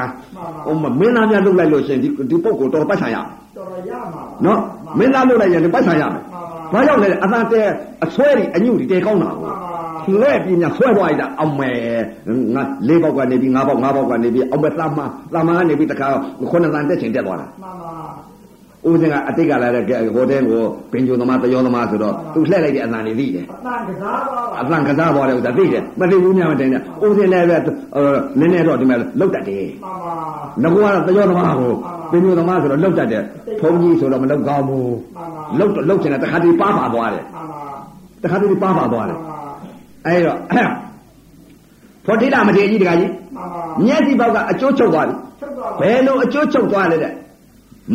Speaker 2: မှန်ပါ
Speaker 1: ဟိုမမင်းသားများလုတ်လိုက်လို့ရှရင်ဒီဒီပုဂ္ဂိုလ်တော်ပတ်ဆိုင်ရမယ်
Speaker 2: တော်တော်ရမှာပါ
Speaker 1: နော်မ
Speaker 2: မှန်
Speaker 1: င်းသားလုတ်လိုက်ရင်ဒီပတ်ဆိုင်ရမယ်
Speaker 2: မှ
Speaker 1: ဘာ
Speaker 2: န်ပါ
Speaker 1: ကြောင့်လဲအသာတဲအဆွဲတွေအညုတွေတေကောင်းတာကို
Speaker 2: မှန်ပါ
Speaker 1: လှဲ့ပြီးများဆွဲသွားရတာအမွေငါလေးပေါက်ကနေပြီးငါးပေါက်ငါးပေါက်ကနေပြီးအောင်ပဲသမ္မာသမ္မာကနေပြီးတခါခုနှစ်တန်တက်ချင်တက်သွားတာ
Speaker 2: မှန်ပါ
Speaker 1: ဦးစင်ကအတိတ်ကလာတဲ့ကဲဟိုတဲကိုဘင်ဂျုံသမားတယောသမားဆိုတော့
Speaker 2: ဟုတ်ပါဘူး
Speaker 1: သူလှည့်လိုက်တဲ့အသံတွေသိတယ်
Speaker 2: အတန်ကစား
Speaker 1: အသံကစား
Speaker 2: ပါပါ
Speaker 1: ပေါ်တယ်ဥသာသိတယ်မသိဘူးများမတင်နဲ့ဦးစင်လည်းပဲအဲနည်းနည်းတော့ဒီမဲ့လောက်တတ်တယ်
Speaker 2: မှန်ပါ
Speaker 1: ငကူကတော့တယောသမားကိုဘင်ဂျုံသမားဆိုတော့လောက်တတ်တယ်ဘုံကြီးဆိုတော့မလောက်ကောင်းဘူး
Speaker 2: မှန်ပါ
Speaker 1: လောက်တော့လောက်ချင်တယ်တခါတည်းပါပါသွားတယ်
Speaker 2: မှန်ပါ
Speaker 1: တခါတည်းပါပါသွား
Speaker 2: မှ
Speaker 1: တယ်အဲ
Speaker 2: န်ပါ
Speaker 1: ဒါ ဖော်တိလာမထေရကြီးတခါကြီး
Speaker 2: မှန်ပါ
Speaker 1: မျက်စိပေါက်ကအကျိုးချုပ်သွားတယ်
Speaker 2: ချက်ပါ
Speaker 1: ဘယ်လိုအကျိုးချုပ်သွားလဲတဲ့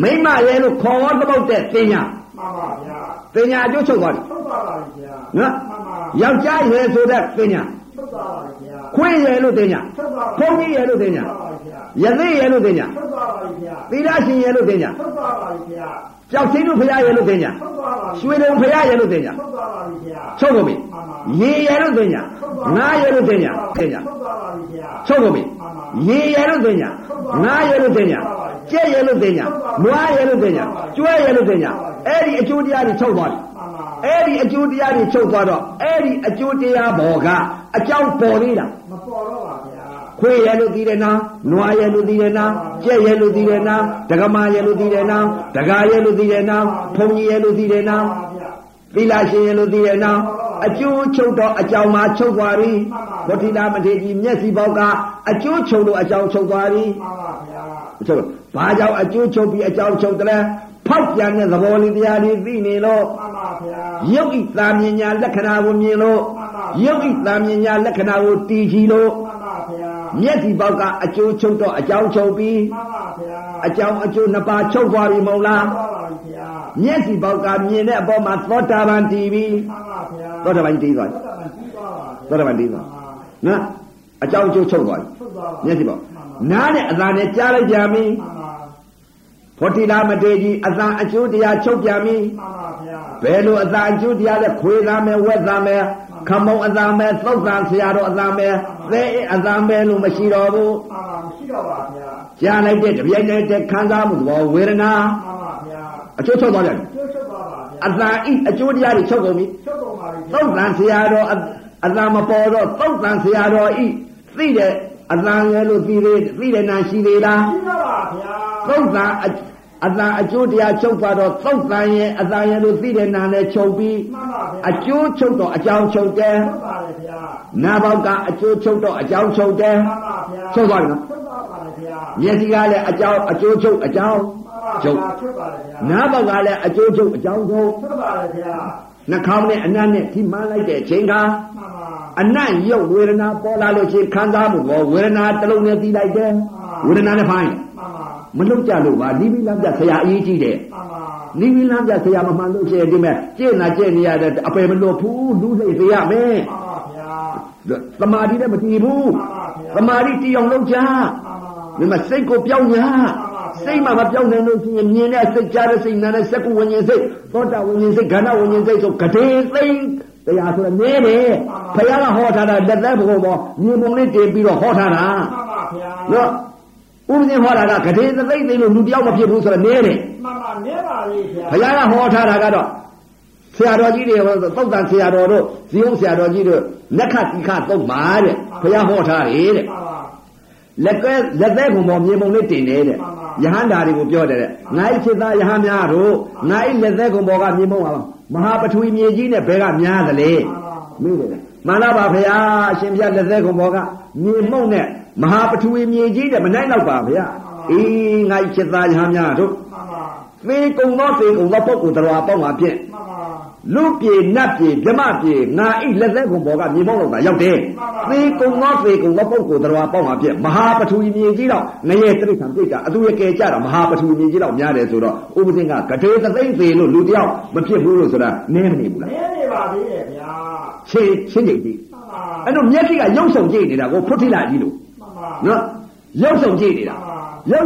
Speaker 1: မိမရဲလို့ခေါ်တော့တပုတ်တဲ့တင်ညာ
Speaker 2: မှန်ပါဗျာ
Speaker 1: တင်ညာအကျိုးချုပ်သွားတယ်
Speaker 2: ချက်ပါပါဗျာ
Speaker 1: နော်
Speaker 2: မှန်ပါ
Speaker 1: ယောက်ျားရယ်ဆိုတဲ့သိညာ
Speaker 2: ချက်ပါပါဗျာ
Speaker 1: ခွင့်ရယ်လို့သိညာ
Speaker 2: ချက်ပါ
Speaker 1: ဖုံးကြီးရယ်လို့သိညာ
Speaker 2: ချက်ပါပါဗျာ
Speaker 1: ယသိရယ်လို့သိညာ
Speaker 2: ချက်ပါပါဗျာ
Speaker 1: သီလရှင်ရယ်လို့သိညာ
Speaker 2: ချက်ပါပါဗျာ
Speaker 1: ကြောက်ချင်းတို့ဖရားရယ်လို့သိညာ
Speaker 2: ချက်ပါပါ
Speaker 1: ရွှေတုံဖရားရယ်လို့သိညာ
Speaker 2: ချက်ပါပါဗျာ
Speaker 1: ချုပ်ကုန်ပြီရေရယ်လို့သိညာငါရယ်လို့သိညာသိညာ
Speaker 2: ချက်ပါပါဗျာ
Speaker 1: ချုပ်ကုန်ပြီရေရယ်လို့သိညာငါရယ်လို့သိညာကြက်ရယ်လို့သိညာမွားရယ်လို့သိညာကျွဲရယ်လို့သိညာအဲ့ဒီအကျိုးတရားတွေချုပ်သွားတယ်
Speaker 2: မှန်ပါ
Speaker 1: အဲ့ဒီအကျိုးတရားတွေချုပ်သွားတော့အဲ့ဒီအကျိုးတရားပေါ်ကအကြောင်းပေါ်သေးတာ
Speaker 2: မပေါ်တော့ပါဗျာ
Speaker 1: ခွေရဲလို့သိတယ်နာနွားရဲလို့သိတယ်နာကြက်ရဲလို့သိတယ်နာဒကမာရဲလို့သိတယ်နာဒကာရဲလို့သိတယ်နာဖုန်ကြီးရဲလို့သိတယ်နာ
Speaker 2: မှန်ပါဗျာ
Speaker 1: သီလရှင်ရဲလို့သိတယ်နာအကျိုးချုပ်တော့အကြောင်းမှာချုပ်သွားပြီဗတိလာမထေရကြီးမျက်စိပေါက်ကအကျိုးချုပ်လို့အကြောင်းချုပ်သွားပြီ
Speaker 2: မှန်ပါဗျာ
Speaker 1: ချုပ်လို့ဘာကြောင့်အကျိုးချုပ်ပြီးအကြောင်းချုပ်တယ်လဲဖောက်ပြန်တဲ့သဘောလေးတရားတွေသိနေလို့
Speaker 2: မှန်ပါဗျာ
Speaker 1: ယုတ်ဤသာမြင်ညာလက္ခဏာကိုမြင်လို့
Speaker 2: မှန်ပါ
Speaker 1: ယုတ်ဤသာမြင်ညာလက္ခဏာကိုတည်ကြည်လို့
Speaker 2: မှန်ပါဗျာ
Speaker 1: မျက်စီပေါက်ကအကျိုးချုပ်တော့အကြောင်းချုပ်ပြီး
Speaker 2: မှန်ပါဗျာ
Speaker 1: အကြောင်းအကျိုးနှစ်ပါးချုပ်သွားပြီမဟုတ်လား
Speaker 2: မှန်ပါပါဗျာ
Speaker 1: မျက်စီပေါက်ကမြင်တဲ့အပေါ်မှာသောတာပန်တည်ပြီ
Speaker 2: မှန်ပါဗျာ
Speaker 1: သောတာပန်တည်သွားပြီ
Speaker 2: တော်တော်ကြီးပါပါဗျာ
Speaker 1: သောတာပန်တည်သွား
Speaker 2: မှန်ပါ
Speaker 1: နော်အကြောင်းအကျိုးချုပ်သွားပြီ
Speaker 2: ထုတ်သွားပါ
Speaker 1: မျက်စီပေါက်
Speaker 2: မှန်ပါ
Speaker 1: နားနဲ့အသာနဲ့ကြားလိုက်ပြန်ပြီ
Speaker 2: မှန်ပါ
Speaker 1: ဖောတိလာမတေကြီးအသာအကျိုးတရားချုပ်ပြန်ပြီ
Speaker 2: မှန်ပါဗျာ
Speaker 1: ဘယ်လိုအသာအကျိုးတရားလဲခွေသားမယ်ဝက်သားမယ်ခမုံအသာမယ်သုတ်သားဆရာတော်အသာမယ်သဲအသာမယ်လို့မရှိတော့ဘူး
Speaker 2: မှန်ပါမရှိတော့ပါဗျာ
Speaker 1: ကြားလိုက်တဲ့တပြိုင်တည်းတည်းခံစားမှုသဘောဝေဒနာ
Speaker 2: မှန်ပါဗျာ
Speaker 1: အကျိုးချုပ်သွားကြတယ်
Speaker 2: ကျုပ်ချုပ်သွားပါဗျာ
Speaker 1: အသာဤအကျိုးတရားတွေချုပ်ကုန်ပြီ
Speaker 2: ချုပ်ကုန်ပါပြီ
Speaker 1: သု
Speaker 2: ဗျာ
Speaker 1: တ်သားဆရာတော်အအသာမပေါ်တော့သုတ်သားဆရာတော်ဤသိတဲ့အသာရယ်လို့သိသေးသိတဲ့နာရှိသေးလား
Speaker 2: ရှိတော့ပါဗျာ
Speaker 1: သုတ်သားအအသာအကျိုးတရားချုပ်သွားတော့သုတ်သားရယ်အသာရယ်လို့သိတဲ့နာနဲ့ချုပ်ပြီး
Speaker 2: မှန်ပါဗျာ
Speaker 1: အကျိုးချုပ်တော့အကြောင်းချုပ်တယ်
Speaker 2: ထုတ်ပါလေဗျာ
Speaker 1: နာဘောက်ကအကျိုးချုပ်တော့အကြောင်းချုပ်တယ်
Speaker 2: မှန်ပါဗျာ
Speaker 1: ချုပ်သွားပြီနော်
Speaker 2: ထုတ်သွားပါလေဗျာ
Speaker 1: မျက်စိကလည်းအကြောင်းအကျိုးချုပ်အကြောင်း
Speaker 2: ကျု
Speaker 1: ချုပ် ပ်
Speaker 2: ထွက်ပါလေဗျာ
Speaker 1: နာဘောက်ကလည်းအကျိုးချုပ်အကြောင်းချုပ်
Speaker 2: ထွက်ပါလေဗျာ
Speaker 1: နှာခေါင်းနဲ့အနံ့နဲ့ထိမှန်းလိုက်တဲ့အချိန်က
Speaker 2: မှန်ပါ
Speaker 1: အနံ့ရုပ်ဝေဒနာပေါ်လာလို့ရှိရင်ခံစားမှုပေါ်ဝေဒနာတစ်လုံးနဲ့ပြီးလိုက်တယ်ဝေဒနာနဲ့ဖိုင်း
Speaker 2: မှန်
Speaker 1: မ
Speaker 2: ပါ
Speaker 1: လုံးကြလို့ပါနိဗ္ဗာန်ပြဆရာအရေးကြီးတယ်
Speaker 2: မှန်ပါ
Speaker 1: နိဗ္ဗာန်ပြဆရာမမှန်လို့ရှိရင်ဒီမဲ့ကျင့်နာကျင့်နေရတဲ့အပယ်မလို့ဘူးလူစိတ်သေးရမယ်
Speaker 2: မှန်
Speaker 1: သ
Speaker 2: ပါဗျာ
Speaker 1: မာဓိနဲ့မတည်ဘူး
Speaker 2: မှန်ပါဗျာ
Speaker 1: သမာဓိတည်အောင်လုပ်ကြ
Speaker 2: မှန်
Speaker 1: ဒီ
Speaker 2: ပါ
Speaker 1: မှာစိတ်ကိုပြောင်းညာစိတ်မှမပြောင်းနိုင်လို့ရှိရင်မြင်တဲ့စိတ်ကြားတဲ့စိတ်နားတဲ့စက္ကုဝิญဉ်စိတ်သောတာဝิญဉ်စိတ်ခန္ဓာဝิญဉ်စိတ်ဆိုဂတိသိမ့်တရားဆိုတော့နည်းတယ်ဘုရားကဟောထားတာလက်သက်ဘုံပေါ်မြေပုံလေးတင်ပြီးတော့ဟောထားတာ
Speaker 2: မှန်ပါဗျာ
Speaker 1: နော်ဥပဒေဟောတာကဂတိသိမ့်သိလို့လူတယောက်မဖြစ်ဘူးဆိုတော့နည်းတယ်
Speaker 2: မှန်ပါနေပါလေဗျာ
Speaker 1: ဘုရားကဟောထားတာကတော့ဆရာတော်ကြီးတွေဟောသုတ်တန်ဆရာတော်တို့ဇီယုံဆရာတော်ကြီးတို့လက်ခတိခသုတ်မှာတဲ့ဘုရားဟောထားတယ်တဲ့
Speaker 2: မှန်ပါ
Speaker 1: လက်ကဲလက်သက်ကုံပေါ်မြေပုံလေးတင်တယ်တဲ့
Speaker 2: မှန်ပါ
Speaker 1: ယဟန္တာတွေကိုပြောတယ်တဲ့ငါ့ခြေသားယဟန်များတို့ငါ့လက်သက်ကုံပေါ်ကမြေပုံပါလားမဟာပထဝီမြေကြီးနဲ့ဘဲကများသလဲ
Speaker 2: မှ
Speaker 1: မေး
Speaker 2: န်ပါ
Speaker 1: တယ်တဲ့ မှန်လားပါဗျာအရှင်ဘုရားလက်သက်ကုန်ဘောကမြေမှုန့်နဲ့မဟာပထဝီမြေကြီးတဲ့မနိုင်တော့ပါဗျာအေးငါ့ချစ်သားရဟန်းများတို့
Speaker 2: မှန်ပါ
Speaker 1: သေကုံသောသေကုံသောပုဂ္ဂိုလ်တော်ပေါ့မှာဖြင့်
Speaker 2: မှန်ပါ
Speaker 1: လူပြေနတ်ပြေမြမပြေငါအိလက်သက်ကုန်ဘောကမြေမှုန့်တော့တာရောက်တယ်
Speaker 2: မှ
Speaker 1: သေ
Speaker 2: န်ပါ
Speaker 1: ကုံသောသေကုံသောပုဂ္ဂိုလ်တော်ပေါ့မှာဖြင့်မဟာပထဝီမြေကြီးတော့ငရေတိရစ္ဆာန်ပြိတ္တာအသူရကယ်ကြတာမဟာပထဝီမြေကြီးတော့များတယ်ဆိုတော့ဥပဒေကဂဒေသသိမ့်သေလို့လူတစ်ယောက်မဖြစ်ဘူးလို့ဆိုတာနင်းမနေဘူးလား
Speaker 2: နေနေပါသေးရဲ့ဗျာ
Speaker 1: ချင်းချင်းကြည့်ကြည့်
Speaker 2: မှန်ပါ
Speaker 1: အဲ့တော့မျက်စိကရုပ်ဆောင်ကြည့်နေတာကိုဖုတ်ထိလာကြီးလို့
Speaker 2: မှန်
Speaker 1: နော်
Speaker 2: ပါ
Speaker 1: ရုပ်ဆောင်ကြည့်နေတာ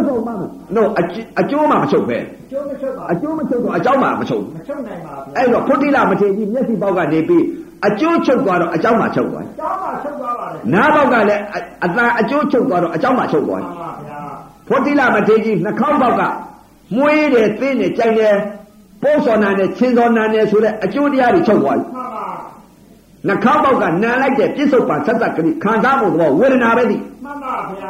Speaker 2: မှ
Speaker 1: ရုပ်ဆော
Speaker 2: န်ပါ
Speaker 1: င်မှနော်အကျအကျိုးမှမချုပ်ပဲ
Speaker 2: ကျိုးမချက်ပါ
Speaker 1: အကျိုးမချုပ်တော့အကြောင်းမှမချုပ်
Speaker 2: မချက်နိုင်ပါဗျာ
Speaker 1: အဲ့တော့ဖုတ်ထိလာမထေကြီးမျက်စိပေါက်ကနေပြီးအကျိုးချုပ်သွားတော့အကြောင်းမှချုပ်သွားတယ်
Speaker 2: ကျောင်းမှာချက်သွားပါလေ
Speaker 1: နားပေါက်ကလည်းအအသာအကျိုးချုပ်သွားတော့အကြောင်းမှချုပ်သွား
Speaker 2: မှ
Speaker 1: တယ်
Speaker 2: န်ပါဗျာ
Speaker 1: ဖုတ်ထိလာမထေကြီးနှာခေါင်းပေါက်ကမွေးတယ်သင်းတယ်ကြိုက်တယ်ပိုးစော်နာနဲ့ချင်းစော်နာနဲ့ဆိုတဲ့အကျိုးတရားတွေချုပ်သွားပြီ
Speaker 2: မှန်ပါ
Speaker 1: နှာခေါင်းပေါက်ကနံလိုက်တဲ့ပြစ္ဆုတ်ပါဆက်သက်ကလေးခံစားမှုတော့ဝေဒနာပဲသည်
Speaker 2: မှန်ပါဗျာ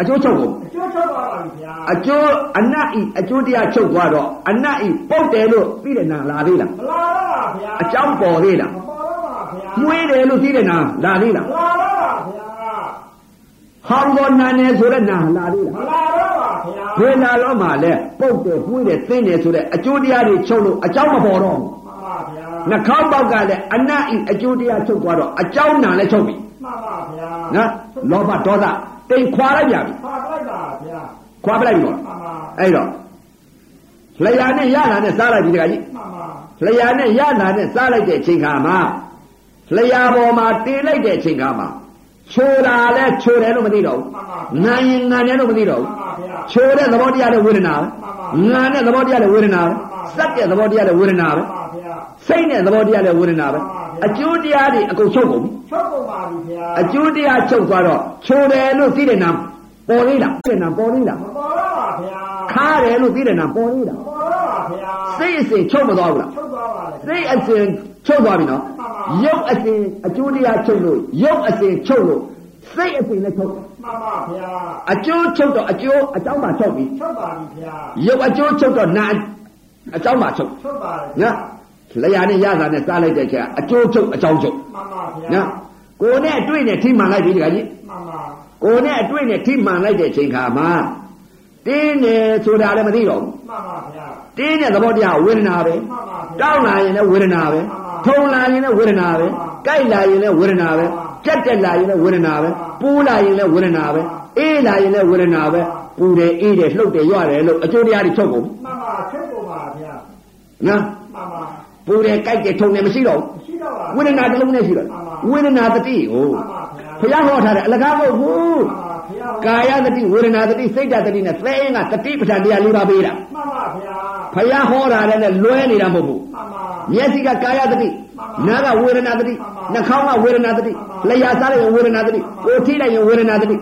Speaker 1: အကျိုးချုပ်ကုန်
Speaker 2: အကျိုးချက်သွားပါပြီဗျာ
Speaker 1: အကျိုးအနတ်ဤအကျိုးတရားချုပ်သွားတော့အနတ်ဤပုတ်တယ်လို့သိတဲ့နာလာသေးလား
Speaker 2: မလာတော့ပါဗျာ
Speaker 1: အကြောင်းပေါ်သေးလား
Speaker 2: မပေါ်တော့ပါဗျာ
Speaker 1: မွေးတယ်လို့သိတဲ့နာလာသေးလား
Speaker 2: မလာတော့ပါဗျာ
Speaker 1: ဟောင်းတော်နာနေဆိုတဲ့နာလာသေး
Speaker 2: မ
Speaker 1: လား
Speaker 2: လာတော့ပါဗျာ
Speaker 1: ဘယ်နာတော့မှလဲပုတ်တယ်မွေးတယ်သိတယ်ဆိုတဲ့အကျိုးတရားတွေချုပ်လို့အကြောင်းမပေါ်တော့ဘူး
Speaker 2: မှန်ပါဗျာ
Speaker 1: နှာခေါင်းပေါက်ကလည်းအနတ်ဤအကျိုးတရားချုပ်သွားတော့အကြောင်းနာလည်းချုပ်ပြီ
Speaker 2: မှန်ပါဗျာ
Speaker 1: နော်လောဘဒေါသတိမ်ခွာလိုက်ပြန်ပြီ
Speaker 2: ပါလိုက်ပါဗျာ
Speaker 1: ခွာပလိုက်ပြီပေါ့
Speaker 2: မှန်ပါ
Speaker 1: အဲ့တော့လျာနဲ့ရလာနဲ့စားလိုက်ပြီတခါကြီး
Speaker 2: မှန်ပါ
Speaker 1: လျာနဲ့ရလာနဲ့စားလိုက်တဲ့အချိန်ခါမှာလျာပေါ်မှာတင်လိုက်တဲ့အချိန်ခါမှာချိုတာလဲချိုတယ်လို့မသိတော့
Speaker 2: မှန်ပါ
Speaker 1: ဘူး။ငံရင်ငံတယ်လို့မသိတော့
Speaker 2: မှ
Speaker 1: ဘူး
Speaker 2: န်ပါဗျာ
Speaker 1: ။ချိုတဲ့သဘောတရားနဲ့ဝေဒနာပဲ။ငံတဲ့သဘောတရားနဲ့ဝေဒနာပဲ။စက်တဲ့သဘောတရားနဲ့ဝေဒနာပဲ
Speaker 2: ပါဗျာ
Speaker 1: ။စိတ်နဲ့သဘောတရားနဲ့ဝေဒနာပဲ။အကျိုးတရားတွေအကုန်ချုပ်ကုန်ပြီ
Speaker 2: ချုပ်ကုန်ပါပြီဗျာ
Speaker 1: ။အကျိုးတရားချုပ်သွားတော့ချိုတယ်လို့သိတဲ့နာပေါ်သေးလား။သိတဲ့နာပေါ်သေးလား
Speaker 2: မပေါ်တော့ပါဗျာ
Speaker 1: ။ခါတယ်လို့သိတဲ့နာပေါ်သေးလား
Speaker 2: မပေါ်တော့ပါဗျာ
Speaker 1: ။စိတ်အစဉ်ချုပ်မသွားဘူးလား။
Speaker 2: ချုပ်သွားပါလေ
Speaker 1: သိအစဉ်ချုပ်သွားပြီနော်ရုပ်အစဉ်အကျိုးတရားချုပ်လို့ရုပ်အစဉ်ချုပ်လို့စိတ်အစဉ်လည်းချုပ်
Speaker 2: မှန်ပါဗျာ
Speaker 1: အကျိုးချုပ်တော့အကျိုးအကြောင်းမှချုပ်ပြီ
Speaker 2: ချုပ်ပါပြီဗျာ
Speaker 1: ရုပ်အကျိုးချုပ်တော့နာအကြောင်းမှချုပ်
Speaker 2: ချုပ်ပါလေ
Speaker 1: နော်လျာနဲ့ရတာနဲ့စားလိုက်တဲ့ချက်အကျိုးချုပ်အကြောင်းချုပ်
Speaker 2: မှန်ပါဗျာ
Speaker 1: နော်ကိုယ်နဲ့အတွေ့နဲ့ထိမှန်လိုက်ပြီတခါကြီး
Speaker 2: မှန်ပါ
Speaker 1: ကိုယ်နဲ့အတွေ့နဲ့ထိမှန်လိုက်တဲ့အချိန်ခါမှာတင်းနေဆိုတာလည်းမသိတော့ဘူး
Speaker 2: မှန်ပါဗျာ
Speaker 1: တင်းတဲ့သဘောတရားဝေဒနာပဲ
Speaker 2: မှန်ပါဗျာ
Speaker 1: တောင်းလာရင်လည်းဝေဒနာပဲထုံလာရင်လည်းဝေဒနာပဲကြိုက်လာရင်လည်းဝေဒနာပဲကြက်တက်လာရင်လည်းဝေဒနာပဲပူလာရင်လည်းဝေဒနာပဲအေးလာရင်လည်းဝေဒနာပဲပူတယ်အေးတယ်လှုပ်တယ်ရွတယ်လို့အကျိုးတရားတွေချုပ်ကုန်
Speaker 2: မှန်ပါချုပ်ကုန်ပါဗျာ
Speaker 1: နော်
Speaker 2: မှန်ပါ
Speaker 1: ပူတယ်ကြိုက်တယ်ထုံတယ်မရှိတော့
Speaker 2: မရှိတော့ပါ
Speaker 1: ဘူးဝေဒနာတစ်လုံးနဲ့ရှိတော့ဝေဒနာတတိကို
Speaker 2: မှန်ပါဗျာ
Speaker 1: ဘုရားဟောထားတယ်အလကားမဟုတ်ဘူး
Speaker 2: မှန်ပါဗျာ
Speaker 1: ကာယတတိဝေဒနာတတိစိတ်ဓာတ်တတိနဲ့သဲအင်းကတတိပဋ္ဌာန်တရားလေးပါပေးတာ
Speaker 2: မှန်ပါ
Speaker 1: ဘု
Speaker 2: ဗျာ
Speaker 1: ရားဟောတာလည်းလွဲနေတာမဟုတ်ဘူး
Speaker 2: မှန်ပါ
Speaker 1: မျက်စိကကာယတတိနားကဝေဒနာတတိနှာခေါင်းကဝေဒနာတတိလျှာစားလိုက်ရင်ဝေဒနာတတိကိုယ်ထိလိုက်ရင်ဝေဒနာတတိ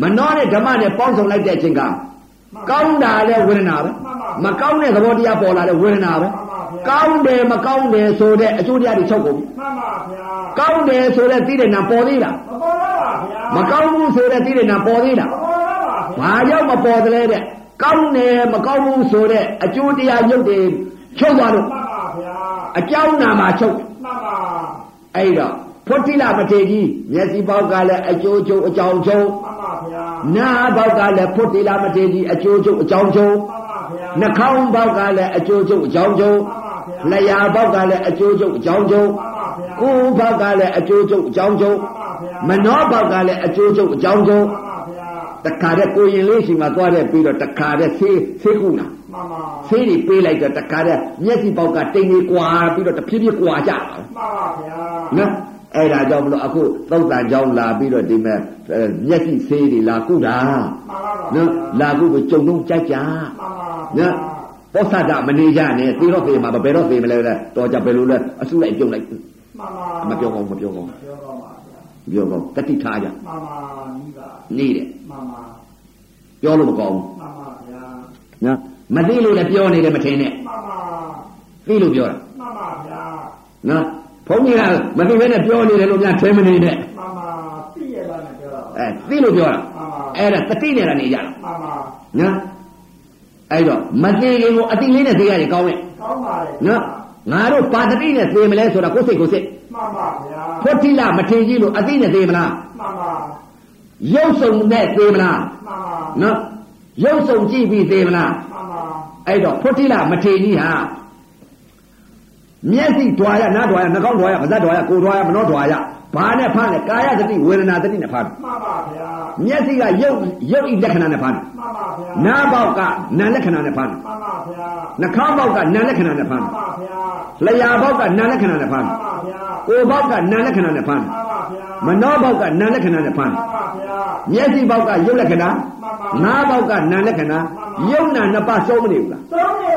Speaker 1: မနှောနဲ့ဓမ္မနဲ့ပေါင်းစုံလိုက်တဲ့အချိန်ကကောင်းတာလည်းဝေဒနာပဲမကောင်းတဲ့သဘောတရားပေါ်လာတဲ့ဝေဒနာပဲကောင်းတယ်မကောင်းတယ်ဆိုတဲ့အကျိုးတရားတွေချုပ်ကုန်ပြီ
Speaker 2: မှန်ပါဗျာ
Speaker 1: ကောင်းတယ်ဆိုတဲ့သိတဲ့နာပေါ်သေးလား
Speaker 2: မပေါ်
Speaker 1: မကောင်း
Speaker 2: တော့ပါဗျာ
Speaker 1: ဘူးဆိုတဲ့သိတဲ့နာပေါ်သေးလား
Speaker 2: မပေါ်တော့ပါဗျာ
Speaker 1: ဘာရောက်မပေါ်သလဲတဲ့ကောင်းတယ်မကောင်းဘူးဆိုတဲ့အကျိုးတရားရုပ်တွေချုပ်သွားလို့
Speaker 2: မှန်ပါဗျာ
Speaker 1: အကြောင်းနာမှာချုပ်
Speaker 2: မှန်ပါ
Speaker 1: အဲ့တော့ဖုတ်တိလမထေကြီးမျက်စိပေါက်ကလည်းအကျိုးကျုံအကြောင်းကျုံ
Speaker 2: မှန်ပါဗျာ
Speaker 1: နားပေါက်ကလည်းဖုတ်တိလမထေကြီးအကျိုးကျုံအကြောင်းကျုံ
Speaker 2: မှန်ပါဗျာ
Speaker 1: နှာခေါင်းပေါက်ကလည်းအကျိုးကျုံအကြောင်းကျုံ
Speaker 2: မှန်ပါဗျာ
Speaker 1: လျှာပေါက်ကလည်းအကျိုးကျုံအကြောင်းကျုံ
Speaker 2: မှန်ပါဗျာ
Speaker 1: ကိုယ်ပေါက်ကလည်းအကျိုးကျုံအကြောင်းကျုံ
Speaker 2: မှန်
Speaker 1: မ
Speaker 2: ပါဗျာ
Speaker 1: နောပေါက်ကလည်းအကျိုးကျုံအကြောင်းကျုံ
Speaker 2: မှန်ပါဗျာ
Speaker 1: တခါတဲ့ကိုရင်လေးရှိမှသွားတဲ့ပြီးတော့တခါတဲ့ဆေးဆေးကုနာ
Speaker 2: မှန်ပါ
Speaker 1: ဆေးတွေပေးလိုက်တော့တခါတဲ့မျက်စိပေါက်ကတိမ်လေးကွာပြီးတော့တဖြည်းဖြည်းကွာကြတာပဲ
Speaker 2: မှန်ပါဗျာ
Speaker 1: နော်အဲ့ဒါကြောင့်မလို့အခုသုတ်တန်ကြောင်းလာပြီးတော့ဒီမဲ့အဲမျက်စိဆေးတွေလာကုတာ
Speaker 2: မှန်ပါပါ
Speaker 1: နော်လာကုကိုကြုံလုံးကြိုက်ကြ
Speaker 2: မှန်ပါဗျာ
Speaker 1: နော်ပောဆတာမနေကြနဲ့သေတော့သေမှာပဲဘယ်တော့သေမလဲလဲတော်ကြဘယ်လိုလဲအဆုလိုက်ပြုံလိုက်
Speaker 2: မှန်
Speaker 1: မ
Speaker 2: ပါ
Speaker 1: ပြောကောင်းမပြောကောင်း
Speaker 2: ပြောတော့ပါဗျာ
Speaker 1: မပြောကောင်းတတိထားကြ
Speaker 2: မှန်ပါမိပါ
Speaker 1: နေတယ်
Speaker 2: မှန်ပါ
Speaker 1: ပြောလို့မကောင်း
Speaker 2: မှန်ပါဗျာ
Speaker 1: ဘူးနော်မသိလို့လည်းပြောနေတယ်မထင်နဲ့
Speaker 2: မှန်ပါ
Speaker 1: သိလို့ပြောတာ
Speaker 2: မှန်ပါဗျာ
Speaker 1: နော်ဘုန်းကြီးကမသိဘဲနဲ့ပြောနေတယ်လို့များထင်မနေနဲ့
Speaker 2: မှန်ပါသိရလားနဲ့ပြောတော့
Speaker 1: အဲသိလို့ပြောတာ
Speaker 2: မှန်ပါ
Speaker 1: အဲ့ဒါတတိနဲ့လာနေကြတာ
Speaker 2: မှန်ပါ
Speaker 1: နော်အဲ့တော့မသေးလေးကိုအတိလေးနဲ့သေးရတယ်ကောင်းရဲ့
Speaker 2: ကောင်းပါလေ
Speaker 1: နော် ငါတို့ပါတတိနဲ့သေမလဲဆိုတာကိုယ်စိတ်ကိုယ်စိတ်
Speaker 2: မှန်ပါဗျာ
Speaker 1: ဖွတ်တိလမထေကြီးလို့အတိနဲ့သေမလား
Speaker 2: မှန်ပါ
Speaker 1: ရုပ်စုံနဲ့သေမလား
Speaker 2: မှန်ပါ
Speaker 1: နော်ရုပ်စုံကြည့်ပြီးသေမလား
Speaker 2: မှန်ပါ
Speaker 1: အဲ့တော့ဖွတ်တိလမထေကြီးဟာမျက်စိဓွာရနားဓွာရနှာခေါင်းဓွာရပါးစပ်ဓွာရကိုယ်ဓွာရမနှောဓွာရဘာနဲ့ဖမ်းလဲကာယသတိဝေဒနာသတိနဲ့ဖမ်းတယ်
Speaker 2: မှန်ပါဗျာ
Speaker 1: မျက်စိကရုပ်ရုပ်ဤလက္ခဏာနဲ့ဖမ်းတယ်
Speaker 2: မှန်ပါဗျာ
Speaker 1: နားပေါက်ကနာလက္ခဏာနဲ့ဖမ်းတယ်
Speaker 2: မှန်ပါဗျာ
Speaker 1: နှာခေါင်းပေါက်ကနာလက္ခဏာနဲ့ဖ
Speaker 2: မှ
Speaker 1: မ်း
Speaker 2: န်
Speaker 1: တယ်
Speaker 2: ပါဗျာ
Speaker 1: လျှာပေါက်ကနာလက္ခဏာနဲ့ဖမ်းတ
Speaker 2: မှ
Speaker 1: ယ်
Speaker 2: န်ပါဗျာ
Speaker 1: ကိုယ်ဘောက်ကနာမ်လက္ခဏာနဲ့ဖမ်း
Speaker 2: မှ
Speaker 1: တယ်
Speaker 2: န်ပါဗျာ
Speaker 1: မနှောဘောက်ကနာမ်လက္ခဏာနဲ့ဖမ်းတ
Speaker 2: မှ
Speaker 1: ယ်
Speaker 2: န်
Speaker 1: မျက်စိ
Speaker 2: ပါဗျာ
Speaker 1: ဘောက်ကရုပ်လက္ခဏာ
Speaker 2: မှန်ပါ
Speaker 1: ငါးဘောက်ကနာမ်လက္ခဏာရုပ်နာ
Speaker 2: မှန်ပါ
Speaker 1: နှစ်ပါးစုံမနေဘူးလား
Speaker 2: သုံး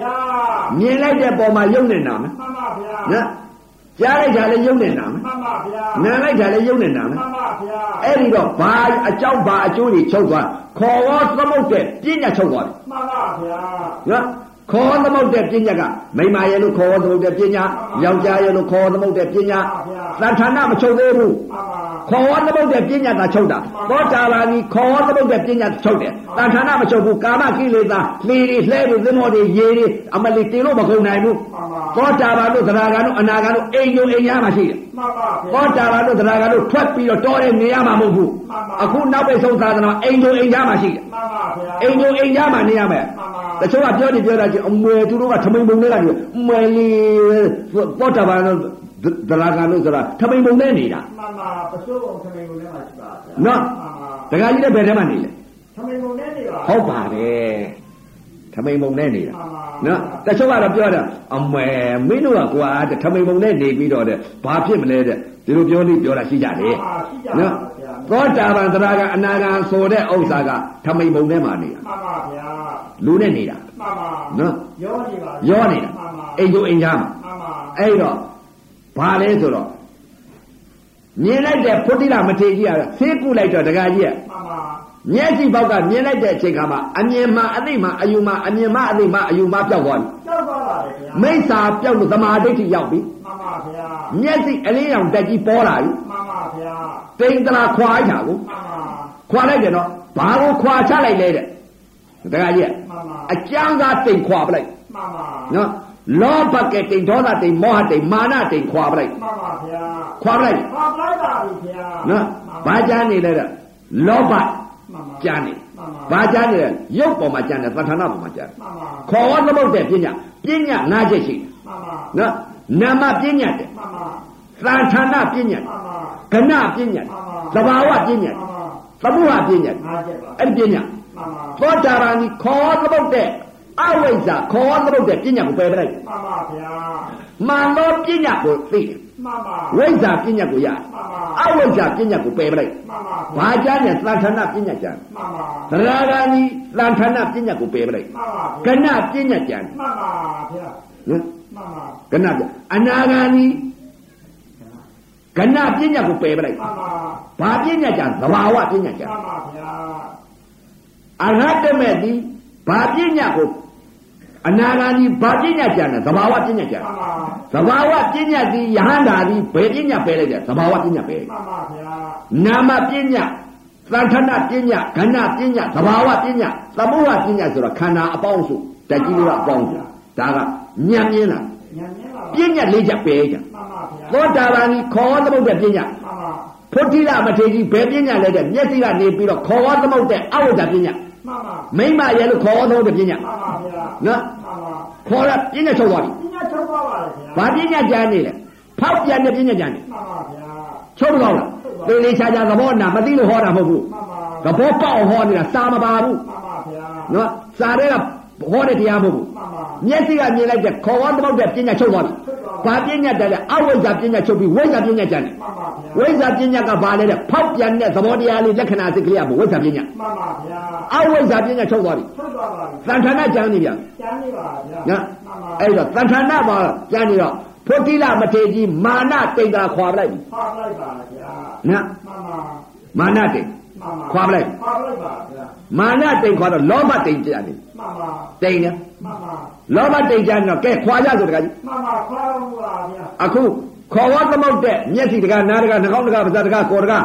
Speaker 2: နေပါလေဗျာ
Speaker 1: မြင်လိုက်တဲ့ပုံမှာရုပ်နဲ့နာမ
Speaker 2: မှန်ပါဗျာ
Speaker 1: နော်ကြားလိုက်တာလည်းရုပ်နဲ့နာမ
Speaker 2: မှန်ပါဗျာ
Speaker 1: နာမ်လိုက်တာလည်းရုပ်နဲ့နာမ
Speaker 2: မှန်ပါဗျာ
Speaker 1: အဲ့ဒီတော့ဘာအကြောင်းဘာအကျိုးတွေချုပ်သွားခေါ်ဝေါ်သမုတ်တဲ့ပြညာချုပ်သွားတယ်
Speaker 2: မှန်ပါဗျာ
Speaker 1: နော်ခေါ်ဝေါ်သမုတ်တဲ့ပြညာကမိမရဲ့လို့ခေါ်ဝေါ်သမုတ်တဲ့ပြညာယောက်ျားရဲ့လို့ခေါ်ဝေါ်သမုတ်တဲ့ပြညာသဏ္ဌာနမချုပ်သေးဘူး
Speaker 2: မှန်ပါ
Speaker 1: ခေါ်ဝါသမုတ်တဲ့ပညာသာချုပ်တာသောတာပန်ကြီးခေါ်ဝါသမုတ်တဲ့ပညာချုပ်တယ်တဏှာနာမချုပ်ဘူးကာမကိလေသာလှေတွေလှဲတွေသင်္ဘောတွေရေတွေအမလီတင်လို့မကုန်နိုင်ဘူးသောတာပန်တို့သရဂါတို့အနာဂါတို့အိမ်ယုံအိမ်ရမှာရှိတယ်
Speaker 2: မှန်ပါဗျာ
Speaker 1: သောတာပန်တို့သရဂါတို့ထွက်ပြီးတော့တော်တဲ့နေရမှာမဟုတ်ဘူး
Speaker 2: မှန်
Speaker 1: အ
Speaker 2: ပါ
Speaker 1: ခုနောက်ပိတ်ဆုံးသာသနာအိမ်ယုံအိမ်ရမှာရှိတယ်
Speaker 2: မှန်ပါ
Speaker 1: အိမ်ယုံ
Speaker 2: ဗျာ
Speaker 1: အိမ်ရမှာနေရမယ်
Speaker 2: မှန်
Speaker 1: တ
Speaker 2: ပါ
Speaker 1: ချို့ကပြောနေပြောတာချင်းအမွယ်သူတို့ကထမိန်ပုံနဲ့ကနေအမွယ်လေးသောတာပန်တို့သရဂါတို့ဆိုတာထမိန်ပုံနဲ့နေတာ
Speaker 2: မှန်ပါပစိုးပုံခမိန်ကိုလည်းမရှိပါဗျာ
Speaker 1: နော်
Speaker 2: မှန်ပါ
Speaker 1: ဒကာကြီးလည်းဘယ်ထဲမှာနေလဲ
Speaker 2: ခမိန်ကိုလည်းနေပါ
Speaker 1: ဟုတ်ပါတယ်ထမိန်ပုံနဲ့နေတာ
Speaker 2: မှန်ပါ
Speaker 1: နော်တချို့ကတော့ပြောတာအမေမင်းတို့ကကွာတဲ့ထမိန်ပုံနဲ့နေပြီးတော့တဲ့ဘာဖြစ်မလဲတဲ့ဒီလိုပြောလို့ပြောတာရှိကြတယ်
Speaker 2: မှန်ပါရှိကြပါ
Speaker 1: နော်
Speaker 2: ဗျာ
Speaker 1: သောတာပန်သရကအနာဂံဆိုတဲ့ဥစ္စာကထမိန်ပုံနဲ့မှာနေတာ
Speaker 2: မှန်ပါဗျာ
Speaker 1: လူနဲ့နေတာ
Speaker 2: မှန်ပါ
Speaker 1: နော်
Speaker 2: ရောနေပါ
Speaker 1: ရောနေတာ
Speaker 2: မှန်ပါ
Speaker 1: အိမ်တို့အိမ်သားမှာ
Speaker 2: မှန်ပါ
Speaker 1: အဲ့တော့ဘာလဲဆိုတော့မြင်လိုက်တဲ့ဖုတ္တိလမထေရကြီးကဆေးကုလိုက်တော့ဒကာကြီးက
Speaker 2: မှန်ပါ
Speaker 1: မျက်စိဘောက်ကမြင်လိုက်တဲ့အချိန်ခါမှာအမြင်မှအသိမှအယူမှအမြင်မှအသိမှအယူမှပျောက်သွားပြီ
Speaker 2: ကြောက်ပါပါလေဗျာ
Speaker 1: မိစ္ဆာပျောက်လို့သမာဓိဋ္ဌိရောက်ပြီ
Speaker 2: မှန်ပါဗျာ
Speaker 1: မျက်စိအလေးရောင်တက်ကြီးပေါ်လာပြီ
Speaker 2: မှန်ပါဗျာ
Speaker 1: တိမ်တလာခွာလိုက်တာကို
Speaker 2: မှန်ပါ
Speaker 1: ခွာလိုက်တယ်နော်ဘာကိုခွာချလိုက်လဲတဲ့တခါကြီး
Speaker 2: မှန်ပါ
Speaker 1: အကျမ်းသာတိမ်ခွာပလိုက်
Speaker 2: မှန်ပါ
Speaker 1: နော်လောဘကတိမ်ဒေါသတိမ်မောဟတိမ်မာနတိမ်ခွာပလိုက်
Speaker 2: မှန်ပါဗျာ
Speaker 1: ခွာပလိုက်
Speaker 2: ပါပါပါဗျာ
Speaker 1: နော်ဘာကြမ်းနေလဲတဲ့လောဘ
Speaker 2: မှန်ပါ
Speaker 1: ကြမ်းနေ
Speaker 2: မှန်ပါ
Speaker 1: ဘာကြမ်းနေလဲရုပ်ပေါ်မှာကြမ်းတယ်သဏ္ဌာနပေါ်မှာကြမ်းတယ်
Speaker 2: မှန်ပါ
Speaker 1: ခေါ်ဝါသမုတ်တဲ့ပညာပညာနားချက်ရှိ
Speaker 2: မှန်ပါ
Speaker 1: တယ်နော်နာမပညာတယ်
Speaker 2: မှန်ပါ
Speaker 1: သံဌာနပညာ
Speaker 2: မှန်ပါ
Speaker 1: ကဏပညာသဘာဝပညာ
Speaker 2: မှန်ပါ
Speaker 1: သမုဟပညာ
Speaker 2: ငါကျက်ပါ
Speaker 1: အဲ့ဒီပညာ
Speaker 2: မှန်ပါ
Speaker 1: သောတာပန်ကြီးခေါ်ဝါသမုတ်တဲ့အဝိဇ္ဇာခေါ်ဝါသမုတ်တဲ့ပညာကိုပယ်ပလိုက်
Speaker 2: မှန်ပါဗျာ
Speaker 1: မှန်သောပညာကိုသိတယ်
Speaker 2: မှန်ပါ
Speaker 1: ဝိဇ္ဇာပညာကိုရတယ်အ
Speaker 2: မှန်ပါ
Speaker 1: ဝိဇ္ဇာပညာကိုပယ်ပလိုက်
Speaker 2: မှန်ပါ
Speaker 1: ဘာ
Speaker 2: ဗျာ
Speaker 1: ကြားလဲသံဌာနပညာကြား
Speaker 2: မှန်ပါ
Speaker 1: သရဂာကြီးသံဌာနပညာကိုပယ်ပလိုက်
Speaker 2: မှန်ပါ
Speaker 1: က
Speaker 2: ဗျာ
Speaker 1: ဏပညာကြား
Speaker 2: မှန်ပါဗျာ
Speaker 1: နော်
Speaker 2: မှန်ပါ
Speaker 1: ကဏပြအနာဂါနီကဏပညာကိုပယ်ပလိုက်
Speaker 2: မှန်ပါ
Speaker 1: ဘာပညာကြသဘာဝပညာကြ
Speaker 2: မှန်ပါဗျာ
Speaker 1: အရဟတမေတိဘာပညာကိုအနာဂါနီဘာပညာကြနဲ့သဘာဝပညာကြ
Speaker 2: မှန်
Speaker 1: သ
Speaker 2: ပါ
Speaker 1: ဘာဝပညာသည်ယဟန္တာသည်ဘယ်ပညာပယ်လိုက်ကြသဘာဝပညာပယ်
Speaker 2: မှန်ပါဗျာ
Speaker 1: နာမပညာသံဌာနပညာကဏပညာသဘာဝပညာသမုဟပညာဆိုတာခန္ဓာအပေါင်းစုဓာတ်ကြီးတွေကအပေါင်းစုဒါကဉာဏ်မြင်တာ
Speaker 2: ညံ့
Speaker 1: ပ
Speaker 2: ညံ့ပါ
Speaker 1: ညာလေးချက်ပယ်ကြ
Speaker 2: မှန်ပါဗျာ
Speaker 1: သောတာပန်ကြီးခေါ်သမုဒ္ဒပညာ
Speaker 2: မှန်ပါ
Speaker 1: ဖုတိရမထေရကြီးဘယ်ပညာလဲတဲ့မျက်စိကနေပြီးတော့ခေါ်ဝါသမုတ်တဲ့အဝိဇ္ဇာပညာ
Speaker 2: မှန်ပါ
Speaker 1: မိမ့်မရဲလို့ခေါ်ဝါသမုတ်တဲ့ပညာ
Speaker 2: မှန်ပါဗျာ
Speaker 1: နော်
Speaker 2: မှန်ပါ
Speaker 1: ခေါ်ရပညာချုပ်သွားပြီ
Speaker 2: ပညာချုပ်ပါပါလေ
Speaker 1: ဘာပညာ
Speaker 2: ဗျာ
Speaker 1: ကြမ်းနေလဲဖောက်ပြန်တဲ့ပညာကြမ်းနေ
Speaker 2: မှန်ပါဗျာ
Speaker 1: ချုပ်မလို့လားသေလေးချာချာသဘောနာမသိလို့ဟောတာမဟုတ်ဘူး
Speaker 2: မှန်ပါ
Speaker 1: သဘောပေါက်အောင်ဟောနေတာစာမပါဘူး
Speaker 2: မှန်ပါဗျာ
Speaker 1: နော်စာတွေကဟောတဲ့တရားမဟုတ်ဘူး
Speaker 2: မှန်ပါ
Speaker 1: မျက်စိကမြင်လိုက်တဲ့ခေါ်ဝါသမုတ်တဲ့ပညာချုပ်သွားပြီဘာပညာတက်လဲအဝိဇ္ဇာပညာချုပ်ပြီးဝိဇ္ဇာပညာကြမ်းနေ
Speaker 2: မှန်ပါဗျာ
Speaker 1: ဝိဇ္ဇာပညာကဘာလဲတဲ့ဖောက်ပြန်တဲ့သဘောတရားလေးလက္ခဏာစိတ်ကလေးကမဟုတ်ဝိဇ္ဇာပညာ
Speaker 2: မှန်ပါဗျာ
Speaker 1: အဝိဇ္ဇာပညာချုပ်သွားပြီ
Speaker 2: ချုပ်ပါပါ
Speaker 1: သံဌာနကျမ်းနေပြန်
Speaker 2: ကျန်နေပါဗျာ
Speaker 1: နော်
Speaker 2: မှန်ပါ
Speaker 1: အဲ့တော့သံဌာနမှာကျမ်းနေတော့ဖုတိလမထေရကြီးမာနတိတ်တာခွာပလိုက်ပြီ
Speaker 2: ဖောက်လိုက်ပါဗျာ
Speaker 1: နော်
Speaker 2: မှန်ပါ
Speaker 1: မာနတိတ်
Speaker 2: မှန်ပါ
Speaker 1: ခွာပလိုက်
Speaker 2: ဖောက်လိုက်ပါဗျာ
Speaker 1: မာနတိတ်ခွာတော့လောဘတိတ်ကျနေ
Speaker 2: မှန်ပါ
Speaker 1: တိတ်နေ
Speaker 2: မှန်ပါ
Speaker 1: လောဘတိတ်ကျနေတော့ကဲခွာရဆိုတကကြီး
Speaker 2: မှန်ပါဖောက်လို့ပါဗျာ
Speaker 1: အခုခေါ်ဝါသမုတ်တဲ့မျက်စိတကနားတကနှာခေါင်းတကပါးစပ်တကကိုယ်တက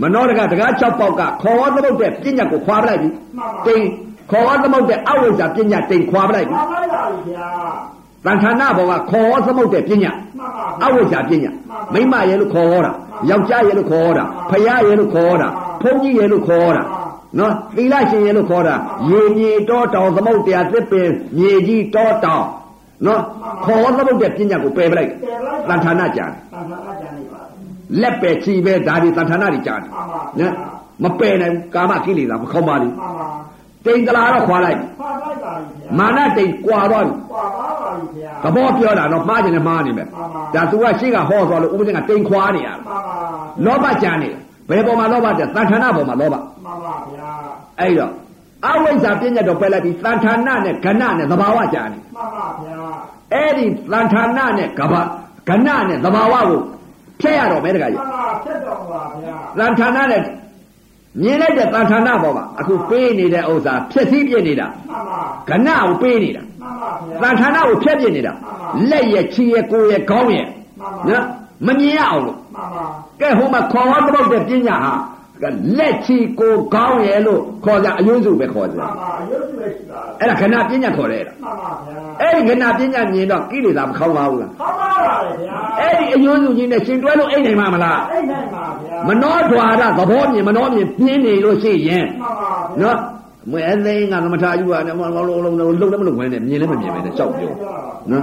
Speaker 1: မနောတကတက၆ပေါက်ကခေါ်ဝါသမုတ်တဲ့ပညာကိုခွာပလိုက်ပြီ
Speaker 2: မှန်ပါ
Speaker 1: တိတ်ခေါ်ဝါသမုတ်တဲ့အဝိဇ္ဇာပညာတိတ်ခွာပလိုက်ပြီ
Speaker 2: ဖောက်လိုက်ပါဗျာ
Speaker 1: တန်ဌာဏဘောကခေါ်ဟောသမုတ်တဲ့ပညာ
Speaker 2: မှန်ပါ
Speaker 1: အဝိဇ္ဇာပညာမိမရဲ့လို့ခေါ်ဟောတာယောက်ျားရဲ့လို့ခေါ်ဟောတာဖယားရဲ့လို့ခေါ်ဟောတာဘုန်းကြီးရဲ့လို့ခေါ်ဟောတာနော်သီလရှင်ရဲ့လို့ခေါ်တာရေမြေတောတောင်သမုတ်တရားသစ်ပင်မြေကြီးတောတောင်နော်ခေါ်ဟောသမုတ်တဲ့ပညာကိုပယ်ပလိုက်တန်ဌာဏကြံ
Speaker 2: သံသာအကြံလေးပါ
Speaker 1: လက်ပဲချီပဲဒါတွေတန်ဌာဏတွေကြံတယ်နော်မပယ်နိုင်ဘူးကာမကိလေသာမခေါင်းပါလိမ့်
Speaker 2: မှန်ပါ
Speaker 1: တိမ်တလာတော့ခွာလိုက်
Speaker 2: ပါလိုက်ပါပြီခင်ဗျာ
Speaker 1: မာနတိမ်ကွာသွားပြီ
Speaker 2: ပါပါပါပြီခင်ဗျာ
Speaker 1: သဘောပြောတာတော့မှားကျင်လည်းမှားနေမယ်
Speaker 2: မှန်ပါ
Speaker 1: ဒါသူကရှေ့ကဟောသွားလို့ဥပဒေကတိမ်ခွာနေရတာ
Speaker 2: ပါပါ
Speaker 1: လောဘကြံနေတယ်ဘယ်ပေါ်မှာလောဘကြံသံဌာဏပေါ်မှာလောဘ
Speaker 2: မှန်ပါဗျာ
Speaker 1: အဲ့တော့အဝိဇ္ဇာပြည့်ညတ်တော့ပယ်လိုက်ပြီးသံဌာဏနဲ့ကဏနဲ့သဘာဝကြံနေ
Speaker 2: မှန်ပါဗျာ
Speaker 1: အဲ့ဒီသံဌာဏနဲ့ကဘာကဏနဲ့သဘာဝကိုဖြတ်ရတော့မယ်တခါ
Speaker 2: မှ
Speaker 1: ကြီး
Speaker 2: န်ပါဖြစ်တော်ပါဗျာ
Speaker 1: သံဌာဏနဲ့မြင်လိုက်တဲ့သံဌာဏပေါ်မှာအခုပေးနေတဲ့ဥစ္စာဖြစ်စည်းပြနေတာ
Speaker 2: မှန်ပါ
Speaker 1: ကဏကိုပေးနေတာ
Speaker 2: မှန်ပါ
Speaker 1: သံ
Speaker 2: ဗျာ
Speaker 1: ဌာဏကိုဖြတ်ပြနေတာလက်ရဲ့ခြေရဲ့ကိုယ်ရဲ့ခေါင်းရဲ့နော်မမြင်ရအောင်လို့
Speaker 2: မှန်ပါ
Speaker 1: ကဲဟိုမှာခေါ်ဟောတော့တဲ့ပညာဟာကလက်ချီကိုကောင်းရဲ့လို့ခေါ်ကြအယွန်းစုပဲခေါ်ကြ
Speaker 2: မှန်ပါရုပ်တွေ့ရှိတာ
Speaker 1: အဲ့ဒါခဏပညာခေါ်တယ်အဲ့ဒါ
Speaker 2: မှန်ပါဗျာ
Speaker 1: အဲ့ဒီခဏပညာမြင်တော့ကိလေသာမခေါင်းပါဘူးလား
Speaker 2: ဟောပါပါလေခင်ဗျာ
Speaker 1: အဲ့ဒီအယွန်းစုကြီးနဲ့ရှင်တွဲလို့အိတ်နိုင်မှာမလား
Speaker 2: အဲ့နိုင်ပါဗျာ
Speaker 1: မနောဓွာရသဘောမြင်မနောမြင်ပြင်းနေလို့ရှိရင်
Speaker 2: မှန်ပါဗျာ
Speaker 1: နော်မွေအသိန်းကသမထယူရတယ်မလုံးလုံးလုံးလုံးလည်းမလုံးဝင်နဲ့မြင်လည်းမမြင်ပဲနဲ့ကြောက်ပြောနော်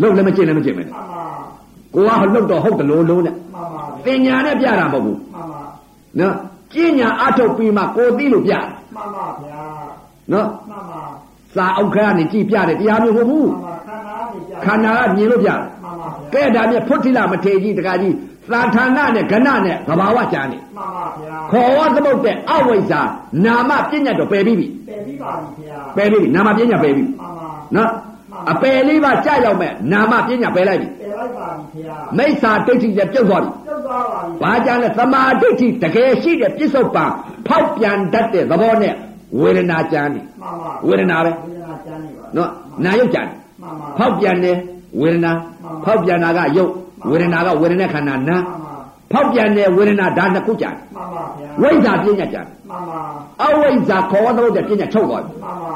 Speaker 1: လုံးလည်းမကျင်လည်းမကျင်ပဲနဲ့
Speaker 2: မှန်ပါ
Speaker 1: ကိုကလုံးတော့ဟုတ်တယ်လို့လုံးနဲ့
Speaker 2: မှန်ပါ
Speaker 1: ပညာနဲ့ပြတာမဟုတ်ဘူး
Speaker 2: မှန်ပါ
Speaker 1: နော်ပညာအထုတ်ပြီးမှကိုသိလို့ပြတယ်
Speaker 2: မှန်ပါဗျာ
Speaker 1: နော်
Speaker 2: မှန်ပါ
Speaker 1: စာအုပ်ခန်းကနေကြည်ပြတယ်တရားမျိုးမဟုတ်ဘူး
Speaker 2: မှန်ပါခန္ဓာ
Speaker 1: ခန္ဓာကမြ
Speaker 2: နေကြ
Speaker 1: င်လို့ပြတယ်
Speaker 2: မှန်ပါဗျာ
Speaker 1: ကဲဒါမြတ်ဖုတ်တိလမထေရကြီးတကကြီးသာဌာနနဲ့ကဏနဲ့သဘာဝကြာနေ
Speaker 2: မှန်ပါဗျာ
Speaker 1: ခေါ်ဝသမုတ်တဲ့အဝိဇ္ဇာနာမပညာတော့ပယ်ပြီးပြီ
Speaker 2: ပြန်ပြီးပါပြီခင်ဗျာ
Speaker 1: ပယ်ပြီးပြီနာမပညာပယ်ပြီးပြီ
Speaker 2: မှန်ပါ
Speaker 1: နော်အပယ်လေးပါကြာရောက်မဲ့နာမပညာပယ်လိုက်ပြီ
Speaker 2: ပြန်လိုက်ပါပြီခင်ဗျာ
Speaker 1: မိစ္ဆာဒိဋ္ဌိလည်းပြုတ်သွားပြီ
Speaker 2: ကျုပ်သွားပါ
Speaker 1: ဘာ
Speaker 2: ပြီ
Speaker 1: ကြာလဲသမာဓိဋ္ဌိတကယ်ရှိတဲ့ပြစ္ဆုတ်ပံဖောက်ပြန်တတ်တဲ့သဘောနဲ့ဝေဒနာကြာနေ
Speaker 2: မှန်ပါ
Speaker 1: ဝေဒနာပဲ
Speaker 2: ဝိညာဉ်ကျမ်းနေပါ
Speaker 1: နော်နာယုတ်ကြာနေ
Speaker 2: မှန်ပါ
Speaker 1: ဖောက်ပြန်တယ်ဝေဒနာဖောက်ပြန်တာကယုတ်ဝေဒနာကဝေဒနာခန္ဓာနာ
Speaker 2: မှန်ပါ
Speaker 1: ဖောက်ပြန်တယ်ဝေဒနာဒါနှစ်ခုကြာတယ်
Speaker 2: မှန်ပါဗျာ
Speaker 1: ဝိဇ္ဇာပြညာကြာတယ်
Speaker 2: မှန်ပါ
Speaker 1: အဝိဇ္ဇာခေါ်တော့တဲ့ပြညာချုပ်သွားပြီ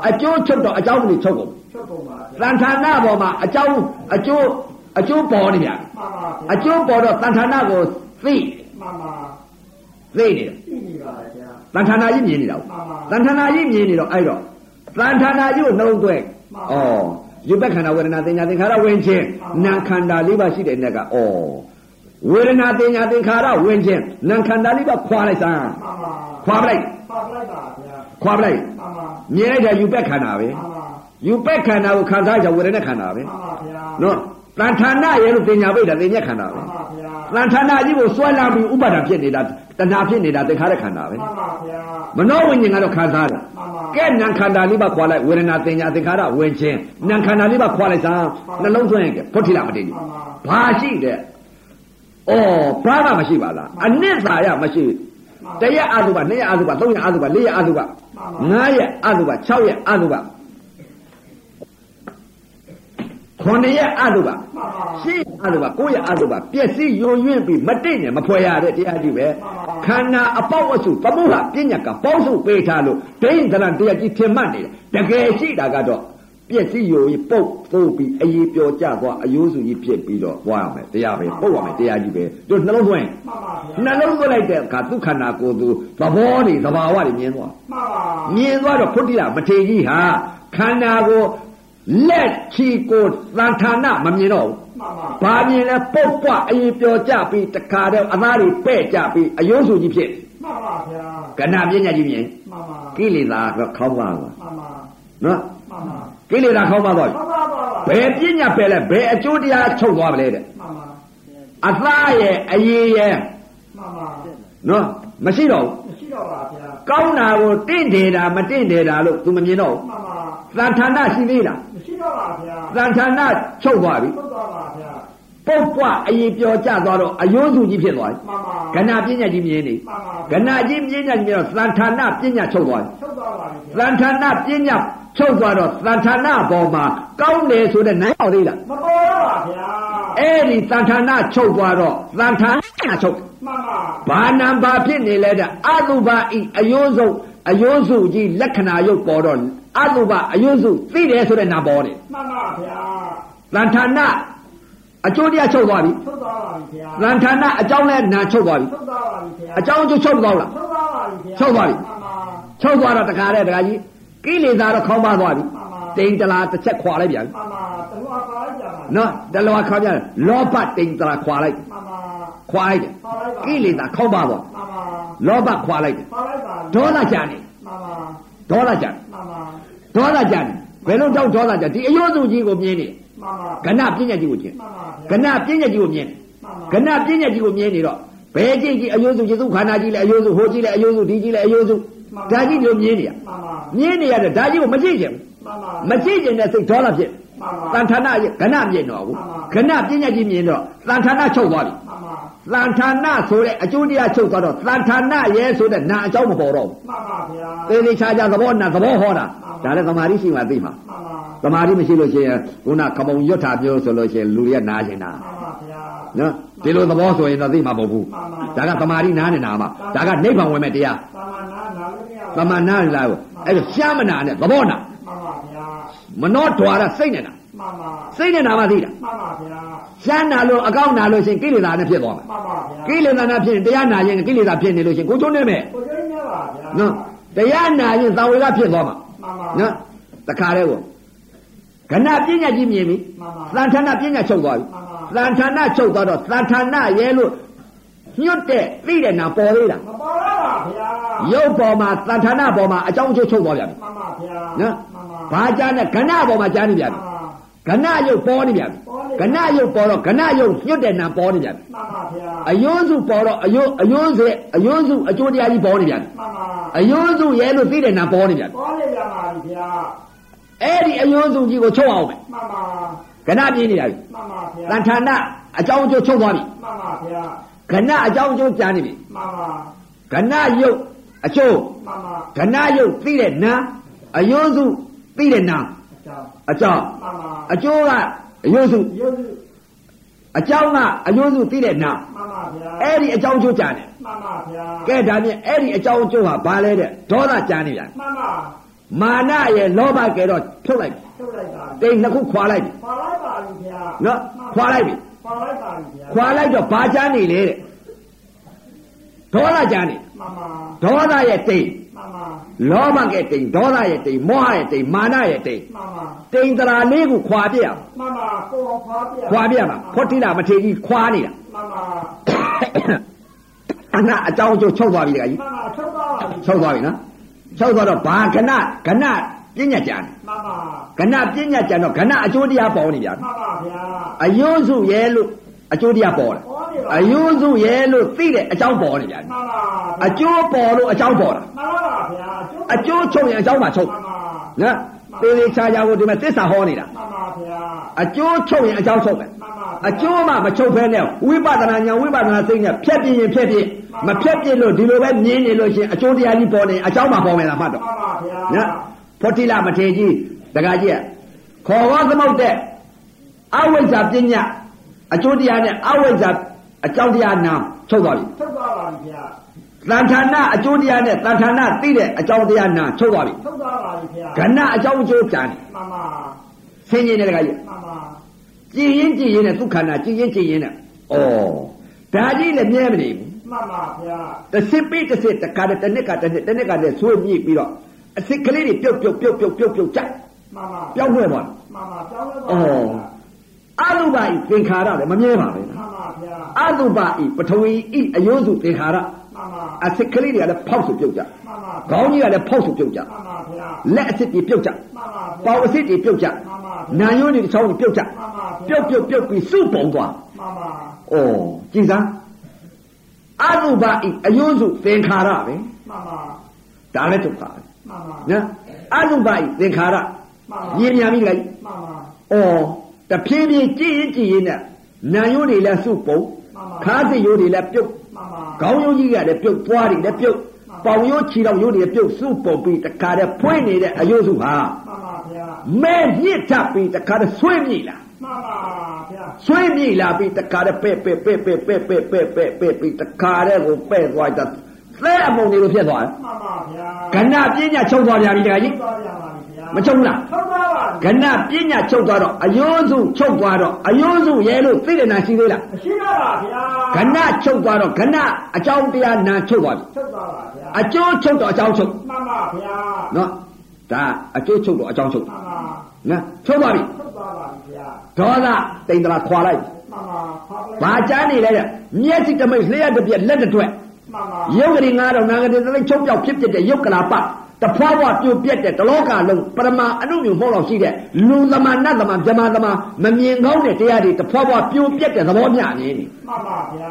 Speaker 1: အကျိုးချုပ်တော့အကြောင်းကိုချုပ်ကုန်
Speaker 2: ချုပ်ပုံပါဗျာ
Speaker 1: တန်ဌာနာပေါ်မှာအကြောင်းအကျိုးအကျိုးပေါ်နေပြန်
Speaker 2: မှန်ပါဗျာ
Speaker 1: အကျိုးပေါ်တော့တန်ဌာနာကိုသိ
Speaker 2: မှန်ပါ
Speaker 1: သိနေတယ်
Speaker 2: သိနေပါဗျာ
Speaker 1: တန်ဌာနာကြီးမြင်နေတာ
Speaker 2: မှန်ပါ
Speaker 1: တန်ဌာနာကြီးမြင်နေတော့အဲ့တော့တန်ဌာနာကြီးကိုနှလုံးသွဲဩယူပက္ခန္ဓာဝေဒနာသင်ညာသင်္ခါရဝင်ခြင်းနာခန္ဓာလေးပါရှိတဲ့နေ့ကဩ ဝေဒနာတင်ညာသင်္ခါရဝင်ခြင်းနံခန္ဓာလေးပါခွာလိုက်စမ်း
Speaker 2: မှန်ပါ
Speaker 1: ခွာပလိုက်
Speaker 2: ပါလိုက်ပါဗျာ
Speaker 1: ခွာပလိုက်
Speaker 2: မှန်ပါ
Speaker 1: မြင်လိုက်တာယူပက်ခန္ဓာပဲ
Speaker 2: မှန်ပါ
Speaker 1: ယူပက်ခန္ဓာကိုခံစားကြဝေဒနာခန္ဓာပဲ
Speaker 2: မှန်ပါဗျာမှန်
Speaker 1: နော်တဏ္ဌာနာရဲ့လို့တင်ညာပိတ်တာတင်ညာခန္ဓာပဲ
Speaker 2: ပါဗျာ
Speaker 1: တဏ္ဌာနာကြီးကိုစွဲလာပြီးဥပါဒံဖြစ်နေတာတဏှာဖြစ်နေတာသင်္ခါရခန္ဓာပဲ
Speaker 2: မှန်ပါဗျာ
Speaker 1: မနောဝိညာဉ်ကတော့ခံစားတာ
Speaker 2: မှန်ပါ
Speaker 1: ကဲနံခန္ဓာလေးပါခွာလိုက်ဝေဒနာတင်ညာသင်္ခါရဝင်ခြင်းနံခန္ဓာလေးပါခွာလိုက်စမ်းနှလုံးသွင်းရင်ကဲဖွတ်ထီလာမတည်ဘူး
Speaker 2: မှန်ပါ
Speaker 1: ဘာရှိတဲ့ဩဘာမှမရှိပါလားအနစ်သာရမရှိတရက်အာသုဘနှစ်ရက်အာသုဘသုံးရက်အာသုဘလေးရက်အာသုဘငါးရက်အာသုဘ6ရက်အာသုဘခုနှစ်ရက်အာသုဘ
Speaker 2: မှန်ပါ
Speaker 1: ရှင်းအာသုဘကိုယ့်ရက်အာသုဘပျက်စီးယွန်ယွင်းပြီးမတိတ်နဲ့မဖွယ်ရတဲ့တရားကြီးပဲခန္ဓာအပေါက်အစုသမုဟပညာကပေါင်းစုပေးထားလို့ဒိဋ္ဌိသရံတရားကြီးထင်မှတ်နေတယ်တကယ်ရှိတာကတော့ပျက်စီးယွန်ယွင်းပုတ်သို့ပြီးအေးပျော်ကြသွားအယိုးစုကြီးဖြစ်ပြီးတော့သွားရမယ်တရားပဲပုတ်ရမယ်တရားကြီးပဲတို့နှလုံးသွင်း
Speaker 2: မှန်ပါဗျာ
Speaker 1: နှလုံးသွင်းလိုက်တဲ့အခါဒုက္ခနာကိုယ်သူသဘောတွေသဘာဝတွေမြင်သွား
Speaker 2: မှန်ပါ
Speaker 1: မြင်သွားတော့ဖုတ္တိလမထေရကြီးဟာခန္ဓာကိုလက်ချီကိုသံဌာနမမြင်တော့ဘူး
Speaker 2: မှန်ပါ
Speaker 1: ဘာမြင်လဲပုတ်ပွအေးပျော်ကြပြီးတခါတည်းအသားတွေပဲ့ကြပြီးအယုံစုကြီးဖြစ်
Speaker 2: မှန်ပါဗျာ
Speaker 1: ကဏပညာကြီးမြင်
Speaker 2: မှန်ပါ
Speaker 1: ကိလေသာကခေါင်းပါလား
Speaker 2: မှန်ပါ
Speaker 1: နော်
Speaker 2: မှန်ပါ
Speaker 1: ကိလေသာခေါင်းပါသွားပြီ
Speaker 2: မှန်ပါပါ
Speaker 1: ဘယ်ပညာပဲလဲဘယ်အကျိုးတရားချုပ်သွားပါလဲတဲ့
Speaker 2: မှန်ပါ
Speaker 1: အသားရဲ့အရေးရဲ့
Speaker 2: မှန်ပါ
Speaker 1: နော်မရှိတော့ဘူး
Speaker 2: မရှိတော့ပါဗျာ
Speaker 1: ကောင်းတာကိုတင့်တယ်တာမတင့်တယ်တာလို့ तू မမြင်တော့ဘူး
Speaker 2: မှန်ပါ
Speaker 1: သံဌာဏရှိသေးလား
Speaker 2: မရှိတော့ပါဗျာ
Speaker 1: သံဌာဏချုပ်သွားပြီ
Speaker 2: ပုတ်သွားပါဗျာ
Speaker 1: ပုတ်ပွအရေပြောကြသွားတော့အယုံစုကြီးဖြစ်သွားပြီ
Speaker 2: မှန်ပါ
Speaker 1: ကဏပညာကြီးမြင်နေ
Speaker 2: မှန်ပါ
Speaker 1: ကဏကြီးပညာကြီးမြင်တော့သံဌာဏပညာချုပ်သွားပြီ
Speaker 2: ထုတ်သွားပါပြီ
Speaker 1: သံ
Speaker 2: ဗျာ
Speaker 1: ဌာဏပညာချုပ်သွားတော့သံဌာဏပေါ်မှာကောင်းတယ်ဆိုတဲ့နိုင်အောင်သေးလား
Speaker 2: မပေါ်တော့ပါဗျာ
Speaker 1: အဲ့ဒီသံဌာဏချုပ်သွားတော့သံဌာဏချုပ်တယ်
Speaker 2: မှန်ပါ
Speaker 1: ဘာနံဘာဖြစ်နေလဲတဲ့အတုပဤအယုံစုအယုံစုကြီးလက္ခဏာရုပ်ပေါ်တော့အတုပအယုံစုသိတယ်ဆိုတဲ့နာပေါ်တယ်
Speaker 2: မှန်ပါဗျာ
Speaker 1: သံဌာဏအကျိုးတရားချုပ်သွားပြီ
Speaker 2: ထုတ်သွားပါပြီခင်ဗျာ
Speaker 1: သံဌာဏအကြောင်းနဲ့နာချုပ်သွားပြီ
Speaker 2: ထုတ်သွားပါပြီခင်ဗျာ
Speaker 1: အကြောင်းအကျိုးချုပ်သွားလား
Speaker 2: ထုတ်သွားပါပြီခင်ဗျာ
Speaker 1: ထုတ်သွားပြီ
Speaker 2: အမှ
Speaker 1: ချုပ်သွားတော့တ
Speaker 2: န်ပါ
Speaker 1: ခါတဲ့တခါကြီးကိလေသာတော့ခေါင်းပါသွားပြီ
Speaker 2: မှန်ပါ
Speaker 1: တိမ်တလားတစ်ချက်ခွာလိုက်ပြန်ပြီ
Speaker 2: အမှန်ပါတလူအပါ
Speaker 1: နော်တလောခါပြ
Speaker 2: လိုက်ကြပါလား
Speaker 1: န်လောဘတိမ်တလားခွာလိုက်
Speaker 2: အမှန်ပါ
Speaker 1: ခွာလိုက်တယ်
Speaker 2: ပါလိုက်ပါ
Speaker 1: ကိလေသာခေါင်းပါသွား
Speaker 2: အမှန်ပါ
Speaker 1: လောဘခွာလိုက်တယ်
Speaker 2: ပါလိုက်ပါ
Speaker 1: ဒေါသကြနေ
Speaker 2: အမှန်ပါ
Speaker 1: ဒေါသကြနေ
Speaker 2: အမှန်ပါ
Speaker 1: ဒေါသကြနေဘယ်လိုတောက်ဒေါသကြဒီအယောစုကြီးကိုမြင်နေ
Speaker 2: အမှန်ပါ
Speaker 1: ကဏပညာကြီးကိုကျင်
Speaker 2: အမှန်ပါ
Speaker 1: က
Speaker 2: ခင်
Speaker 1: ဏပညာ
Speaker 2: ဗျာ
Speaker 1: ကြီးကိုမြင်တယ်
Speaker 2: အမှန်ပါ
Speaker 1: ကဏပညာကြီးကိုမြင်နေတော့ဘယ်ကြည့်ကြည့်အယုစုယေစုခန္ဓာကြီးလဲအယုစုဟိုကြီးလဲအယုစုဒီကြီးလဲအယုစုဒါကြီးလိုမြင်နေရ
Speaker 2: အမှန်ပါ
Speaker 1: မြင်နေရတဲ့ဒါကြီးကိုမကြည့်ချင်
Speaker 2: အမှန်ပါ
Speaker 1: ဘူးမကြည့်ချင်တဲ့စိတ်ဒေါသဖြစ်
Speaker 2: အမှန်ပါ
Speaker 1: တန်ဌာဏကဏမြင်တော့ဘူးကဏပညာကြီးမြင်တော့တန်ဌာဏချုပ်သွားပြီ
Speaker 2: အမှန်ပါ
Speaker 1: တန်ဌာဏဆိုတဲ့အကျိုးတရားချုပ်သွားတော့တန်ဌာဏရဲဆိုတဲ့နာအကြောင်းမပေါ်တော့
Speaker 2: မှန်ပါဗျာ
Speaker 1: ဘူးသေသေးချာချာသဘောနာသဘောဟောတာဒါလည်းသမာဓိရှိမှသိမှာ
Speaker 2: မှန်ပါ
Speaker 1: သမာဓိမရှိလို့ရှိရင်ခုနခမုံရွတ်တာပြောဆိုလို့ရှိရင်လူတွေကနာကျင်တာ
Speaker 2: မှန်ပါဗျာ
Speaker 1: နော်ဒီလိုသဘောဆိုရင်တော့သိမှာမဟုတ်ဘူး
Speaker 2: မှန်ပါ
Speaker 1: ဒါကသမာဓိနားနဲ့နာမှာဒါကနိဗ္ဗာန်ဝင်မဲ့တရား
Speaker 2: သာမဏေနာ
Speaker 1: သမာ
Speaker 2: လို့မရဘူး
Speaker 1: နာလာကိုအဲ့ဒါရှားမနာနဲ့သဘောနာ
Speaker 2: မှန်ပါဗျာ
Speaker 1: မနှောထွာရစိတ်နဲ့နာ
Speaker 2: မှန်ပါ
Speaker 1: စိတ်နဲ့နာမှသိတာ
Speaker 2: မှန်ပါဗျာ
Speaker 1: ရှားနာလို့အကောင်းနာလို့ရှရင်ကိလေသာနဲ့ဖြစ်သွားမှာ
Speaker 2: မှန်ပါဗျာ
Speaker 1: ကိလေသာနဲ့ဖြစ်ရင်တရားနာရင်ကိလေသာဖြစ်နေလို့ရှရင်ကိုချိုးနေမဲ့
Speaker 2: ကိုကျင်းရပါဗျာ
Speaker 1: နော်တရားနာရင်သံဝေဒဖြစ်သွားမှာ
Speaker 2: မှန်ပါ
Speaker 1: နော်တခါတည်းကိုကဏပညာကြီးမြင်ပြီ
Speaker 2: မှန်ပါ
Speaker 1: သံဌာဏပညာချုပ်သွားပြီသံဌာဏချုပ်သွားတော့သံဌာဏရဲလို့ညွတ်တဲ့သိတဲ့နာပေါ်သေးတာ
Speaker 2: မပေါ်တော့ပါဗျာ
Speaker 1: ရုပ်ပေါ်မှာသံဌာဏပေါ်မှာအကြောင်းအကျိုးချုပ်သွားပြန်ပြီ
Speaker 2: မှန်ပါဗျာ
Speaker 1: နော်
Speaker 2: မှန်ပါ
Speaker 1: ဘာကြားနဲ့ကဏပေါ်မှာကြားနေပြန်
Speaker 2: မှ
Speaker 1: ပြီ
Speaker 2: န်ပါ
Speaker 1: ကဏရုပ်ပေါ်နေပြန်ပြီကဏရုပ်ပေါ်တော့ကဏရုပ်ညွတ်တဲ့နံပေါ်နေပြန်ပြီ
Speaker 2: မှန်ပါဗျာ
Speaker 1: အယွန်းစုပေါ်တော့အယွန်းအယွန်းစဲအယွန်းစုအကျိုးတရားကြီးပေါ်နေပြန်ပြီ
Speaker 2: မှန်ပါ
Speaker 1: အယွန်းစုရဲလို့သိတဲ့နံပေါ်နေပြန်ပြီ
Speaker 2: ပေါ်လေရပါဗျာ
Speaker 1: အဲ့ဒီအယွန်းစုကြီးကိုချုပ်အောင်မယ်
Speaker 2: မှန်ပါ
Speaker 1: ကဏပြင်းနေရပြီ
Speaker 2: မှန်ပါဗျာ
Speaker 1: သံဌာဏအကြောင်းအကျိုးချုပ်သွားပြီ
Speaker 2: မှန်ပါဗျာ
Speaker 1: ကဏအကြောင်းအကျိုးကြားနေပြီ
Speaker 2: မှန်ပါ
Speaker 1: ကဏရုပ်အကျိုး
Speaker 2: မှန်ပါ
Speaker 1: ကဏရုပ်သိတဲ့နံအယွန်းစုသိတဲ့နံ
Speaker 2: အကြောင်း
Speaker 1: အကြောင်း
Speaker 2: မှန်ပါ
Speaker 1: အကျိုးကအယုစု
Speaker 2: ရုပ်စု
Speaker 1: အကြောင်းကအယုစုသိတဲ့နာ
Speaker 2: မှန်ပါဗျာ
Speaker 1: အဲ့ဒီအကြောင်းအကျိုးကြာတယ်
Speaker 2: မှန်ပါဗျာ
Speaker 1: ကဲဒါဖြင့်အဲ့ဒီအကြောင်းအကျိုးဟာဘာလဲတဲ့ဒေါသကြာနေပြန်
Speaker 2: မှန်ပါ
Speaker 1: မာနရဲ့လောဘကဲတော့ထုတ်လိုက်ပြီ
Speaker 2: ထုတ်လိုက်ပါ
Speaker 1: တိမ်နှစ်ခုခွာလိုက်ပြီ
Speaker 2: ပါလိုက်ပါလိမ့်ဗျာ
Speaker 1: နော်ခွာလိုက်ပြီ
Speaker 2: ပါလိုက်ပါလိမ့်ဗျာ
Speaker 1: ခွာလိုက်တော့ဘာကြာနေလဲတဲ့ဒေါသကြာနေ
Speaker 2: မမ
Speaker 1: ဒေါသရဲ့တိမ်
Speaker 2: မမ
Speaker 1: လောဘကဲတိမ်ဒေါသရဲ့တိမ်မောဟရဲ့တိမ်မာနရဲ့တိမ်
Speaker 2: မမ
Speaker 1: တိမ်တရာလေးကိုခွာပြရအောင်
Speaker 2: မမကိုအောင်ဖားပြ
Speaker 1: ခွာပြမှာဖွတ်တိလာမထေကြီးခွာနေတာ
Speaker 2: မမ
Speaker 1: အနာအကြောင်းအကျိုးချုပ်သွားပြီတခါကြီး
Speaker 2: မမထုတ်ပါပါလိမ့်
Speaker 1: ချုပ်သွားပြီနော်ချုပ်သွားတော့ဘာကဏကဏပညာကြံ
Speaker 2: မမ
Speaker 1: ကဏပညာကြံတော့ကဏအကျိုးတရားပေါ်နေပြန်
Speaker 2: မမဗျာ
Speaker 1: အယုစုရဲလို့အကျိုးတရားပေါ်တယ်
Speaker 2: ဟောနေပါ
Speaker 1: အယုစုရဲလို့သိတဲ့အကြောင်းပေါ်နေပြန်
Speaker 2: မမ
Speaker 1: အကျိုးပေါ်လို့အကြောင်းပေါ်တာ
Speaker 2: မမပါဗျာကျုပ်
Speaker 1: အကျိုးချုပ်ရင်အကြောင်းမှချုပ်
Speaker 2: မမ
Speaker 1: နော်သေလေးချာချာကိုဒီမှာသစ္စာဟောနေတာ
Speaker 2: မမဗျာ
Speaker 1: အကျိုးချုပ်ရင်အကြောင်းချုပ်တယ်
Speaker 2: မမ
Speaker 1: အကျိုးမှမချုပ်ဘဲနဲ့ဝိပဿနာဉာဏ်ဝိပဿနာသိနေဖြတ်ပြင်းရင်ဖြတ်ပြင်းမဖြတ်ပြင်းလို့ဒီလိုပဲမြင်နေလို့ရှိရင်အကျိုးတရားကြီးပေါ်နေရင်အကြောင်းမှပေါ်မယ်လားမှတ်တော့
Speaker 2: မမဗျာ
Speaker 1: နော်ဖောတိလမထေရကြီးတကကြီးကခေါ်ဝါသမုတ်တဲ့အဝိဇ္ဇာပညာအကျိုးတရားနဲ့အဝိဇ္ဇာအကြောင်းတရားနာချုပ်သွားပြီ
Speaker 2: ထုတ်ပါပါလိမ့်ဗျာ
Speaker 1: သံဌာဏအကျိုးတရားနဲ့သံဌာဏသိတဲ့အကြောင်းတရားနာချုပ်သွားပြီ
Speaker 2: ထုတ်ပါပါလိမ့်ဗျာ
Speaker 1: ကဏ္ဍအကြောင်းအကျိုးပြန်တယ်
Speaker 2: မမ
Speaker 1: ဆင်းရဲတဲ့တကကြီး
Speaker 2: မမ
Speaker 1: ကြည်ရင်ကြည်ရင်နဲ့ဒုက္ခနာကြည်ရင်ကြည်ရင်နဲ့ဩဒါကြီးလည်းမြဲမနေဘူး
Speaker 2: မမဗျာ
Speaker 1: တစ်စစ်ပိတစ်စစ်တစ်ခါတစ်တစ်နှစ်ကတစ်နှစ်တစ်နှစ်ကတစ်ဆွေးမြည်ပြီးတော့အစစ်ကလေးတွေပြုတ်ပြုတ်ပြုတ်ပြုတ်ပြုတ်ပြုတ်ကြက်
Speaker 2: မမ
Speaker 1: ပြောင်းလဲသွားတယ်
Speaker 2: မမကြောင်းလဲ
Speaker 1: ဩ
Speaker 2: ပါ
Speaker 1: အတုပဤသင်္ခါရလည်းမမြဲပါပဲ
Speaker 2: မမဗျ
Speaker 1: အ
Speaker 2: ာ
Speaker 1: တုပဤပထဝီဤအယုစုသင်္ခါရ
Speaker 2: မမ
Speaker 1: အစစ်ကလေးတွေကလည်းဖောက်စုပြုတ်ကြ
Speaker 2: မမဗျာ
Speaker 1: ခေါင်းကြီးကလည်းဖောက်စုပြုတ်ကြ
Speaker 2: မမဗျာ
Speaker 1: လက်အစစ်တွေပြုတ်ကြ
Speaker 2: မမဗျာ
Speaker 1: ပေါင်အစစ်တွေပြုတ်ကြ
Speaker 2: မမ
Speaker 1: နာ
Speaker 2: ဗျာ
Speaker 1: ယုံးတွေတစ်ချောင်းတွေပြုတ်ကြ
Speaker 2: မမ
Speaker 1: ပြုတ်ပြုတ်ပြုတ်ပြီးစုပုံသွား
Speaker 2: မမ
Speaker 1: ဩကြည်စားအတုပဤအယုစုသင်္ခါရပဲ
Speaker 2: မမ
Speaker 1: ဒါလည်းဒုက္ခပဲ
Speaker 2: မမ
Speaker 1: နော်အတုပဤသင်္ခါရ
Speaker 2: မမ
Speaker 1: မြင်မြန်ပြီလေ
Speaker 2: မမ
Speaker 1: ။အော်တဖြည်းဖြည်းကြည်ရင်ကြည်ရင်နဲ့နာယိုးတွေလည်းစုပုံ
Speaker 2: မှန်ပါ
Speaker 1: ခါးစစ်ယိုးတွေလည်းပြုတ်
Speaker 2: မမ
Speaker 1: ခေါင်းယိုးကြီးကလည်းပြုတ်ပွားတွေလည်းပြုတ်ပေါင်ယိုးခြေတော်ယိုးတွေပြုတ်စုပုံပြီးတခါတည်းဖွင့်နေတဲ့အယိုးစုဟာ
Speaker 2: မမဗျာ
Speaker 1: မဲညစ်ထပ်ပြီးတခါတည်းဆွေးမြည်လား
Speaker 2: မမဗျာ
Speaker 1: ဆွေးမြည်လာပြီးတခါတည်းပဲ့ပဲ့ပဲ့ပဲ့ပဲ့ပဲ့ပဲ့ပဲ့ပဲ့ပြီးတခါတည်းကိုပဲ့သွားတာသဲအမုံတွေလိုဖြစ်သွားတယ်
Speaker 2: မမဗျာ
Speaker 1: ကဏ္ဍပညာချုပ်သွားပြန်ပြီတခါကြီး
Speaker 2: သွားရပါလိမ့်ဗျာ
Speaker 1: မချုပ်လား
Speaker 2: ဟုတ်ပါပါ
Speaker 1: ကဏပညာချုပ်သွားတော့အယောစုချုပ်သွားတော့အယောစုရဲလို့သိတဲ့နာရှိသေးလား
Speaker 2: ရှိရပါဗျာ
Speaker 1: ကဏချုပ်သွားတော့ကဏအကြောင်းတရားနာချုပ်သွားပြီ
Speaker 2: ဆက်ပါပါဗျာ
Speaker 1: အကျိုးချုပ်တော့အကြောင်းချုပ်
Speaker 2: မှန်ပါဗျာ
Speaker 1: နော်ဒါအကျိုးချုပ်တော့အကြောင်းချုပ်
Speaker 2: မှ
Speaker 1: တာ
Speaker 2: န်ပါ
Speaker 1: နော်ချုပ်သွားပြီ
Speaker 2: ဆက်ပါပါဗျာ
Speaker 1: ဒေါသတိမ်တလားခွာလိုက်
Speaker 2: မှန်ပါဖောက်လိုက်
Speaker 1: ဘာကြားနေလဲတဲ့မျက်စိတစ်မိတ်လျှက်တစ်ပြက်လက်တစ်တွက်
Speaker 2: မှန်ပါ
Speaker 1: ရုပ်ကလေး9000နာငတိသတိချုပ်ပြောက်ဖြစ်ဖြစ်တဲ့ရုပ်ကလာပတဖွာဖွာပြိုပြက်တဲ့တလောကလုံးပရမအနုမြုံမဟုတ်တော့ရှိတဲ့လူသမဏတ်သမဗြဟ္မာသမမမြင်ကောင်းတဲ့တရားတွေတဖွာဖွာပြိုပြက်တဲ့သဘောမျှမြင်နေ
Speaker 2: မှန်ပါဗျာ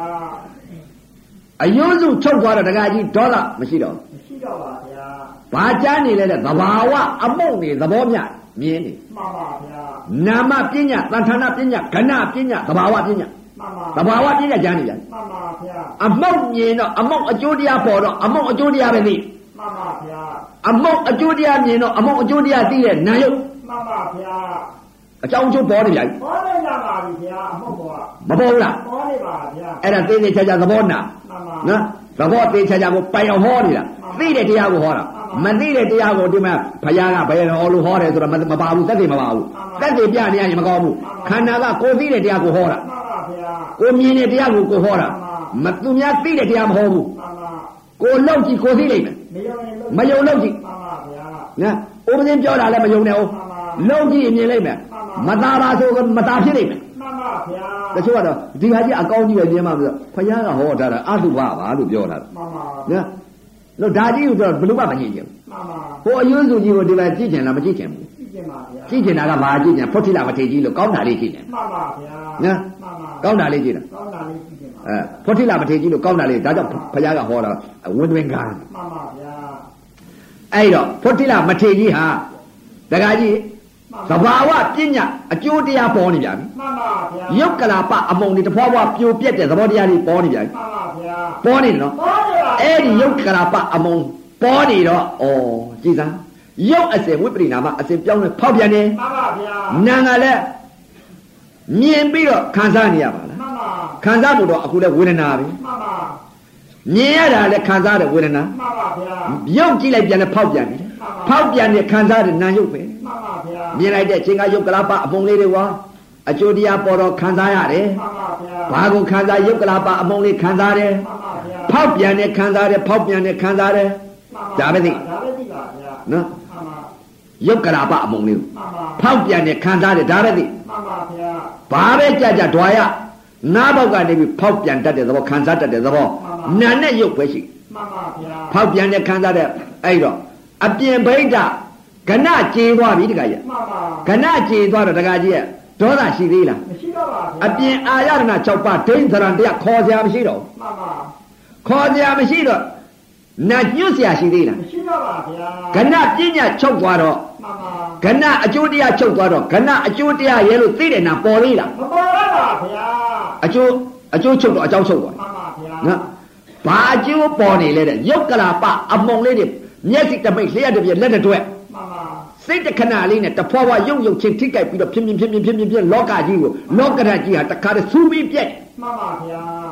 Speaker 1: အယုံစုချုပ်သွားတော့တကကြီးဒေါသမရှိတော့ဘူး
Speaker 2: ရှိရပါဗျာ
Speaker 1: ဘာကြားနေလဲတဲ့သဘာဝအမုံနေသဘောမျှမြင်နေ
Speaker 2: မှန်ပါဗျာ
Speaker 1: နာမပညာသံဌာနပညာကဏပညာသဘာဝပညာ
Speaker 2: မှန်
Speaker 1: သ
Speaker 2: ပါ
Speaker 1: ဘာဝပညာကြားနေကြတယ်
Speaker 2: မှန်ပါဗျာ
Speaker 1: အမုံမြင်တော့အမုံအကျိုးတရားပေါ်တော့အမုံအကျိုးတရားပဲသိ
Speaker 2: မှန်ပါဗျာ
Speaker 1: အမုံအကျိုးတရားမြင်တော့အမုံအကျိုးတရားသိတဲ့နာယုတ်
Speaker 2: မှန်ပါဗျာ
Speaker 1: အကြောင်းအကျိုးပေါ်နေပြန်
Speaker 2: ဘောလိုက်လာပါပြီဗျာအဟုတ်ပါ
Speaker 1: မပေါ်ဘူးလား
Speaker 2: ဘောနေပါဗျာ
Speaker 1: အဲ့ဒါသိသိချာချာသဘောနာ
Speaker 2: မှန်ပါ
Speaker 1: နော်သဘောသိချာချာကိုပိုင်အောင်ဟောနေတာသိတဲ့တရားကိုဟောတာမသိတဲ့တရားကိုဒီမှာဘုရားကဘယ်လိုဟောလို့ဟောတယ်ဆိုတော့မမပါဘူးသက်သေမပါဘူးသက်သေပြနေရရင်မကောင်းဘူးခန္ဓာကကိုသိတဲ့တရားကိုဟောတာ
Speaker 2: မှန်ပါဗျာ
Speaker 1: ကိုမြင်တဲ့တရားကိုကိုဟောတာမသူများသိတဲ့တရားမဟောဘူး
Speaker 2: မှန်ပါ
Speaker 1: ကိုလောက်ကြည့်ကိုသိလိမ့်မယ်
Speaker 2: မယုံရင်
Speaker 1: မယုံ
Speaker 2: လို့
Speaker 1: လောက်ကြည့်
Speaker 2: မှန်ပါဗျာ
Speaker 1: နော်ဥပဒေပြောတာလည်းမယုံနဲ့ဟုတ်လောက်ကြည့်ရင်မြင်လိမ့်မယ်မသားပါဆိုမသားဖြစ်လိမ့်မယ်
Speaker 2: မှန်ပါဗျာ
Speaker 1: တချို့ကတော့ဒီဟာကြီးအကောင်းကြီးပဲမြင်မှမလို့ခွန်ရားကဟောထားတာအတုပပါလို့ပြောထားတာ
Speaker 2: မှန်ပါ
Speaker 1: နော်တော့ဒါကြီးကိုတော့ဘယ်လို့မှမကြည့်ချင်
Speaker 2: မှန်ပါ
Speaker 1: ဘူးဟိုအယွန်းစုကြီးကိုဒီမှာကြည့်ချင်လားမကြည့်ချင်ဘူး
Speaker 2: သိကျင်ပါဗျာ
Speaker 1: ကြည့်ချင်တာကဘာကြည့်ချင်ဖွတ်ထိလာမထေကြီးလို့ကောင်းတာလေးကြည့်ချင်
Speaker 2: မှန်ပါဗျာ
Speaker 1: နော်
Speaker 2: မှန်ပါ
Speaker 1: ကောင်းတာလေးကြည့်တာ
Speaker 2: ကောင်းတာလေးသိကျင်ပါ
Speaker 1: အဲဖွတ်ထိလာမထေကြီးလို့ကောင်းတာလေးဒါကြောင့်ဘုရားကဟောတာဝင်းတွင်ကန်း
Speaker 2: မှန်ပါဗျာ
Speaker 1: အဲ့တော့ဖွတ်ထိလာမထေကြီးဟာဒကာကြီး
Speaker 2: မှန်
Speaker 1: သ
Speaker 2: ပါ
Speaker 1: ဘာဝပညာအကျိုးတရားပေါ်နေပြန်ပြီ
Speaker 2: မှန်ပါဗျာ
Speaker 1: ရုပ်ကလာပအမုံတွေတဖွာဖွာပြိုပြက်တဲ့သဘောတရားတွေပေါ်နေပြန်ပြီ
Speaker 2: မှန်ပါဗျာ
Speaker 1: ပေါ်နေတယ်နော်
Speaker 2: ဘောနေပါ
Speaker 1: အဲ့ဒီယုတ်ကရာပအမုံပေါ်နေတော့ဩကြည်စမ်းယုတ်အစဉ်ဝိပရိနာမအစဉ်ပြောင်းလဲဖောက်ပြန်နေ
Speaker 2: မှန်ပါဗျာ
Speaker 1: နာငါလည်းမြင်ပြီးတော့ခံစားနေရပါလား
Speaker 2: မှန်ပါ
Speaker 1: ခံစားမှုတော့အခုလဲဝေဒနာပဲ
Speaker 2: မှန်ပါ
Speaker 1: မြင်ရတာလဲခံစားတဲ့ဝေဒနာ
Speaker 2: မှန်ပါဗျာ
Speaker 1: ယုတ်ကြည့်လိုက်ပြန်လဲဖောက်ပြန်ပြီဖောက်ပြန်နေခံစားတဲ့နာယုတ်ပဲ
Speaker 2: မှန်ပါဗျာ
Speaker 1: မြင်လိုက်တဲ့အချိန်ကယုတ်ကရာပအမုံလေးတွေဝါအကျိုးတရားပေါ်တော့ခံစားရတယ်
Speaker 2: မှန်ပါဗျာ
Speaker 1: ဘာကိုခံစားယုတ်ကရာပအမုံလေးခံစားတယ်
Speaker 2: မှန်ပါဗျာ
Speaker 1: ဖောက်ပြန်နေခံစားတယ်ဖောက်ပြန်နေခံစားတယ်
Speaker 2: မှန်ပါ
Speaker 1: ဒါပဲသိ
Speaker 2: ဒါပဲသိပါဗျာမှ
Speaker 1: နော်
Speaker 2: န်ပါ
Speaker 1: ယုတ်ကရာပအမုံလေးကို
Speaker 2: မှန်ပါ
Speaker 1: ဖောက်ပြန်တဲ့ခံစားတဲ့ဒါပဲသိ
Speaker 2: မှန်ပါဗျာ
Speaker 1: ဘာပဲကြကြဒွာရနားပေါက်ကနေပြီးဖောက်ပြန်တတ်တဲ့သဘောခံစားတတ်တဲ့သဘောနာနဲ့ရုပ်ပဲရှိ
Speaker 2: မှန်ပါဗျာ
Speaker 1: ဖောက်ပြန်တဲ့ခံစားတဲ့အဲ့တော့အပြင်ဘိဒကဏကြေသွားပြီတခါကြီး
Speaker 2: မှန်ပါ
Speaker 1: ကဏကြေသွားတော့တခါကြီးကဒေါသရှိသေးလား
Speaker 2: မရှိတော့ပါဗျာ
Speaker 1: အပြင်အာရဏ6ပါးဒိဋ္ဌရံတရားခေါ်စရာမရှိတော့ဘူး
Speaker 2: မှန်ပါ
Speaker 1: ခေါ်စရာမရှိတော့နာညွတ်စရာရှိသေးလား
Speaker 2: မရှိတော့ပါဗျာ
Speaker 1: ကဏပညာချုပ်သွားတော့
Speaker 2: မှန်ပါ
Speaker 1: ကဏအကျိုးတရားချုပ်သွားတော့ကဏအကျိုးတရားရဲလို့သိတယ်နာပေါ်သေးလား
Speaker 2: မပေါ်တော့ပါဗျာ
Speaker 1: အကျိုးအကျိုးချုပ်တော့အကြောင်းချုပ်သွား
Speaker 2: မှန်ပါဗျာ
Speaker 1: နော်ဘာအကျိုးပေါ်နေလဲတဲ့ယုတ်ကလာပအမုံလေးတွေမျက်စိတစ်မိတ်လျှက်တစ်ပြက်လက်တစ်တွက်
Speaker 2: မှန်ပါ
Speaker 1: စိတ်တစ်ခဏလေးနဲ့တဖွာဖွာယုတ်ယုတ်ချင်းထိကြိုက်ပြီးတော့ဖြင်းဖြင်းဖြင်းဖြင်းဖြင်းဖြင်းဖြင်းလောကကြီးကိုလောကဓာတ်ကြီးဟာတခါတည်းစူးပြီးပြက်
Speaker 2: မှန်ပါဗျာ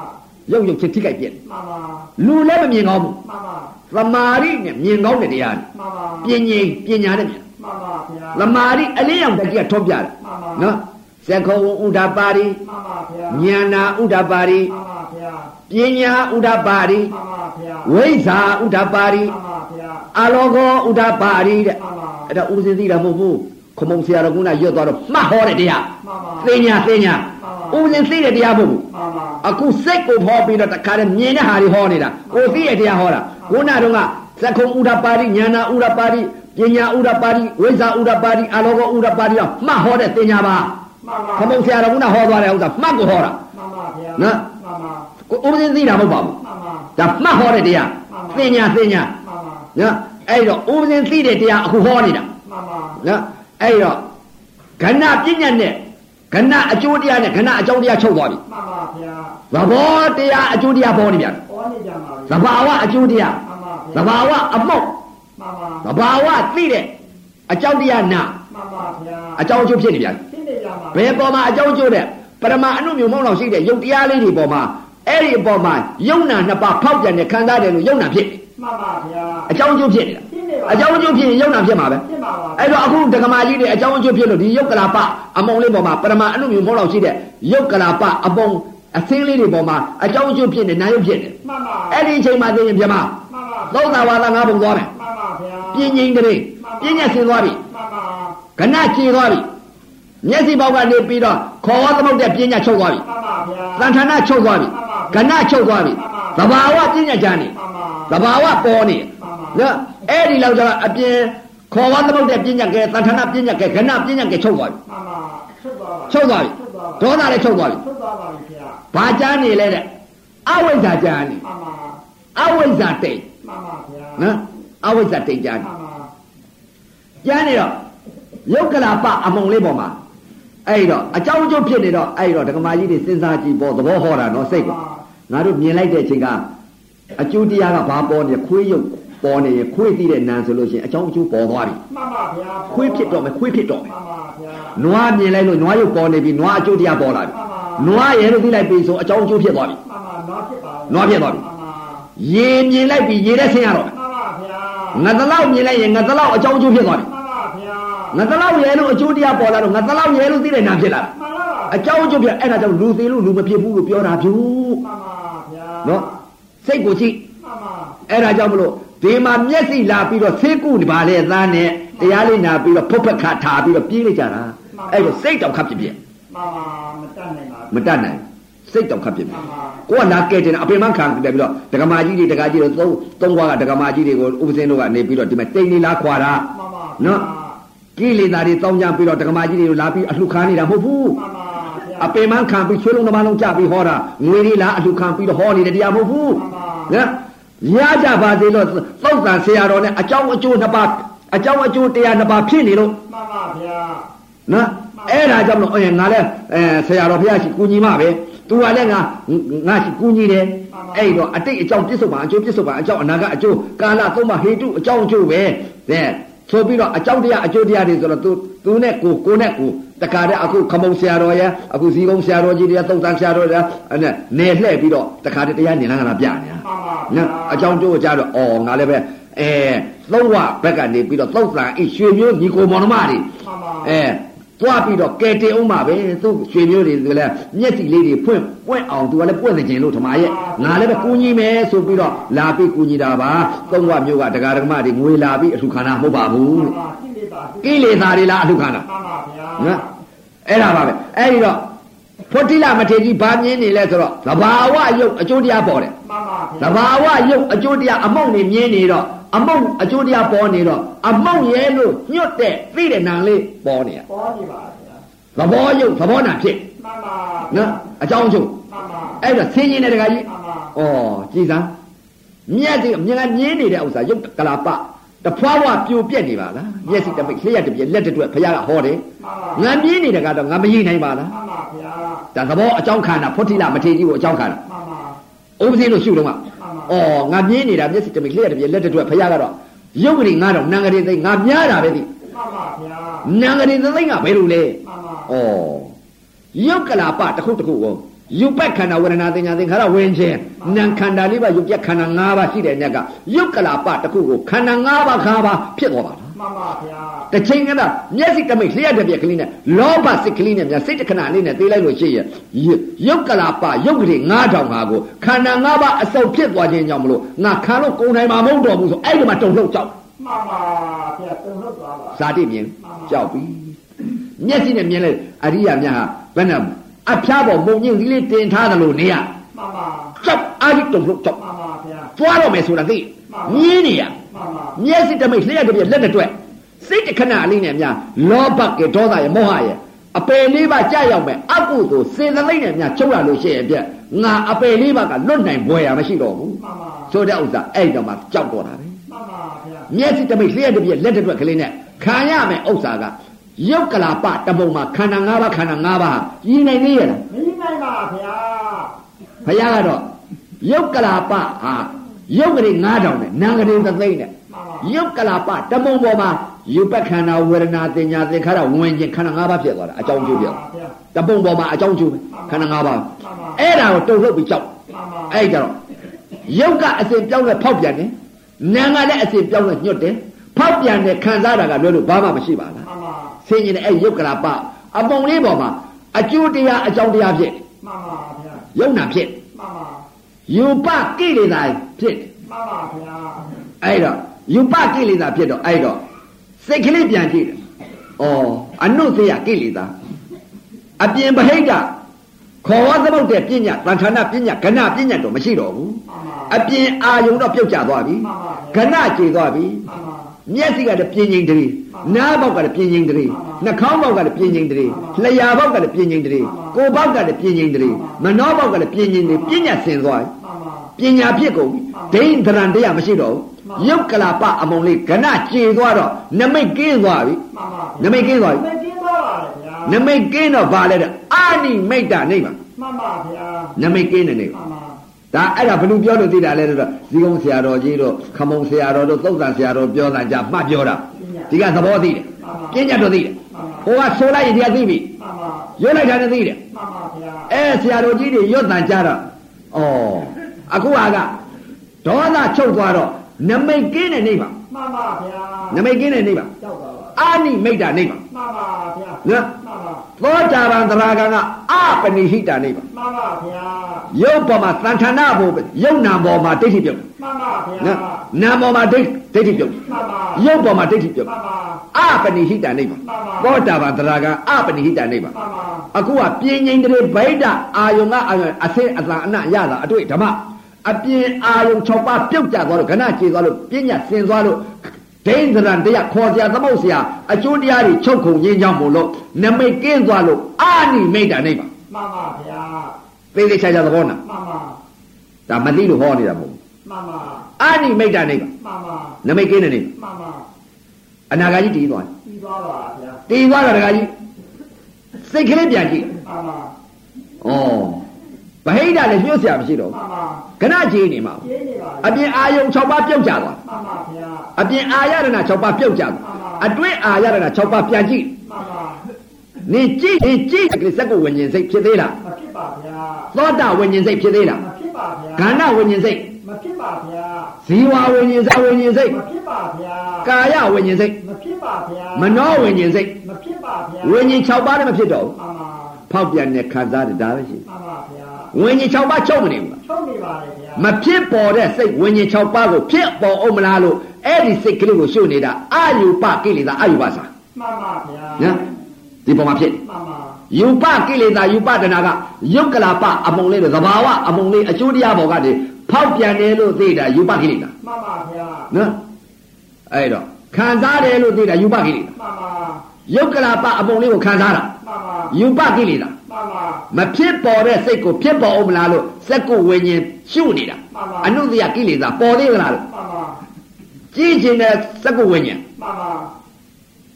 Speaker 1: ယုတ်ယုတ်ချင်းထိကြိုက်ပြက်
Speaker 2: မှန်ပါ
Speaker 1: လူလည်းမမြင်ကောင်းဘူး
Speaker 2: မှန်ပါ
Speaker 1: သမာဓိနဲ့မြင်ကောင်းတဲ့တရား
Speaker 2: မှန်ပါ
Speaker 1: တွေပညာပညာနဲ့မြင်
Speaker 2: မှန်ပါဗျာ
Speaker 1: သမာဓိအလေးအောင်တကြီးကထုံးပြတယ်
Speaker 2: မှန်ပါမှန်
Speaker 1: နော်သက္ခောဝဥဒ္ဓပါရီ
Speaker 2: ပါဗျာ
Speaker 1: ဉာဏဥဒ္ဓပါရီ
Speaker 2: မှန်ပါဗျာ
Speaker 1: ပညာဥဒ္ဓပါရီ
Speaker 2: မှန်ပါဗျာ
Speaker 1: ဝိဇ္ဇာဥဒ္ဓပါရီ
Speaker 2: မှန်ပါဗျာ
Speaker 1: အလောကောဥဒ္ဓပါရီတဲ့
Speaker 2: မှန်ပါ
Speaker 1: အဲ့ဒါဥစဉ်သိတာမဟုတ်ဘူးခမုံဆရာတော်ကနာရွတ်သွားတော့မှတ်ဟောတဲ့တရား
Speaker 2: မှန်ပါ
Speaker 1: သိညာသိညာဥစဉ်သိတဲ့တရားမဟုတ်ဘူး
Speaker 2: မှန်ပါ
Speaker 1: အခုစိတ်ကိုဟောပြီးတော့တခါတည်းမြင်တဲ့ဟာတွေဟောနေတာကိုသိတဲ့တရားဟောတာကိုနာတော့ကသက္ကုံဥဒ္ဓပါရီဉာဏဥဒ္ဓပါရီပညာဥဒ္ဓပါရီဝိဇ္ဇာဥဒ္ဓပါရီအလောကောဥဒ္ဓပါရီတော့မှတ်ဟောတဲ့သိညာပါ
Speaker 2: မှ
Speaker 1: ခ
Speaker 2: န်ပါ
Speaker 1: မုံဆရာတော်ကနာဟောသွားတဲ့ဥစ္စာမှတ်ကိုဟောတာ
Speaker 2: မှန်ပါဗျာမှန်ပါ
Speaker 1: ကိုဥစဉ်သိတာမဟုတ်ပါဘူး
Speaker 2: မှန်ပါ
Speaker 1: ဒါမှတ်ဟောတဲ့တရားသိညာသိညာ
Speaker 2: မှန်ပါ
Speaker 1: နော်အဲ့တော့ဥစဉ်သိတဲ့တရားအခုဟောနေတာ
Speaker 2: မှန်ပါ
Speaker 1: နော်အဲ့တော့ကဏပညာနဲ့ကဏအကျိုးတရားနဲ့ကဏအကြောင်းတရားချုပ်သွားပြီ
Speaker 2: မှန်
Speaker 1: သ
Speaker 2: ပါဗျာ
Speaker 1: ဘောတရားအကျိုးတရားပေါ်နေပြန်
Speaker 2: ဟောနေကြပါ
Speaker 1: သ
Speaker 2: ဗျာ
Speaker 1: ဘာဝအကျိုးတရား
Speaker 2: မှန်
Speaker 1: သ
Speaker 2: ပါဗျာ
Speaker 1: ဘာဝအမောက်
Speaker 2: မှန်ပါ
Speaker 1: သဘာဝသိတဲ့အကြောင်းတရားနာ
Speaker 2: မှန်ပါဗျာ
Speaker 1: အကြောင်းအကျိုးဖြစ်နေပြန်
Speaker 2: သိနေကြပါ
Speaker 1: ဘယ်ပေါ်မှာအကြောင်းအကျိုးတဲ့ပရမအနုမြုံမောင်းလောက်ရှိတဲ့ယုတ်တရားလေးတွေပေါ်မှာအဲ့ဒီအပေါ်မှာယုံနာနှစ်ပါးဖောက်ပြန်တဲ့ခံစားတယ်လို့ယုံနာဖြစ်တယ်
Speaker 2: မှန်ပါဗျာ
Speaker 1: အကြောင်းအကျိုးဖြစ်နေတာ
Speaker 2: ဖြစ် နေပါ
Speaker 1: အကြောင်းအကျိုးဖြစ်ရင်ယုံနာဖြစ်မှာပဲ
Speaker 2: ဖြစ်ပါပါ
Speaker 1: အဲ့တော့အခုဒကမာကြီးတွေအကြောင်းအကျိုးဖြစ်လို့ဒီယုတ်ကလာပအမုံလေးပေါ်မှာပရမအနုမြူမောလောက်ရှိတဲ့ယုတ်ကလာပအပုံအသင်းလေးတွေပေါ်မှာအကြောင်းအကျိုးဖြစ်နေနာယုတ်ဖြစ်နေ
Speaker 2: မှန်ပါ
Speaker 1: အဲ့ဒီအချိန်မှာသိရင်ပြမ
Speaker 2: မှန်ပါ
Speaker 1: သုံးသာဝါဒငါးပုံသွားမယ်
Speaker 2: မှန်ပါဗျာ
Speaker 1: ပြင်းငိမ့်ကလေးပြင်းညက်ဆင်းသွားပြီ
Speaker 2: မှန်ပါ
Speaker 1: ခဏချေသွားပြီမျက်စိပေါက်ကနေပြီးတော့ခေါ်ဝါသမုတ်တဲ့ပြင်းညက်ချုပ်သွားပြီ
Speaker 2: မှန်ပါဗျာ
Speaker 1: သံဌာနချုပ်သွားပြီခဏချုပ်သွားပြီသဘာဝပြင်းညက်ကြနေ
Speaker 2: မှ
Speaker 1: သ
Speaker 2: န်ပါ
Speaker 1: ဘာဝပေါ်နေ နော်အဲ့ဒီလောက်ကျတော့အပြင်ခေါ်ဝါသမုတ်တဲ့ပညာကဲသံဌာနပညာကဲခဏပညာကဲချုပ်သွားပြီ
Speaker 2: မှန်ပါချုပ်သွားပါ
Speaker 1: ချုပ်သွားပြီဒေါသလည်းချုပ်သွားပြီ
Speaker 2: ချုပ်သွားပါ
Speaker 1: ဘာ
Speaker 2: ပြီခင်ဗျာ
Speaker 1: ကြမ်းနေလဲတဲ့အဝိဇ္ဇာကြမ်းနေ
Speaker 2: မှန်ပါ
Speaker 1: အဝိဇ္ဇာတိတ်
Speaker 2: မှန်ပါဗျာ
Speaker 1: နော်အဝိဇ္ဇာတိတ်ကြမ်း
Speaker 2: မှ
Speaker 1: နေ
Speaker 2: န်ပါ
Speaker 1: ကြမ်းနေတော့ယုတ်ကလာပအမုံလေးပေါ်မှာအဲ့တော့အကြောင်းအကျိုးဖြစ်နေတော့အဲ့တော့ဒကမာကြီးတွေစဉ်းစားကြည့်ပေါ့သဘောဟောတာနော်စိတ်ကငါတို့မြင်လိုက်တဲ့အချိန်ကအကျိုးတရားကဘာပေါ်နေလဲခွေးယုတ်ပေါ်နေရင်ခွေးသိတဲ့နံဆိုလို့ရှိရင်အကြောင်းအကျိုးပေါ်သွားပြီ
Speaker 2: မှန်ပါဗျာ
Speaker 1: ခွေးဖြစ်တော့မယ်ခွေးဖြစ်တော့မယ်
Speaker 2: မှန်ပါဗျာ
Speaker 1: နွားမြင်လိုက်လို့နွားရုပ်ပေါ်နေပြီနွားအကျိုးတရားပေါ်လာပြီ
Speaker 2: မှန်ပါ
Speaker 1: နွားရဲလို့သိလိုက်ပြီဆိုအကြောင်းအကျိုးဖြစ်သွားပြီ
Speaker 2: မှန်ပါတော့ဖြစ်ပါ
Speaker 1: နွားဖြစ်သွားပြီ
Speaker 2: မှန်ပါ
Speaker 1: ရေမြင်လိုက်ပြီရေတဲ့ဆင်းရတော့မယ်
Speaker 2: မှန်ပါဗျာ
Speaker 1: ငါတလောက်မြင်လိုက်ရင်ငါတလောက်အကြောင်းအကျိုးဖြစ်သွားပြီ
Speaker 2: မှန်ပါဗျာ
Speaker 1: ငါတလောက်ရဲလို့အကျိုးတရားပေါ်လာတော့ငါတလောက်ရဲလို့သိတဲ့နာဖြစ်လာတာ
Speaker 2: မှန်ပါ
Speaker 1: အကြောင်းအကျိုးဖြစ်အဲ့ဒါကြောင့်လူသေးလို့လူမဖြစ်ဘူးလို့ပြောတာဖြူ
Speaker 2: မှန်ပါဗျာ
Speaker 1: နော်စိတ်ကိုကြည့်
Speaker 2: မှန်ပါ
Speaker 1: အဲ့ဒါကြောင့်မလို့ဒီမှာမျက်စိလာပြီးတော့သေကုနေပါလေသားနဲ့တရားလေးနာပြီးတော့ဖုတ်ဖက်ခါထားပြီးတော့ပြေးလိုက်ကြတာအဲ့တော့စိတ်တောင်ခပ်ဖြစ်ဖြစ်
Speaker 2: မှန်ပါမတတ်
Speaker 1: မတတ်
Speaker 2: နိုင်ပါဘူး
Speaker 1: နိုင်စိတ်တောင်ခပ်ဖြစ်ဖြစ်
Speaker 2: မှန်ပါ
Speaker 1: ကိုကလာကဲတင်တာအပင်မခံတယ်ပြီးတော့ဒကမာကြီးတွေဒကာကြီးတွေသုံးသုံးခွားကဒကမာကြီးတွေကိုဥပစင်းတို့ကနေပြီးတော့ဒီမှာတိတ်နေလားခွာတာ
Speaker 2: မှန်ပါ
Speaker 1: နော်ကိလေသာတွေတောင်းကြပြီးတော့ဒကမာကြီးတွေကိုလာပြီးအလှခံနေတာမဟုတ်ဘူး
Speaker 2: မှန်ပါဗျာ
Speaker 1: အပင်မခံပြီးချွေးလုံးတစ်ပါးလုံးကြပြီးဟောတာငွေတွေလားအလှခံပြီးတော့ဟောနေတဲ့တရားမဟုတ်ဘူး
Speaker 2: မှန်ပါ
Speaker 1: နော်ရကြပါသေးလို့သုတ်တန်ဆရာတော်နဲ့အကြောင်းအကျိုးနှစ်ပါးအကြောင်းအကျိုးတရားနှစ်ပါးဖြစ်နေလို့
Speaker 2: မှန်ပါဗျာ
Speaker 1: နော်အဲ့ဒါကြောင့်မလို့အေးငါလည်းအဲဆရာတော်ဘုရားရှိကူညီမပဲ तू ကလည်းငါငါရှိကူညီတယ် အဲ့တော့အတိတ်အကြောင်းပြစ္ဆုတ်ပါအကျိုးပြစ္ဆုတ်ပါအကြောင်းအနာကအကျိုးကာလသုံးပါဟေတုအကြောင်းအကျိုးပဲတဲ့ဆိုပြီးတော့အကြောင်းတရားအကျိုးတရားတွေဆိုတော့ तू तू နဲ့ကိုကိုနဲ့ကိုတခါတည်းအခုခမုံဆရာတော်ရအခုဇီကုံဆရာတော်ကြီးတွေရသုံးသန်းဆရာတော်တွေရအဲ့နဲ့နေလှည့်ပြီးတော့တခါတည်းတရားနေလာကလာပြနေတာ
Speaker 2: မှန်ပါဗျာ
Speaker 1: နော်အကြောင်းအကျိုးကြတော့အော်ငါလည်းပဲအဲသုံးဝဘက်ကနေပြီးတော့သုံးသန်းအိရွှေမျိုးညီကိုမောင်နှမတွေ
Speaker 2: မှန်ပါ
Speaker 1: အဲသွားပြီးတော့ကဲတင်အောင်ပါပဲသူရွှေမျိုးတွေကလည်းမျက်စိလေးတွေဖွင့်ပွင့်အောင်သူကလည်းပွင့်နေခြင်းလို့ထမရဲ့ငါလည်းပဲကူညီမယ်ဆိုပြီးတော့လာပြီးကူညီတာပါသုံးဝမျိုးကဒကာဒကမတွေငွေလာပြီးအလှူခံတာမဟုတ်ပါဘူး
Speaker 2: မှန်
Speaker 1: လို့
Speaker 2: ပါသိနေပါဘူး
Speaker 1: ကိလေသာတွေလားအလှူခံတာ
Speaker 2: မှန်ပါဗျာ
Speaker 1: နော်အဲ့ဒါပါပဲအဲ့ဒီတော့ဖုတိလမထေရကြီးဘာမြင်နေလဲဆိုတော့သဘာဝယုတ်အကျိုးတရားပေါ်တယ်
Speaker 2: မှန်ပါ
Speaker 1: သ
Speaker 2: ဗျာ
Speaker 1: ဘာဝယုတ်အကျိုးတရားအမုံနေမြင်နေတော့အမုံအကျိုးတရားပေါ်နေတော့အမုံရဲလို့ညွတ်တဲ့သိတဲ့နံလေးပေါ်နေရ
Speaker 2: ပေါ်နေပါဗျာ
Speaker 1: သဘောယုတ်သဘောနာဖြစ်
Speaker 2: မှန်ပါ
Speaker 1: နော်အကြောင်းကျုပ်
Speaker 2: မှန်ပါ
Speaker 1: အဲ့တော့ဆင်းရဲတဲ့တကကြီး
Speaker 2: မှန်ပါ
Speaker 1: ဩကြည်စမ်းမြက်ဒီမြက်ကမြင်းနေတဲ့ဥစ္စာယုတ်ကလာပတဖွားဝပြိုပြက်နေပါလားမျက်စိတစ်ပိတ်လျှက်တစ်ပြက်လက်တစ်တွက်ဖရာကဟောတယ်
Speaker 2: မှန်ပါ
Speaker 1: ငါမြင်းနေတဲ့ကတော့ငါမရိနိုင်ပါလား
Speaker 2: မှန်ပါဗျာ
Speaker 1: ဒါသဘောအကြောင်းခန္ဓာဖုတ်တိလမထေရကြီးကိုအကြောင်းခန္ဓာ
Speaker 2: မှန်ပါ
Speaker 1: ဥပဒေလို့ရှုတော့
Speaker 2: မှန်ပါ
Speaker 1: ။အော်ငါမြင်နေတာမျက်စိတစ်မိလျှက်တစ်ပြက်လက်တစ်တွက်ဖရကတော့ရုပ်ကလေးငါတော့နံကလေးသိငါမြားတာပဲဒီ
Speaker 2: မှန်ပါဗျာ
Speaker 1: နံကလေးသိငါဘယ်လိုလဲ
Speaker 2: မှန်ပါ
Speaker 1: ။အော်ရုပ်ကလာပတစ်ခုတစ်ခုကိုရုပ်ပတ်ခန္ဓာဝေဒနာသင်ညာသင်္ခါရဝิญခြင်းနံခန္ဓာလေးပါရုပ်ပြက်ခန္ဓာ၅ပါးရှိတဲ့ညက်ကရုပ်ကလာပတစ်ခုကိုခန္ဓာ၅ပါးခါပါဖြစ်သွားပါလား
Speaker 2: မှန်ပါဗျာ
Speaker 1: ။တစ်ချိန်ကတည်းကမျက်စိတစ်မိတ်လျှက်တစ်ပြက်ကလေးနဲ့လောဘစိတ်ကလေးနဲ့မြန်စိတ်တစ်ခဏလေးနဲ့သေးလိုက်လို့ရှိရင်ရုပ်ရုပ်ကလာပရုပ်ကလေး9000ဟာကိုခန္ဓာ၅ပါးအစုံဖြစ်သွားခြင်းကြောင့်မလို့ငါခံလို့ကုန်နိုင်မှာမဟုတ်တော့ဘူးဆိုအဲ့ဒီမှာတုံလှုပ်ကြောက်
Speaker 2: မှန်ပါဗျာတုံ့လောက်သွားပါ
Speaker 1: ဇာတိမြင်ကြောက်ပြီမျက်စိနဲ့မြင်လိုက်အရိယာများဟာဘယ်နဲ့အဖျားပေါ်မုံညင်းကြီးလေးတင်ထားတယ်လို့နေရ
Speaker 2: မှန်ပါ
Speaker 1: ကြောက်အာဒီတုံလှုပ်ကြောက်
Speaker 2: မှန်ပါဗျာ
Speaker 1: သွားတော့မယ်ဆိုတာသိမြင်းနေရ
Speaker 2: မှန်ပါ
Speaker 1: မျက်စိတမိတ်လျှက်တပြက်လက်တစ်တွက်စိတ်တစ်ခဏလေးနဲ့များလောဘကေဒေါသရဲ့မောဟရဲ့အပယ်လေးပါကြာရောက်မဲ့အကုသို့စေတသိက်နဲ့များချုပ်ရလို့ရှိရဲ့ပြက်ငါအပယ်လေးပါကလွတ်နိုင်ပွဲရမရှိတော့ဘူး
Speaker 2: မှန်ပါ
Speaker 1: ဆိုတဲ့ဥစ္စာအဲ့တော့မှကြောက်တော့တာပဲ
Speaker 2: မှန်ပါဗျာ
Speaker 1: မျက်စိတမိတ်လျှက်တပြက်လက်တစ်တွက်ကလေးနဲ့ခံရမဲ့ဥစ္စာကရုပ်ကလာပတပုံမှာခန္ဓာ၅ပါးခန္ဓာ၅ပါးဟာရည်နိုင်သေးရဲ့လား
Speaker 2: မင်းနိုင်ပါဗျာ
Speaker 1: ဘုရားကတော့ယုတ်ကလာပဟာယုတ်ကလေး9000နဲ့နံကလေးသသိန်းနဲ့ယုတ်ကလာပတမုံပေါ်မှာယူပက္ခန္ဓာဝေဒနာတင်ညာသင်္ခါရဝင်ခြင်းခန္ဓာ၅ပါးဖြစ်သွားတာအကြောင်းကျိုးပြ
Speaker 2: မှန်ပါဗျာ
Speaker 1: တပုံပေါ်မှာအကြောင်းကျိုးပဲခန္ဓာ၅ပါး
Speaker 2: မှန်ပါ
Speaker 1: အဲ့ဒါကိုတုံ့လှုပ်ပြီးကြောက်
Speaker 2: မှန်ပါ
Speaker 1: အဲ့ဒါတော့ယုတ်ကအစဉ်ပြောင်းလဲဖောက်ပြန်တယ်နံကလည်းအစဉ်ပြောင်းလဲညွတ်တယ် ဖောက်ပြန်တဲ့ခံစားတာကလွဲလို့ဘာမှမရှိပါလား
Speaker 2: မှန်ပါ
Speaker 1: ဆင်းရဲတဲ့အဲ့ယုတ်ကလာပအပုံလေးပေါ်မှာအကျိုးတရားအကြောင်းတရားဖြစ်တယ်
Speaker 2: မှန်ပါဗျာ
Speaker 1: ယုံနာဖြစ်တယ်
Speaker 2: မှန်ပါ
Speaker 1: ယူပကိလေသာဖြစ်တယ်
Speaker 2: မှန်ပါဗျာ
Speaker 1: အဲ့တော့ယူပကိလေသာဖြစ်တော့အဲ့တော့စိတ်ကလေးပြန်ကြည့်တယ်ဩအနုသေယကိလေသာအပြင်ဗဟိတခေါ်ဝါသမုတ်တဲ့ပညာတန်ခါနာပညာကဏပညာတော့မရှိတော့ဘူး
Speaker 2: မှန်ပါ
Speaker 1: အပြင်အာယုံတော့ပြုတ်ကျသွားပြီကဏကျေသွားပြီ
Speaker 2: မှန်ပါ
Speaker 1: မျက်စိကလည်းပြင်းချင်းတည်းနားဘောက်ကလည်းပြင်းချင်းတည်းနှာခေါင်းဘောက်ကလည်းပြင်းချင်းတည်းလျှာဘောက်ကလည်းပြင်းချင်းတည်းကိုယ်ဘောက်ကလည်းပြင်းချင်းတည်းမနှောဘောက်ကလည်းပြင်းချင်းတည်းပညာဆင်သွား
Speaker 2: မှန်
Speaker 1: ပ
Speaker 2: ပါ
Speaker 1: ညာဖြစ်ကုန်ဒိဋ္ဌရံတရားမရှိတော့ဘူးယုတ်ကလာပအမုံလေးကဏကြေသွားတော့နမိတ်ကင်းသွားပြီန
Speaker 2: မှန်ပါ
Speaker 1: မိတ်ကင်းသွားပြီ
Speaker 2: မကျင်းပါပါဗျာ
Speaker 1: နမိတ်ကင်းတော့ဘာလဲတော့အာနိမိတ်တနိဗ္ဗာန်
Speaker 2: မှန်ပါဗျာ
Speaker 1: နမိတ်ကင်းတဲ့နိဗ္ဗာန်
Speaker 2: မှန်ပါ
Speaker 1: ဒါအဲ့ဒါဘယ်လိုပြောလို့သိတာလဲဆိုတော့ဇီကုံဆရာတော်ကြီးတို့ခမုံဆရာတော်တို့သုတ်တန်ဆရာတော်ပြောတာကြမှတ်ပြောတာဒီကသဘောသိတယ်ပြင်းညတ်တော်သိတယ်ဟိုကဆိုလိုက်ရင်ဒီကသိပြီ
Speaker 2: မှန်ပါ
Speaker 1: ရွတ်လိုက်တာလည်းသိတယ်
Speaker 2: မှန်ပါဗျာ
Speaker 1: အဲဆရာတော်ကြီးတွေရွတ်တန်ကြတော့ဩအခုဟာကဒေါသချုပ်သွားတော့နမိတ်ကင်းတဲ့နေပါ
Speaker 2: မှန်ပါဗျာ
Speaker 1: နမိတ်ကင်းတဲ့နေပါ
Speaker 2: ကြောက်ပါပါ
Speaker 1: အာနိမိတ်တာနေပါ
Speaker 2: မှန်ပါဗျာ
Speaker 1: နော်
Speaker 2: မှန်ပါ
Speaker 1: သောတာပန်သရဂံကအပနိဟိတာနေပါ
Speaker 2: မှန်ပါဗျာ
Speaker 1: ရုပ်ပေါ်မှာသံဌာနပေါ်ရုပ်နာပေါ်မှာဒိဋ္ဌိပြုတ်တယ်
Speaker 2: မှန်ပါဗျာ
Speaker 1: နော်နာမ်ပေါ်မှာဒိဋ္ဌိဒိဋ္ဌိပြုတ်တယ်
Speaker 2: မှန်ပါ
Speaker 1: ရုပ်ပေါ်မှာဒိဋ္ဌိပြုတ်
Speaker 2: မှန်ပါ
Speaker 1: အပနိဟိတနိဗ္ဗာန်
Speaker 2: မှန်ပါ
Speaker 1: သောတာပန်တရာကအပနိဟိတနိဗ္ဗာန်
Speaker 2: မှန်ပါ
Speaker 1: အခုကပြင်းငိမ့်တဲ့ဗိဒအာယုံကအာယုံအသိအသာအနရတာအတွေ့ဓမ္မအပြင်းအာယုံ၆ပါးပြုတ်ကြသွားလို့ခဏခြေသွားလို့ပညာစင်သွားလို့ဒိဋ္ဌရံတရားခေါ်စရာသမုတ်စရာအကျိုးတရားတွေချုပ်ခုံရင်းကြောင်းမို့လို့နမိတ်ကင်းသွားလို့အာနိမိတ်တနိဗ္ဗာန်
Speaker 2: မှန်ပါဗျာ
Speaker 1: သိသိချာချာသဘောနာ
Speaker 2: မှန်ပါ
Speaker 1: ဒါမသိလို့ဟောနေတာမဟုတ်ဘူး
Speaker 2: မှန်ပါ
Speaker 1: အာနိမိတ်တနိဗ္ဗာန်
Speaker 2: မှန်ပါ
Speaker 1: နမိတ်ကင်းတဲ့နိဗ္ဗာန်
Speaker 2: မှန်ပါ
Speaker 1: အနာဂါကြီးတည်သွားတယ်
Speaker 2: ပြီးသွားပါဗျာ
Speaker 1: တည်သွားတာတကကြီးစိတ်ကလေးပြန်ကြည့်
Speaker 2: မှန်ပါ
Speaker 1: ဩဗဟိတလည်းညှို့เสียမရှိတော့
Speaker 2: မှန်ပါ
Speaker 1: ဘူးခဏကြည့်နေမှာ
Speaker 2: ကျင်းနေပါ
Speaker 1: အ
Speaker 2: ဗျာ
Speaker 1: ပြင်အာယုံ6ပါးပြုတ်ကြသွား
Speaker 2: မှန်ပါဗျာ
Speaker 1: အပြင်အာရဏ6ပါးပြုတ်ကြသွားအတွင်းအာရဏ6ပါးပြန်ကြည့်
Speaker 2: မှန်ပါ
Speaker 1: နေကြည့်နေကြည့်ကလေးစက္ကုဝิญဉ်စိတ်ဖြစ်သေးလား
Speaker 2: မဖြစ်ပါဗျာ
Speaker 1: သောတာဝิญဉ်စိတ်ဖြစ်သေးလား
Speaker 2: မဖြစ်ပါဗျာ
Speaker 1: ခန္ဓာဝิญဉ်စိတ်
Speaker 2: မဖြစ်ပါဗျာ
Speaker 1: ဇီဝဝิญဉ်ဇဝิญဉ်စိတ်
Speaker 2: မဖြစ်ပါဗျာ
Speaker 1: ကာယဝิญဉ်စိတ်
Speaker 2: မဖြစ်ပါဗျာ
Speaker 1: မနောဝิญဉ်စိတ်
Speaker 2: မဖြစ်ပါဗျာ
Speaker 1: ဝิญဉ်6ပါးလည်းမဖြစ်တော့ဘူး
Speaker 2: မှန်ပါ
Speaker 1: ဖောက်ပြန်တဲ့ခံစားတဲ့ဒါပဲရှိ
Speaker 2: မှန်ပါဗျာ
Speaker 1: ဝิญဉ်6ပါးချုပ်မနေဘူးလား
Speaker 2: ချုပ်နေပါလေဗျာ
Speaker 1: မဖြစ်ပေါ်တဲ့စိတ်ဝิญဉ်6ပါးကိုဖြစ်ပေါ်အောင်မလားလို့အဲ့ဒီစိတ်ကလေးကိုရှုပ်နေတာအယူပကိလေသာအယူပစာ
Speaker 2: မှန်ပါဗျာ
Speaker 1: နော်ဒီပုံမှာဖြစ်တယ်
Speaker 2: မှန်ပါ
Speaker 1: ယူပကိလေသာယူပတနာကယုတ်ကလာပအမုံလေးတွေသဘာဝအမုံလေးအကျိုးတရားပေါ်ကနေဖောက်ပြန်တယ်လို့သိတာယူပကိလေသာ
Speaker 2: မှန်ပါဗျာ
Speaker 1: နော်အဲ့တော့ခံစားတယ်လို့သိတာယူပကိလေသာ
Speaker 2: မှန်ပါ
Speaker 1: ယုတ်ကလာပအမုံလေးကိုခံစားတာ
Speaker 2: မှန်
Speaker 1: ယူ
Speaker 2: ပါ
Speaker 1: ပကိလေသာ
Speaker 2: မှန်ပါ
Speaker 1: မဖြစ်ပေါ်တဲ့စိတ်ကိုဖြစ်ပေါ်အောင်မလားလို့စက္ကုဝิญဉ်ရှုပ်နေတာ
Speaker 2: မှန်ပါ
Speaker 1: အနုတ္တယကိလေသာပေါ်သေးသလားလို့
Speaker 2: မှန်ပါ
Speaker 1: ကြည်ကျင်တဲ့သက္ကုဝိညာဉ်
Speaker 2: မှန်ပါ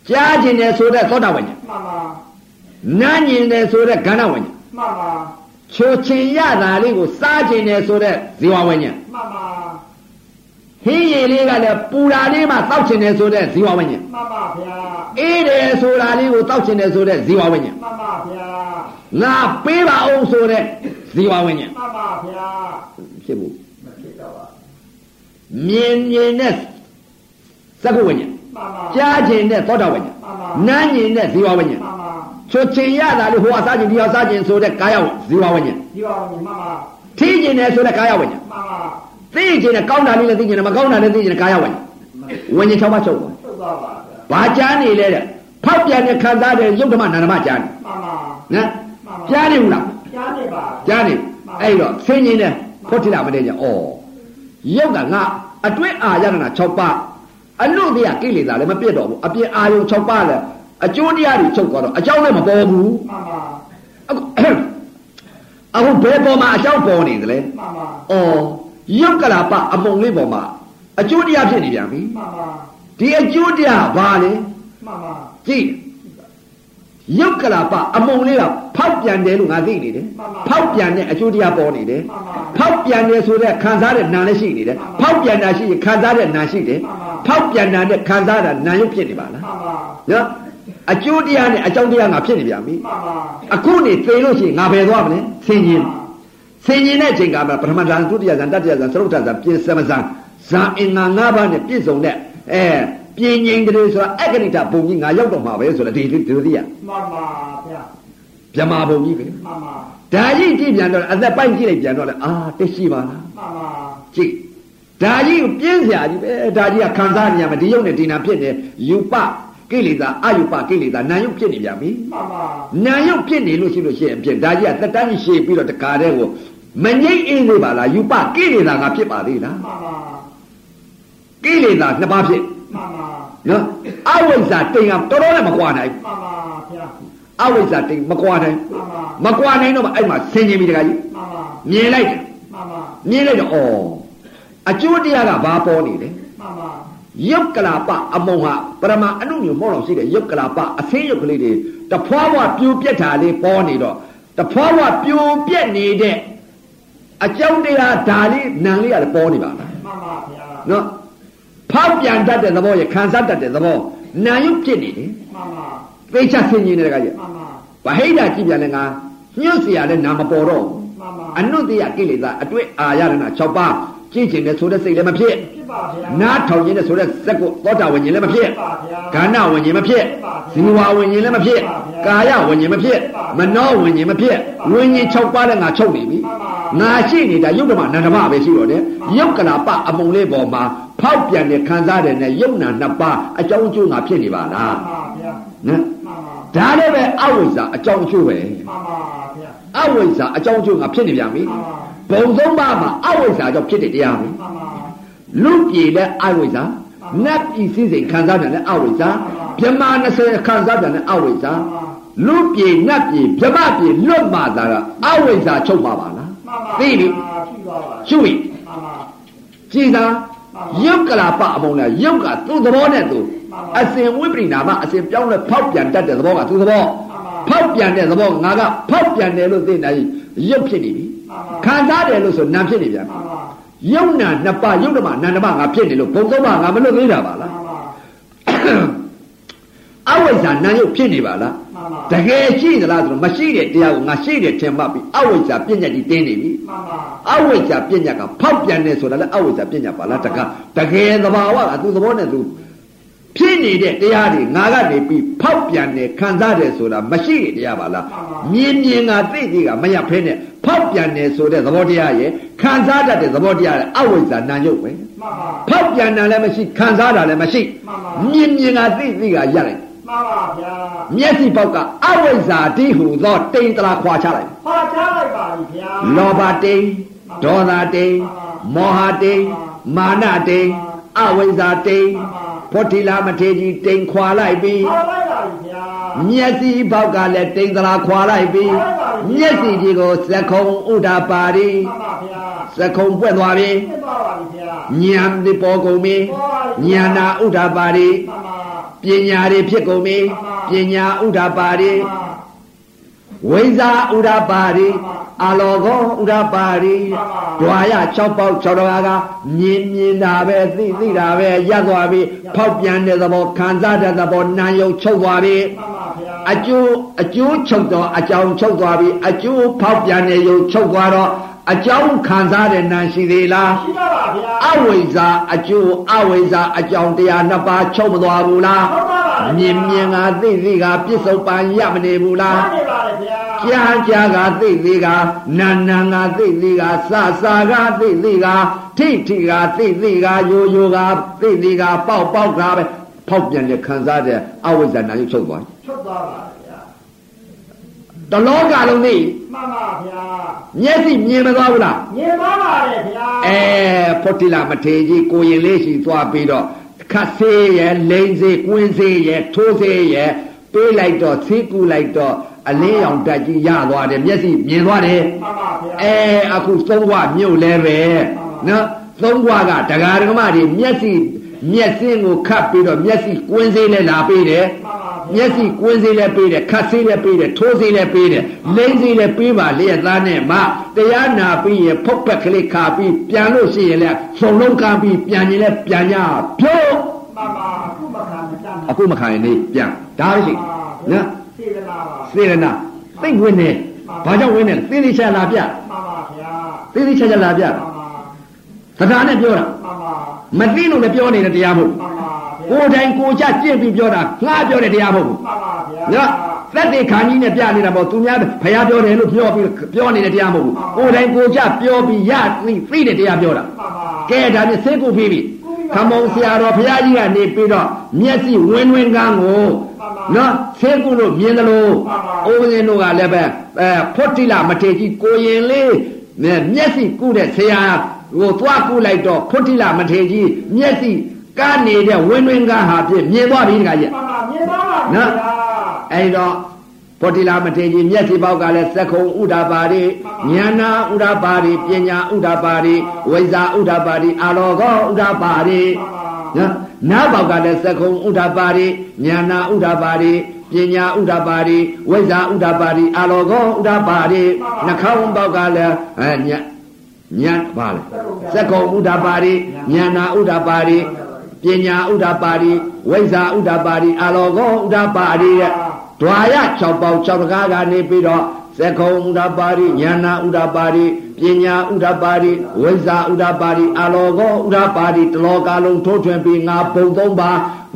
Speaker 1: ကြားကျင်တဲ့ဆိုတဲ့သောတာဝိညာဉ်
Speaker 2: မှန်ပါ
Speaker 1: နားကျင်တဲ့ဆိုတဲ့ကဏ္ဍဝိညာဉ်
Speaker 2: မှန်ပါ
Speaker 1: ချိုချင်ရတာလေးကိုစားကျင်တဲ့ဆိုတဲ့ဇီဝဝိညာဉ်
Speaker 2: မှန်ပါ
Speaker 1: ဟင်းရည်လေးကလည်းပူတာလေးမှတောက်ကျင်တဲ့ဆိုတဲ့ဇီဝဝိညာဉ်
Speaker 2: မှန်ပါဗျာ
Speaker 1: အေးတယ်ဆိုတာလေးကိုတောက်ကျင်တဲ့ဆိုတဲ့ဇီဝဝိညာဉ်
Speaker 2: မှန်ပါဗျာ
Speaker 1: ငါပေးပါအောင်ဆိုတဲ့ဇီဝဝိညာဉ်
Speaker 2: မှန်ပါဗျာ
Speaker 1: ဖြစ်ဘူး
Speaker 2: မဖြစ်တော့ပါ
Speaker 1: မြင်မြင်တဲ့သက္ကုဝိညာဉ်
Speaker 2: မှန်ပါမှန်
Speaker 1: ကြားကျင်တဲ့သောတာဝိညာဉ်
Speaker 2: ပါ
Speaker 1: နားကျင်တဲ့ဇီဝဝိညာဉ်
Speaker 2: မှန်ပါ
Speaker 1: ချိုချင်ရတာလေးဟိုကစားကျင်ဒီကစားကျင်ဆိုတဲ့ကာယဇီဝဝိညာဉ်
Speaker 2: ဒီပါဦးမှန်ပါ
Speaker 1: ထိကျင်တဲ့ဆိုတဲ့ကာယဝိညာဉ်
Speaker 2: မှန်ပါ
Speaker 1: သိကျင်တဲ့ကောင်းတာလေးလည်းသိကျင်တယ်မကောင်းတာလည်းသိကျင်တယ်ကာယဝိညာဉ်ဝิญဉ်၆ပါးချုပ်သွား
Speaker 2: ထုတ်သွားပါဗျာ
Speaker 1: ဘာကြားနေလဲတဲ့ဖောက်ပြန်တဲ့ခံစားတဲ့ယုတ်ဓမ္မနန္ဒမကြားနေ
Speaker 2: မှန်ပါ
Speaker 1: နော်ကြားနေဘူးလား
Speaker 2: ကြားနေပါဗျာ
Speaker 1: ကြားနေအဲ့တော့ဆင်းကျင်တဲ့ဖောက်ထိတာမတည့်ကြဩယုတ်ကငါအတွင်းအာရဏ၆ပါးအနုတ္တိယကိလေသာလည်းမပြတ်တော့ဘူးအပြင်အာယုံ၆ပါးလည်းအကျိုးတရားတွေချုပ်သွားတော့အကြောင်းလည်းမပေါ်ဘူး
Speaker 2: မှန်ပါ
Speaker 1: အခု အခုဘယ်ပေါ်မှာအကြောင်းပေါ်နေသလဲ
Speaker 2: မှန်ပါ
Speaker 1: ဩယုတ်ကလာပအမုံလေးပေါ်မှာအကျိုးတရားဖြစ်နေပြန်ပြီ
Speaker 2: မှန်ပါ
Speaker 1: ဒီအကျိုးတရားဘာလဲ
Speaker 2: မှန်ပါ
Speaker 1: ကြည့်ယုတ်ကလာပအမုံလေးကဖောက်ပြန်တယ်လို့ငါသိနေတယ်ဖောက်ပြန်တဲ့အကျိုးတရားပေါ်နေတယ်
Speaker 2: မှန်ပါ
Speaker 1: ဖောက်ပြန်တယ်ဆိုတဲ့ခံစားတဲ့နာလည်းရှိနေတယ်ဖောက်ပြန်တာရှိရင်ခံစားတဲ့နာရှိတယ်
Speaker 2: မှန်ပါ
Speaker 1: ဖောက်ပြန်တာနဲ့ခံစားတာနာရုပ်ဖြစ်နေပါလား
Speaker 2: မှန်ပါ
Speaker 1: နော်အကျိုးတရားနဲ့အကြောင်းတရားငါဖြစ်နေပြန်ပြီ
Speaker 2: မှန်ပါ
Speaker 1: အခုနေသေလို့ရှိရင်ငါဘယ်သွားမလဲဆင်းရင်ဆင်းရင်တဲ့အချိန်ကမှပထမဇန်ဒုတိယဇန်တတိယဇန်သရုတ်ဇန်ပြင်စမဇန်ဇန်အင်္ဂါ၅ပါးနဲ့ပြည့်စုံတဲ့အဲ ပြင်းငိမ့်တယ်ဆိုတာအက္ခဏိတဘုံကြီးငါရောက်တော့မှာပဲဆိုတာဒီဒီဒီလိုသိရ
Speaker 2: မှန်ပါဗျာ
Speaker 1: မြမဘုံကြီးပဲ
Speaker 2: မှန်ပါ
Speaker 1: ဒါကြီးကြည့်ပြန်တော့အသက်ပိုင်းကြည့်လိုက်ပြန်တော့လေအာတက်ရှိပါလား
Speaker 2: မှန်ပါ
Speaker 1: ကြည့်ဒါကြီးကိုပြင်းစရာကြီးပဲဒါကြီးကခံစားနေရမှာဒီရုပ်နဲ့ဒီနာဖြစ်နေယူပကိလေသာအယူပကိလေသာနာယုတ်ဖြစ်နေပြန်ပြီ
Speaker 2: မှန်ပါ
Speaker 1: နာယုတ်ဖြစ်နေလို့ရှိလို့ရှိရင်ဖြစ်ဒါကြီးကတက်တန်းရှည်ပြီးတော့တခါတည်းကိုမငိမ့်အင်းလေးပါလားယူပကိလေသာကဖြစ်ပါသေးလား
Speaker 2: မှန်ပါ
Speaker 1: ကိလေသာနှစ်ပါးဖြစ်
Speaker 2: မှန်ပါ
Speaker 1: နော်အဝိဇ္ဇာတိမ်ကတော်တော်နဲ့မကွာနိုင်
Speaker 2: မှန်ပါဗျာ
Speaker 1: အဝိဇ္ဇာတိမ်မကွာနိုင်
Speaker 2: မှန်
Speaker 1: မ
Speaker 2: ပါ
Speaker 1: ကွာနိုင်တော့မှအဲ့မှာဆင်ခြင်ပြီတခါကြီး
Speaker 2: မှန်ပါ
Speaker 1: မြင်လိုက်တယ်
Speaker 2: မှန်ပါ
Speaker 1: မြင်လိုက်တော့ဩအကျိုးတရားကဘာပေါ်နေလဲ
Speaker 2: မှန်ပါ
Speaker 1: ယုတ်ကလာပအမုံဟာပရမအနုမျိုးမောတော်ရှိတဲ့ယုတ်ကလာပအသိယုတ်ကလေးတွေတဖွာဖွာပြိုပြက်တာလေးပေါ်နေတော့တဖွာဖွာပြိုပြက်နေတဲ့အကြောင်းတရားဒါလေးနံလေးရတယ်ပေါ်နေပါလား
Speaker 2: မှန်ပါဗျာ
Speaker 1: နော်ဖောက်ပြန်တတ်တဲ့သဘောရခံစားတတ်တဲ့သဘောနံရုပ်ဖြစ်နေတယ်
Speaker 2: မှန်ပါ
Speaker 1: သိချဆင်ခြင်နေတဲ့ကကြီး
Speaker 2: မှန်ပါ
Speaker 1: ဗဟိတကြည့်ပြန်လဲငါညှို့เสียရတဲ့နာမပေါ်တော့ဘူး
Speaker 2: မှန်ပါ
Speaker 1: အနုတ္တိယကိလေသာအတွေ့အာရဏ6ပါးကြည့်ခြင်းနဲ့ဆိုတဲ့စိတ်လည်းမဖြစ်
Speaker 2: ဖြစ်ပါဗျာ
Speaker 1: နားထောင်ခြင်းနဲ့ဆိုတဲ့စက်ကိုသောတာဝင်ခြင်းလည်းမဖြစ်
Speaker 2: ပါဗျာ
Speaker 1: ဂန္ဓဝင်ခြင်းမဖြစ်ဇီဝဝင်ခြင်းလည်းမဖြစ်ကာယဝင်ခြင်းမဖြစ်မနောဝင်ခြင်းမဖြစ်ဝิญဉ်6ပါးလည်းငါချုပ်နေပြီငါရှိနေတာယုတ်ဓမ္မနန္ဒမပဲရှိတော့တယ်ယုတ်ကလာပအမုံလေးပေါ်မှာဖောက်ပြန်တဲ့ခံစားတယ်နဲ့ယုတ်နာနှစ်ပါးအကြောင်းအကျိုးငါဖြစ်နေပါလား
Speaker 2: မှန်ပါဗျာ
Speaker 1: နော်
Speaker 2: မှန်ပါ
Speaker 1: ဒါလည်းပဲအဝိဇ္ဇာအကြောင်းအကျိုးပဲ
Speaker 2: မှန်ပါဗျာ
Speaker 1: အဝိဇ္ဇာအကြောင်းအကျိုးငါဖြစ်နေပြန်ပြီ
Speaker 2: မှ
Speaker 1: ဘုံ
Speaker 2: န်ပါ
Speaker 1: သုံးပါးမှာအဝိဇ္ဇာကြောင့်ဖြစ်တဲ့တရားပဲ
Speaker 2: မှန်ပါ
Speaker 1: လူပြည်လဲအဝိဇ္ဇာနတ်ပြည်စည်းစိမ်ခံစားတယ်လဲအဝိဇ္ဇာဗြဟ္မာ20ခံစားတယ်လဲအဝိဇ္ဇာလူပြည်နတ်ပြည်ဗြဟ္မာပြည်လွတ်မှသာကအဝိဇ္ဇာချုပ်ပါပါလား
Speaker 2: မှန်ပါ
Speaker 1: သိပြီ
Speaker 2: ဖြစ်သွားပါ
Speaker 1: ကျွိ
Speaker 2: မှန်ပါ
Speaker 1: ကြည်သာယုတ်ကလာပအမုံလားယုတ်ကသူ့သဘောနဲ့သူအစဉ်ဝိပရိနာမအစဉ်ပြောင်းလဲဖောက်ပြန်တတ်တဲ့သဘောကသူ့သဘောဖောက်ပြန်တဲ့သဘောငါကဖောက်ပြန်တယ်လို့သိနေရင်ယုတ်ဖြစ်နေပြီခံစားတယ်လို့ဆိုနာဖြစ်နေပြန်ပြီယုံ
Speaker 2: မှန်ပါ
Speaker 1: နာနှစ်ပါးယုံဓမ္မနန္ဒမငါဖြစ်နေလို့ဘုံသုံးပါးငါမလွတ်သေးတာပါလား
Speaker 2: မှန်ပါ
Speaker 1: အဝိဇ္ဇာနာယုတ်ဖြစ်နေပါလား
Speaker 2: မှန်ပါ
Speaker 1: တကယ်ရှိသလားဆိုတော့မရှိတဲ့တရားကိုငါရှိတယ်ထင်မှတ်ပြီးအဝိဇ္ဇာပြည့်ညတ်ကြီးတင်းနေပြီ
Speaker 2: မှန်ပါ
Speaker 1: အဝိဇ္ဇာပြည့်ညတ်ကဖောက်ပြန်နေဆိုတာလည်းအဝိဇ္ဇာပြည့်ညတ်ပါလားတကယ်တကယ်သဘာဝကသူ့သဘောနဲ့သူဖြစ်နေတဲ့တရားတွေငါကနေပြီးဖောက်ပြန်နေခံစားတယ်ဆိုတာမရှိတဲ့တရားပါလားမြင်မြင်ကသိသိကမရဖဲနဲ့ဖောက်ပြန်နေဆိုတဲ့သဘောတရားရဲ့ခံစားတတ်တဲ့သဘောတရားရဲ့အဝိဇ္ဇာနာယုတ်ပဲ
Speaker 2: မှန်ပါ
Speaker 1: ဖောက်ပြန်တာလည်းမရှိခံစားတာလည်းမရှိမြင်မြင်ကသိသိကရလိုက်
Speaker 2: မှန်ပါဗျာ
Speaker 1: မျက်စိပေါက်ကအဝိဇ္ဇာတိဟုသောတိန်တလာခွာချလိုက်
Speaker 2: ဟောကြားလိုက်ပါပြီဗျာ
Speaker 1: လောဘတိန်ဒေါသတိန်မောဟတိန်မာနတိန်အဝိဇ္ဇာတိန်ဖုတ်တိလာမထေကြီးတိန်ခွာလိုက်ပြီ
Speaker 2: ဟောလိုက်ပါပြီဗျာ
Speaker 1: မျက်စိပေါက်ကလည်းတိန်တလာခွာလိုက်ပြီမျက်စိကြီးကိုသက္ခုံဥဒ္ဒပါရီ
Speaker 2: မှန်ပါဗျာ
Speaker 1: သက္ခုံပွက်သွားပြီ
Speaker 2: ဖြစ်သွားပါပြီဗျာ
Speaker 1: ဉာဏ်ဒီပေါ်ကုန်ပြီဉာဏဥဒ္ဒပါရီ
Speaker 2: မှန်
Speaker 1: ပ
Speaker 2: ပါ
Speaker 1: ညာတွေဖြစ်ကုန်ပြီပညာဥဒ္ဓပါရီ
Speaker 2: မှန်ပါ
Speaker 1: ဝိဇ္ဇာဥဒ္ဓပါရီအလောကောဥဒ္ဓပါရီဒွာယ6ပေါက်6တကားကမြင်မြင်တာပဲသိသိတာပဲရပ်သွားပြီဖောက်ပြန်တဲ့သဘောခံစားတဲ့သဘောနာယုံချုပ်သွားပြီ
Speaker 2: မှန်ပါဗျာ
Speaker 1: အကျိုးအကျိုးချုပ်တော့အကြောင်းချုပ်သွားပြီအကျိုးဖောက်ပြန်တဲ့ယုံချုပ်သွားတော့အကြောင်းခံစားတဲ့နာရှိသေးလား
Speaker 2: ရှိတော့ပါဗျာ
Speaker 1: အဝိဇ္ဇာအကျိုးအဝိဇ္ဇာအကြောင်းတရားနှစ်ပါးချုပ်မသွားဘူးလား
Speaker 2: ဟောပါပါ
Speaker 1: မြင်မြင်ကသိသိကပြစ္ဆုတ်ပန်ရမနေဘူး
Speaker 2: ပါ
Speaker 1: လား
Speaker 2: နေပါလေဗျာ
Speaker 1: ကြားကြားကသိသိကနာနာကသိသိကစစကသိသိကထိထိကသိသိကယိုယိုကသိသိကပေါက်ပေါက်ကပဲဖောက်ပြန်တဲ့ခံစားတဲ့အဝိဇ္ဇာနာရုပ်ချုပ်သွားတယ်
Speaker 2: ထွက်သွားပါလေဗျာ
Speaker 1: တလောကလုံးနေ
Speaker 2: မှန်ပါဗျာ
Speaker 1: မျက်စိမြင်မသွားဘူးလား
Speaker 2: မြင်ပါပါလေဗျာ
Speaker 1: အဲဖုတ်တိလမထေကြီးကိုရင်လေးရှိသွားပြီးတော့ခတ်သေးရဲ့လိန်သေးကွင်းသေးရဲ့ထိုးသေးရဲ့ပေးလိုက်တော့သေကူလိုက်တော့အလင်းရောင်တက်ကြီးရသွားတယ်မျက်စိမြင်သွားတယ်
Speaker 2: မှန်ပါဗျာ
Speaker 1: အဲအခုသုံးဘွားမြုပ်လဲပဲနော်သုံးဘွားကဒကာဒကမတွေမျက်စိမျက်စင်းကိုခတ်ပြီးတော့မျက်စိကွင်းစေးလဲလာပေးတယ်
Speaker 2: မှန်ပါဗျာ
Speaker 1: မျက်စိကွင်းစေးလဲပေးတယ်ခတ်စေးလဲပေးတယ်ထိုးစေးလဲပေးတယ်လိမ့်စေးလဲပေးပါလျက်သားနဲ့မတရားနာပြီးရင်ဖုတ်ပက်ကလေးခါပြီးပြန်လို့ရှိရင်လဲသုံလုံးကမ်းပြီးပြန်ရင်လဲပြန်ရဖြိုး
Speaker 2: မှန်ပါအခုမှခံမတတ်
Speaker 1: အခုမခံရင်နေပြန်ဒါပဲရှိနော်
Speaker 2: စေတနာပါ
Speaker 1: စေရနာသိမ့်ဝင်နေဘာကြောင့်ဝင်နေလဲသိသိချာလာပြ
Speaker 2: မှန်ပါဗျာ
Speaker 1: သိသိချာချာလာပြ
Speaker 2: မှန်ပါ
Speaker 1: သဒ္ဒါနဲ့ပြောတာ
Speaker 2: မှန်ပါ
Speaker 1: မသိလို့လည်းပြောနေတဲ့တရားမဟုတ်ဘူး
Speaker 2: မှန်ပါဗျာ
Speaker 1: ကိုယ်တိုင်ကိုယ်ချကြင့်ပြီးပြောတာငါပြောတဲ့တရားမဟုတ်ဘူး
Speaker 2: မှန်ပါဗျာ
Speaker 1: နော်သက်တေခံကြီးနဲ့ပြနေတာပေါ့သူများဘုရားပြောတယ်လို့ပြောပြီးပြောနေတဲ့တရားမဟုတ်ဘူးကိုယ်တိုင်ကိုယ်ကြပြောပြီးရသိသိတဲ့တရားပြောတာ
Speaker 2: ပါပါ
Speaker 1: ကဲဒါနဲ့စိတ်ကိုပြီးပြီ
Speaker 2: ကို
Speaker 1: ခ
Speaker 2: ပြီးပါ
Speaker 1: မုံဆရာတော်ဘုရားကြီးကနေပြီးတော့မျက်စိဝင်းဝင်းကန်းကို
Speaker 2: ပါပါ
Speaker 1: နော်စိတ်ကိုလို့မြင်တယ်လို့
Speaker 2: ပါပါ
Speaker 1: ဥပဇင်းတို့ကလည်းပဲအဲဖွတ်တိလမထေကြီးကိုရင်လေးနဲ့မျက်စိကုတဲ့ဆရာဟိုသွားကုလိုက်တော့ဖွတ်တိလမထေကြီးမျက်စိကန်းနေတဲ့ဝင်းဝင်းကန်းဟာဖြင့်မြင်သွားပြီတခါကြီး
Speaker 2: မှန်ပါမြင်ပါပါဗျာ
Speaker 1: အဲ့ဒီတော့ဘောတိလာမထေရကြီးမျက်စိပေါက်ကလည်းသက္ကုံဥဒ္ဓပါရိဉာဏဥဒ္ဓပါရိပညာဥဒ္ဓပါရိဝိဇ္ဇာဥဒ္ဓပါရိအာလောကောဥဒ္ဓပါရိနော်နားပေါက်ကလည်းသက္ကုံဥဒ္ဓပါရိဉာဏဥဒ္ဓပါရိပညာဥဒ္ဓပါရိဝိဇ္ဇာဥဒ္ဓပါရိအာလောကောဥဒ္ဓပါရိနှာခေါင်းပေါက်ကလည်းအဲညညပါလေသက္ကုံဥဒ္ဓပါရိဉာဏဥဒ္ဓပါရိပညာဥဒ္ဓပါရိဝိဇ္ဇာဥဒ္ဓပါရိအာလောကောဥဒ္ဓပါရိတဲ့ ဒွာရ6ပေါက်6တကားကနေပြီးတော့သက္ကုံဥဒ္ဓပါရိဉာဏဥဒ္ဓပါရိပညာဥဒ္ဓပါရိဝိဇ္ဇာဥဒ္ဓပါရိအာလောကောဥဒ္ဓပါရိတလောကလုံးထိုးထွင်းပြီးငါဘုံသုံးပါ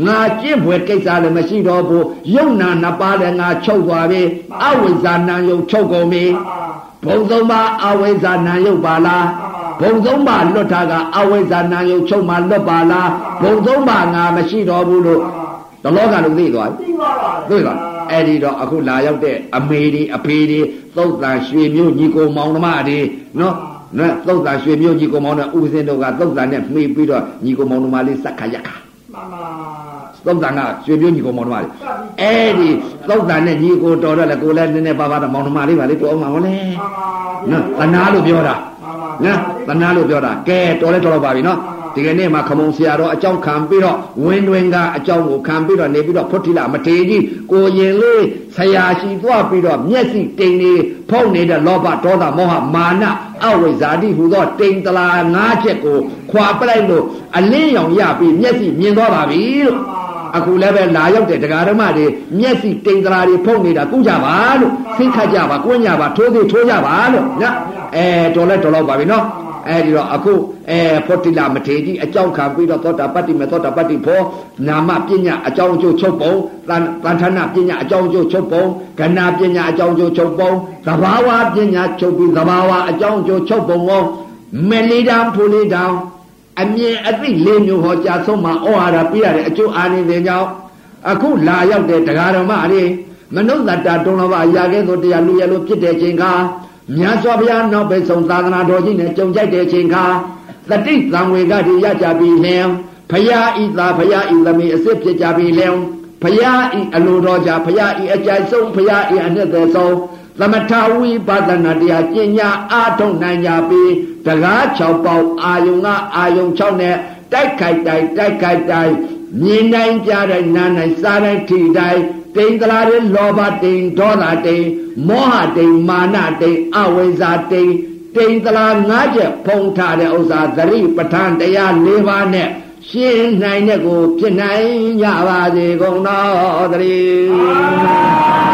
Speaker 1: ငါကျင့်ဖွယ်ကိစ္စလည်းမရှိတော့ဘူးယုံနာနှစ်ပါးလည်းငါချုပ်သွားပြီအဝိဇ္ဇာနံယုံချုပ်ကုန်ပြီဘုံသုံးပါအဝိဇ္ဇာနံယုံပါလားဘုံသုံးပါလွတ်တာကအဝိဇ္ဇာနံယုံချုပ်မှလွတ်ပါလားဘုံသုံးပါငါမရှိတော့ဘူးလို့တလောကလုံးသိသွားပြီ
Speaker 2: သိပါပါ
Speaker 1: တွေ့လားအဲ့ဒီတော့အခုလာရောက်တဲ့အမေတွေအဖေတွေသုတ်တန်ရွှေမျိုးညီကိုမောင်နှမတွေနော်နော်သုတ်တန်ရွှေမျိုးညီကိုမောင်နဲ့ဥပစင်းတို့ကသုတ်တန်နဲ့မှီပြီးတော့ညီကိုမောင်နှမလေးစက်ခါရက်ခါ
Speaker 2: မှန်ပါ
Speaker 1: သုတ်တန်ကရွှေမျိုးညီကိုမောင်နှမလေးအဲ့ဒီသုတ်တန်နဲ့ညီကိုတော်တော့လေကိုလည်းနည်းနည်းပါးပါးတော့မောင်နှမလေးပါလေတော်အောင်ပါဟုတ်လဲ
Speaker 2: မှန်ပါ
Speaker 1: နော်သနာလို့ပြောတာ
Speaker 2: မှန်ပါ
Speaker 1: နော်တ
Speaker 2: ဗျာ
Speaker 1: နာလို့ပြောတာကဲတော်လဲတော်တော့ပါပြီနော်ဒီကနေ့မှာခမုံဆရာတော်အကြောင်းခံပြီးတော့ဝင်းတွင်ကအကြောင်းကိုခံပြီးတော့နေပြီးတော့ဖွတ်တိလမထေရကြီးကိုရင်လေးဆရာရှိသွားပြီးတော့မျက်စိတိမ်နေဖုံနေတဲ့လောဘဒေါသမောဟမာနအဝိဇ္ဇာတိဟူသောတိမ်တလာငါးချက်ကိုခွာပလိုက်လို့အလင်းရောင်ရပြီးမျက်စိမြင်သွားပါပြီလို့အခုလည်းပဲလာရောက်တဲ့တရားဓမ္မတွေမျက်စိတိမ်တလာတွေဖုံနေတာကုကြပါလို့သိခတ်ကြပါကိုညပါထိုးသေးထိုးကြပါလို့နော်အဲတော်လဲတော်တော့ပါပြီနော် အဲဒီတော့အခုအဲဖောတိလမထေရကြီးအကြောင်းခံပြီးတော့သောတာပတ္တိမေသောတာပတ္တိဖောနာမပညာအကြောင်းအကျိုးချုပ်ပုံသံသံဌာနပညာအကြောင်းအကျိုးချုပ်ပုံကဏပညာအကြောင်းအကျိုးချုပ်ပုံသဘာဝပညာချုပ်ပြီးသဘာဝအကြောင်းအကျိုးချုပ်ပုံကိုမေလီတံဖူလီတံအမြင်အသိလေးမျိုးဟောကြားဆုံးမှာဩဟာရပြရတဲ့အကျိုးအာနိသင်ကြောင့်အခုလာရောက်တဲ့တရားဓမ္မတွေမနုဿတ္တတုံးလဘရာခဲသောတရားလူရလို့ဖြစ်တဲ့ချိန်က မြတ်စွာဘုရားနောက်ပိတ်ဆုံးသာသနာတော်ကြီးနဲ့ကြုံကြိုက်တဲ့အချိန်ခါတတိသံဝေကတိရကြပြီလင်ဖရာဤသာဖရာဤသမီးအစစ်ဖြစ်ကြပြီလင်ဖရာဤအလိုတော်ကြဖရာဤအကြိုက်ဆုံးဖရာဤအနှစ်သက်ဆုံးသမထဝိပဿနာတရားပညာအားထုတ်နိုင်ကြပြီတကား6ပေါက်အာယုံကအာယုံ6နဲ့တိုက်ခိုက်တိုင်းတိုက်ခိုက်တိုင်းမြင်တိုင်းကြားတိုင်းနားတိုင်းစားတိုင်းထီတိုင်းတိမ်တလာတဲ့လောဘတိမ်ဒေါသတိမ်မောဟတိမ်မာနတိမ်အဝိဇ္ဇာတိမ်တိမ်တလာ၅ချက်ဖုံထားတဲ့ဥစ္စာသတိပဋ္ဌာန်တရား၄ပါးနဲ့ရှင်းနိုင်တဲ့ကိုဖြစ်နိုင်ကြပါစေကုန်သောသတည်း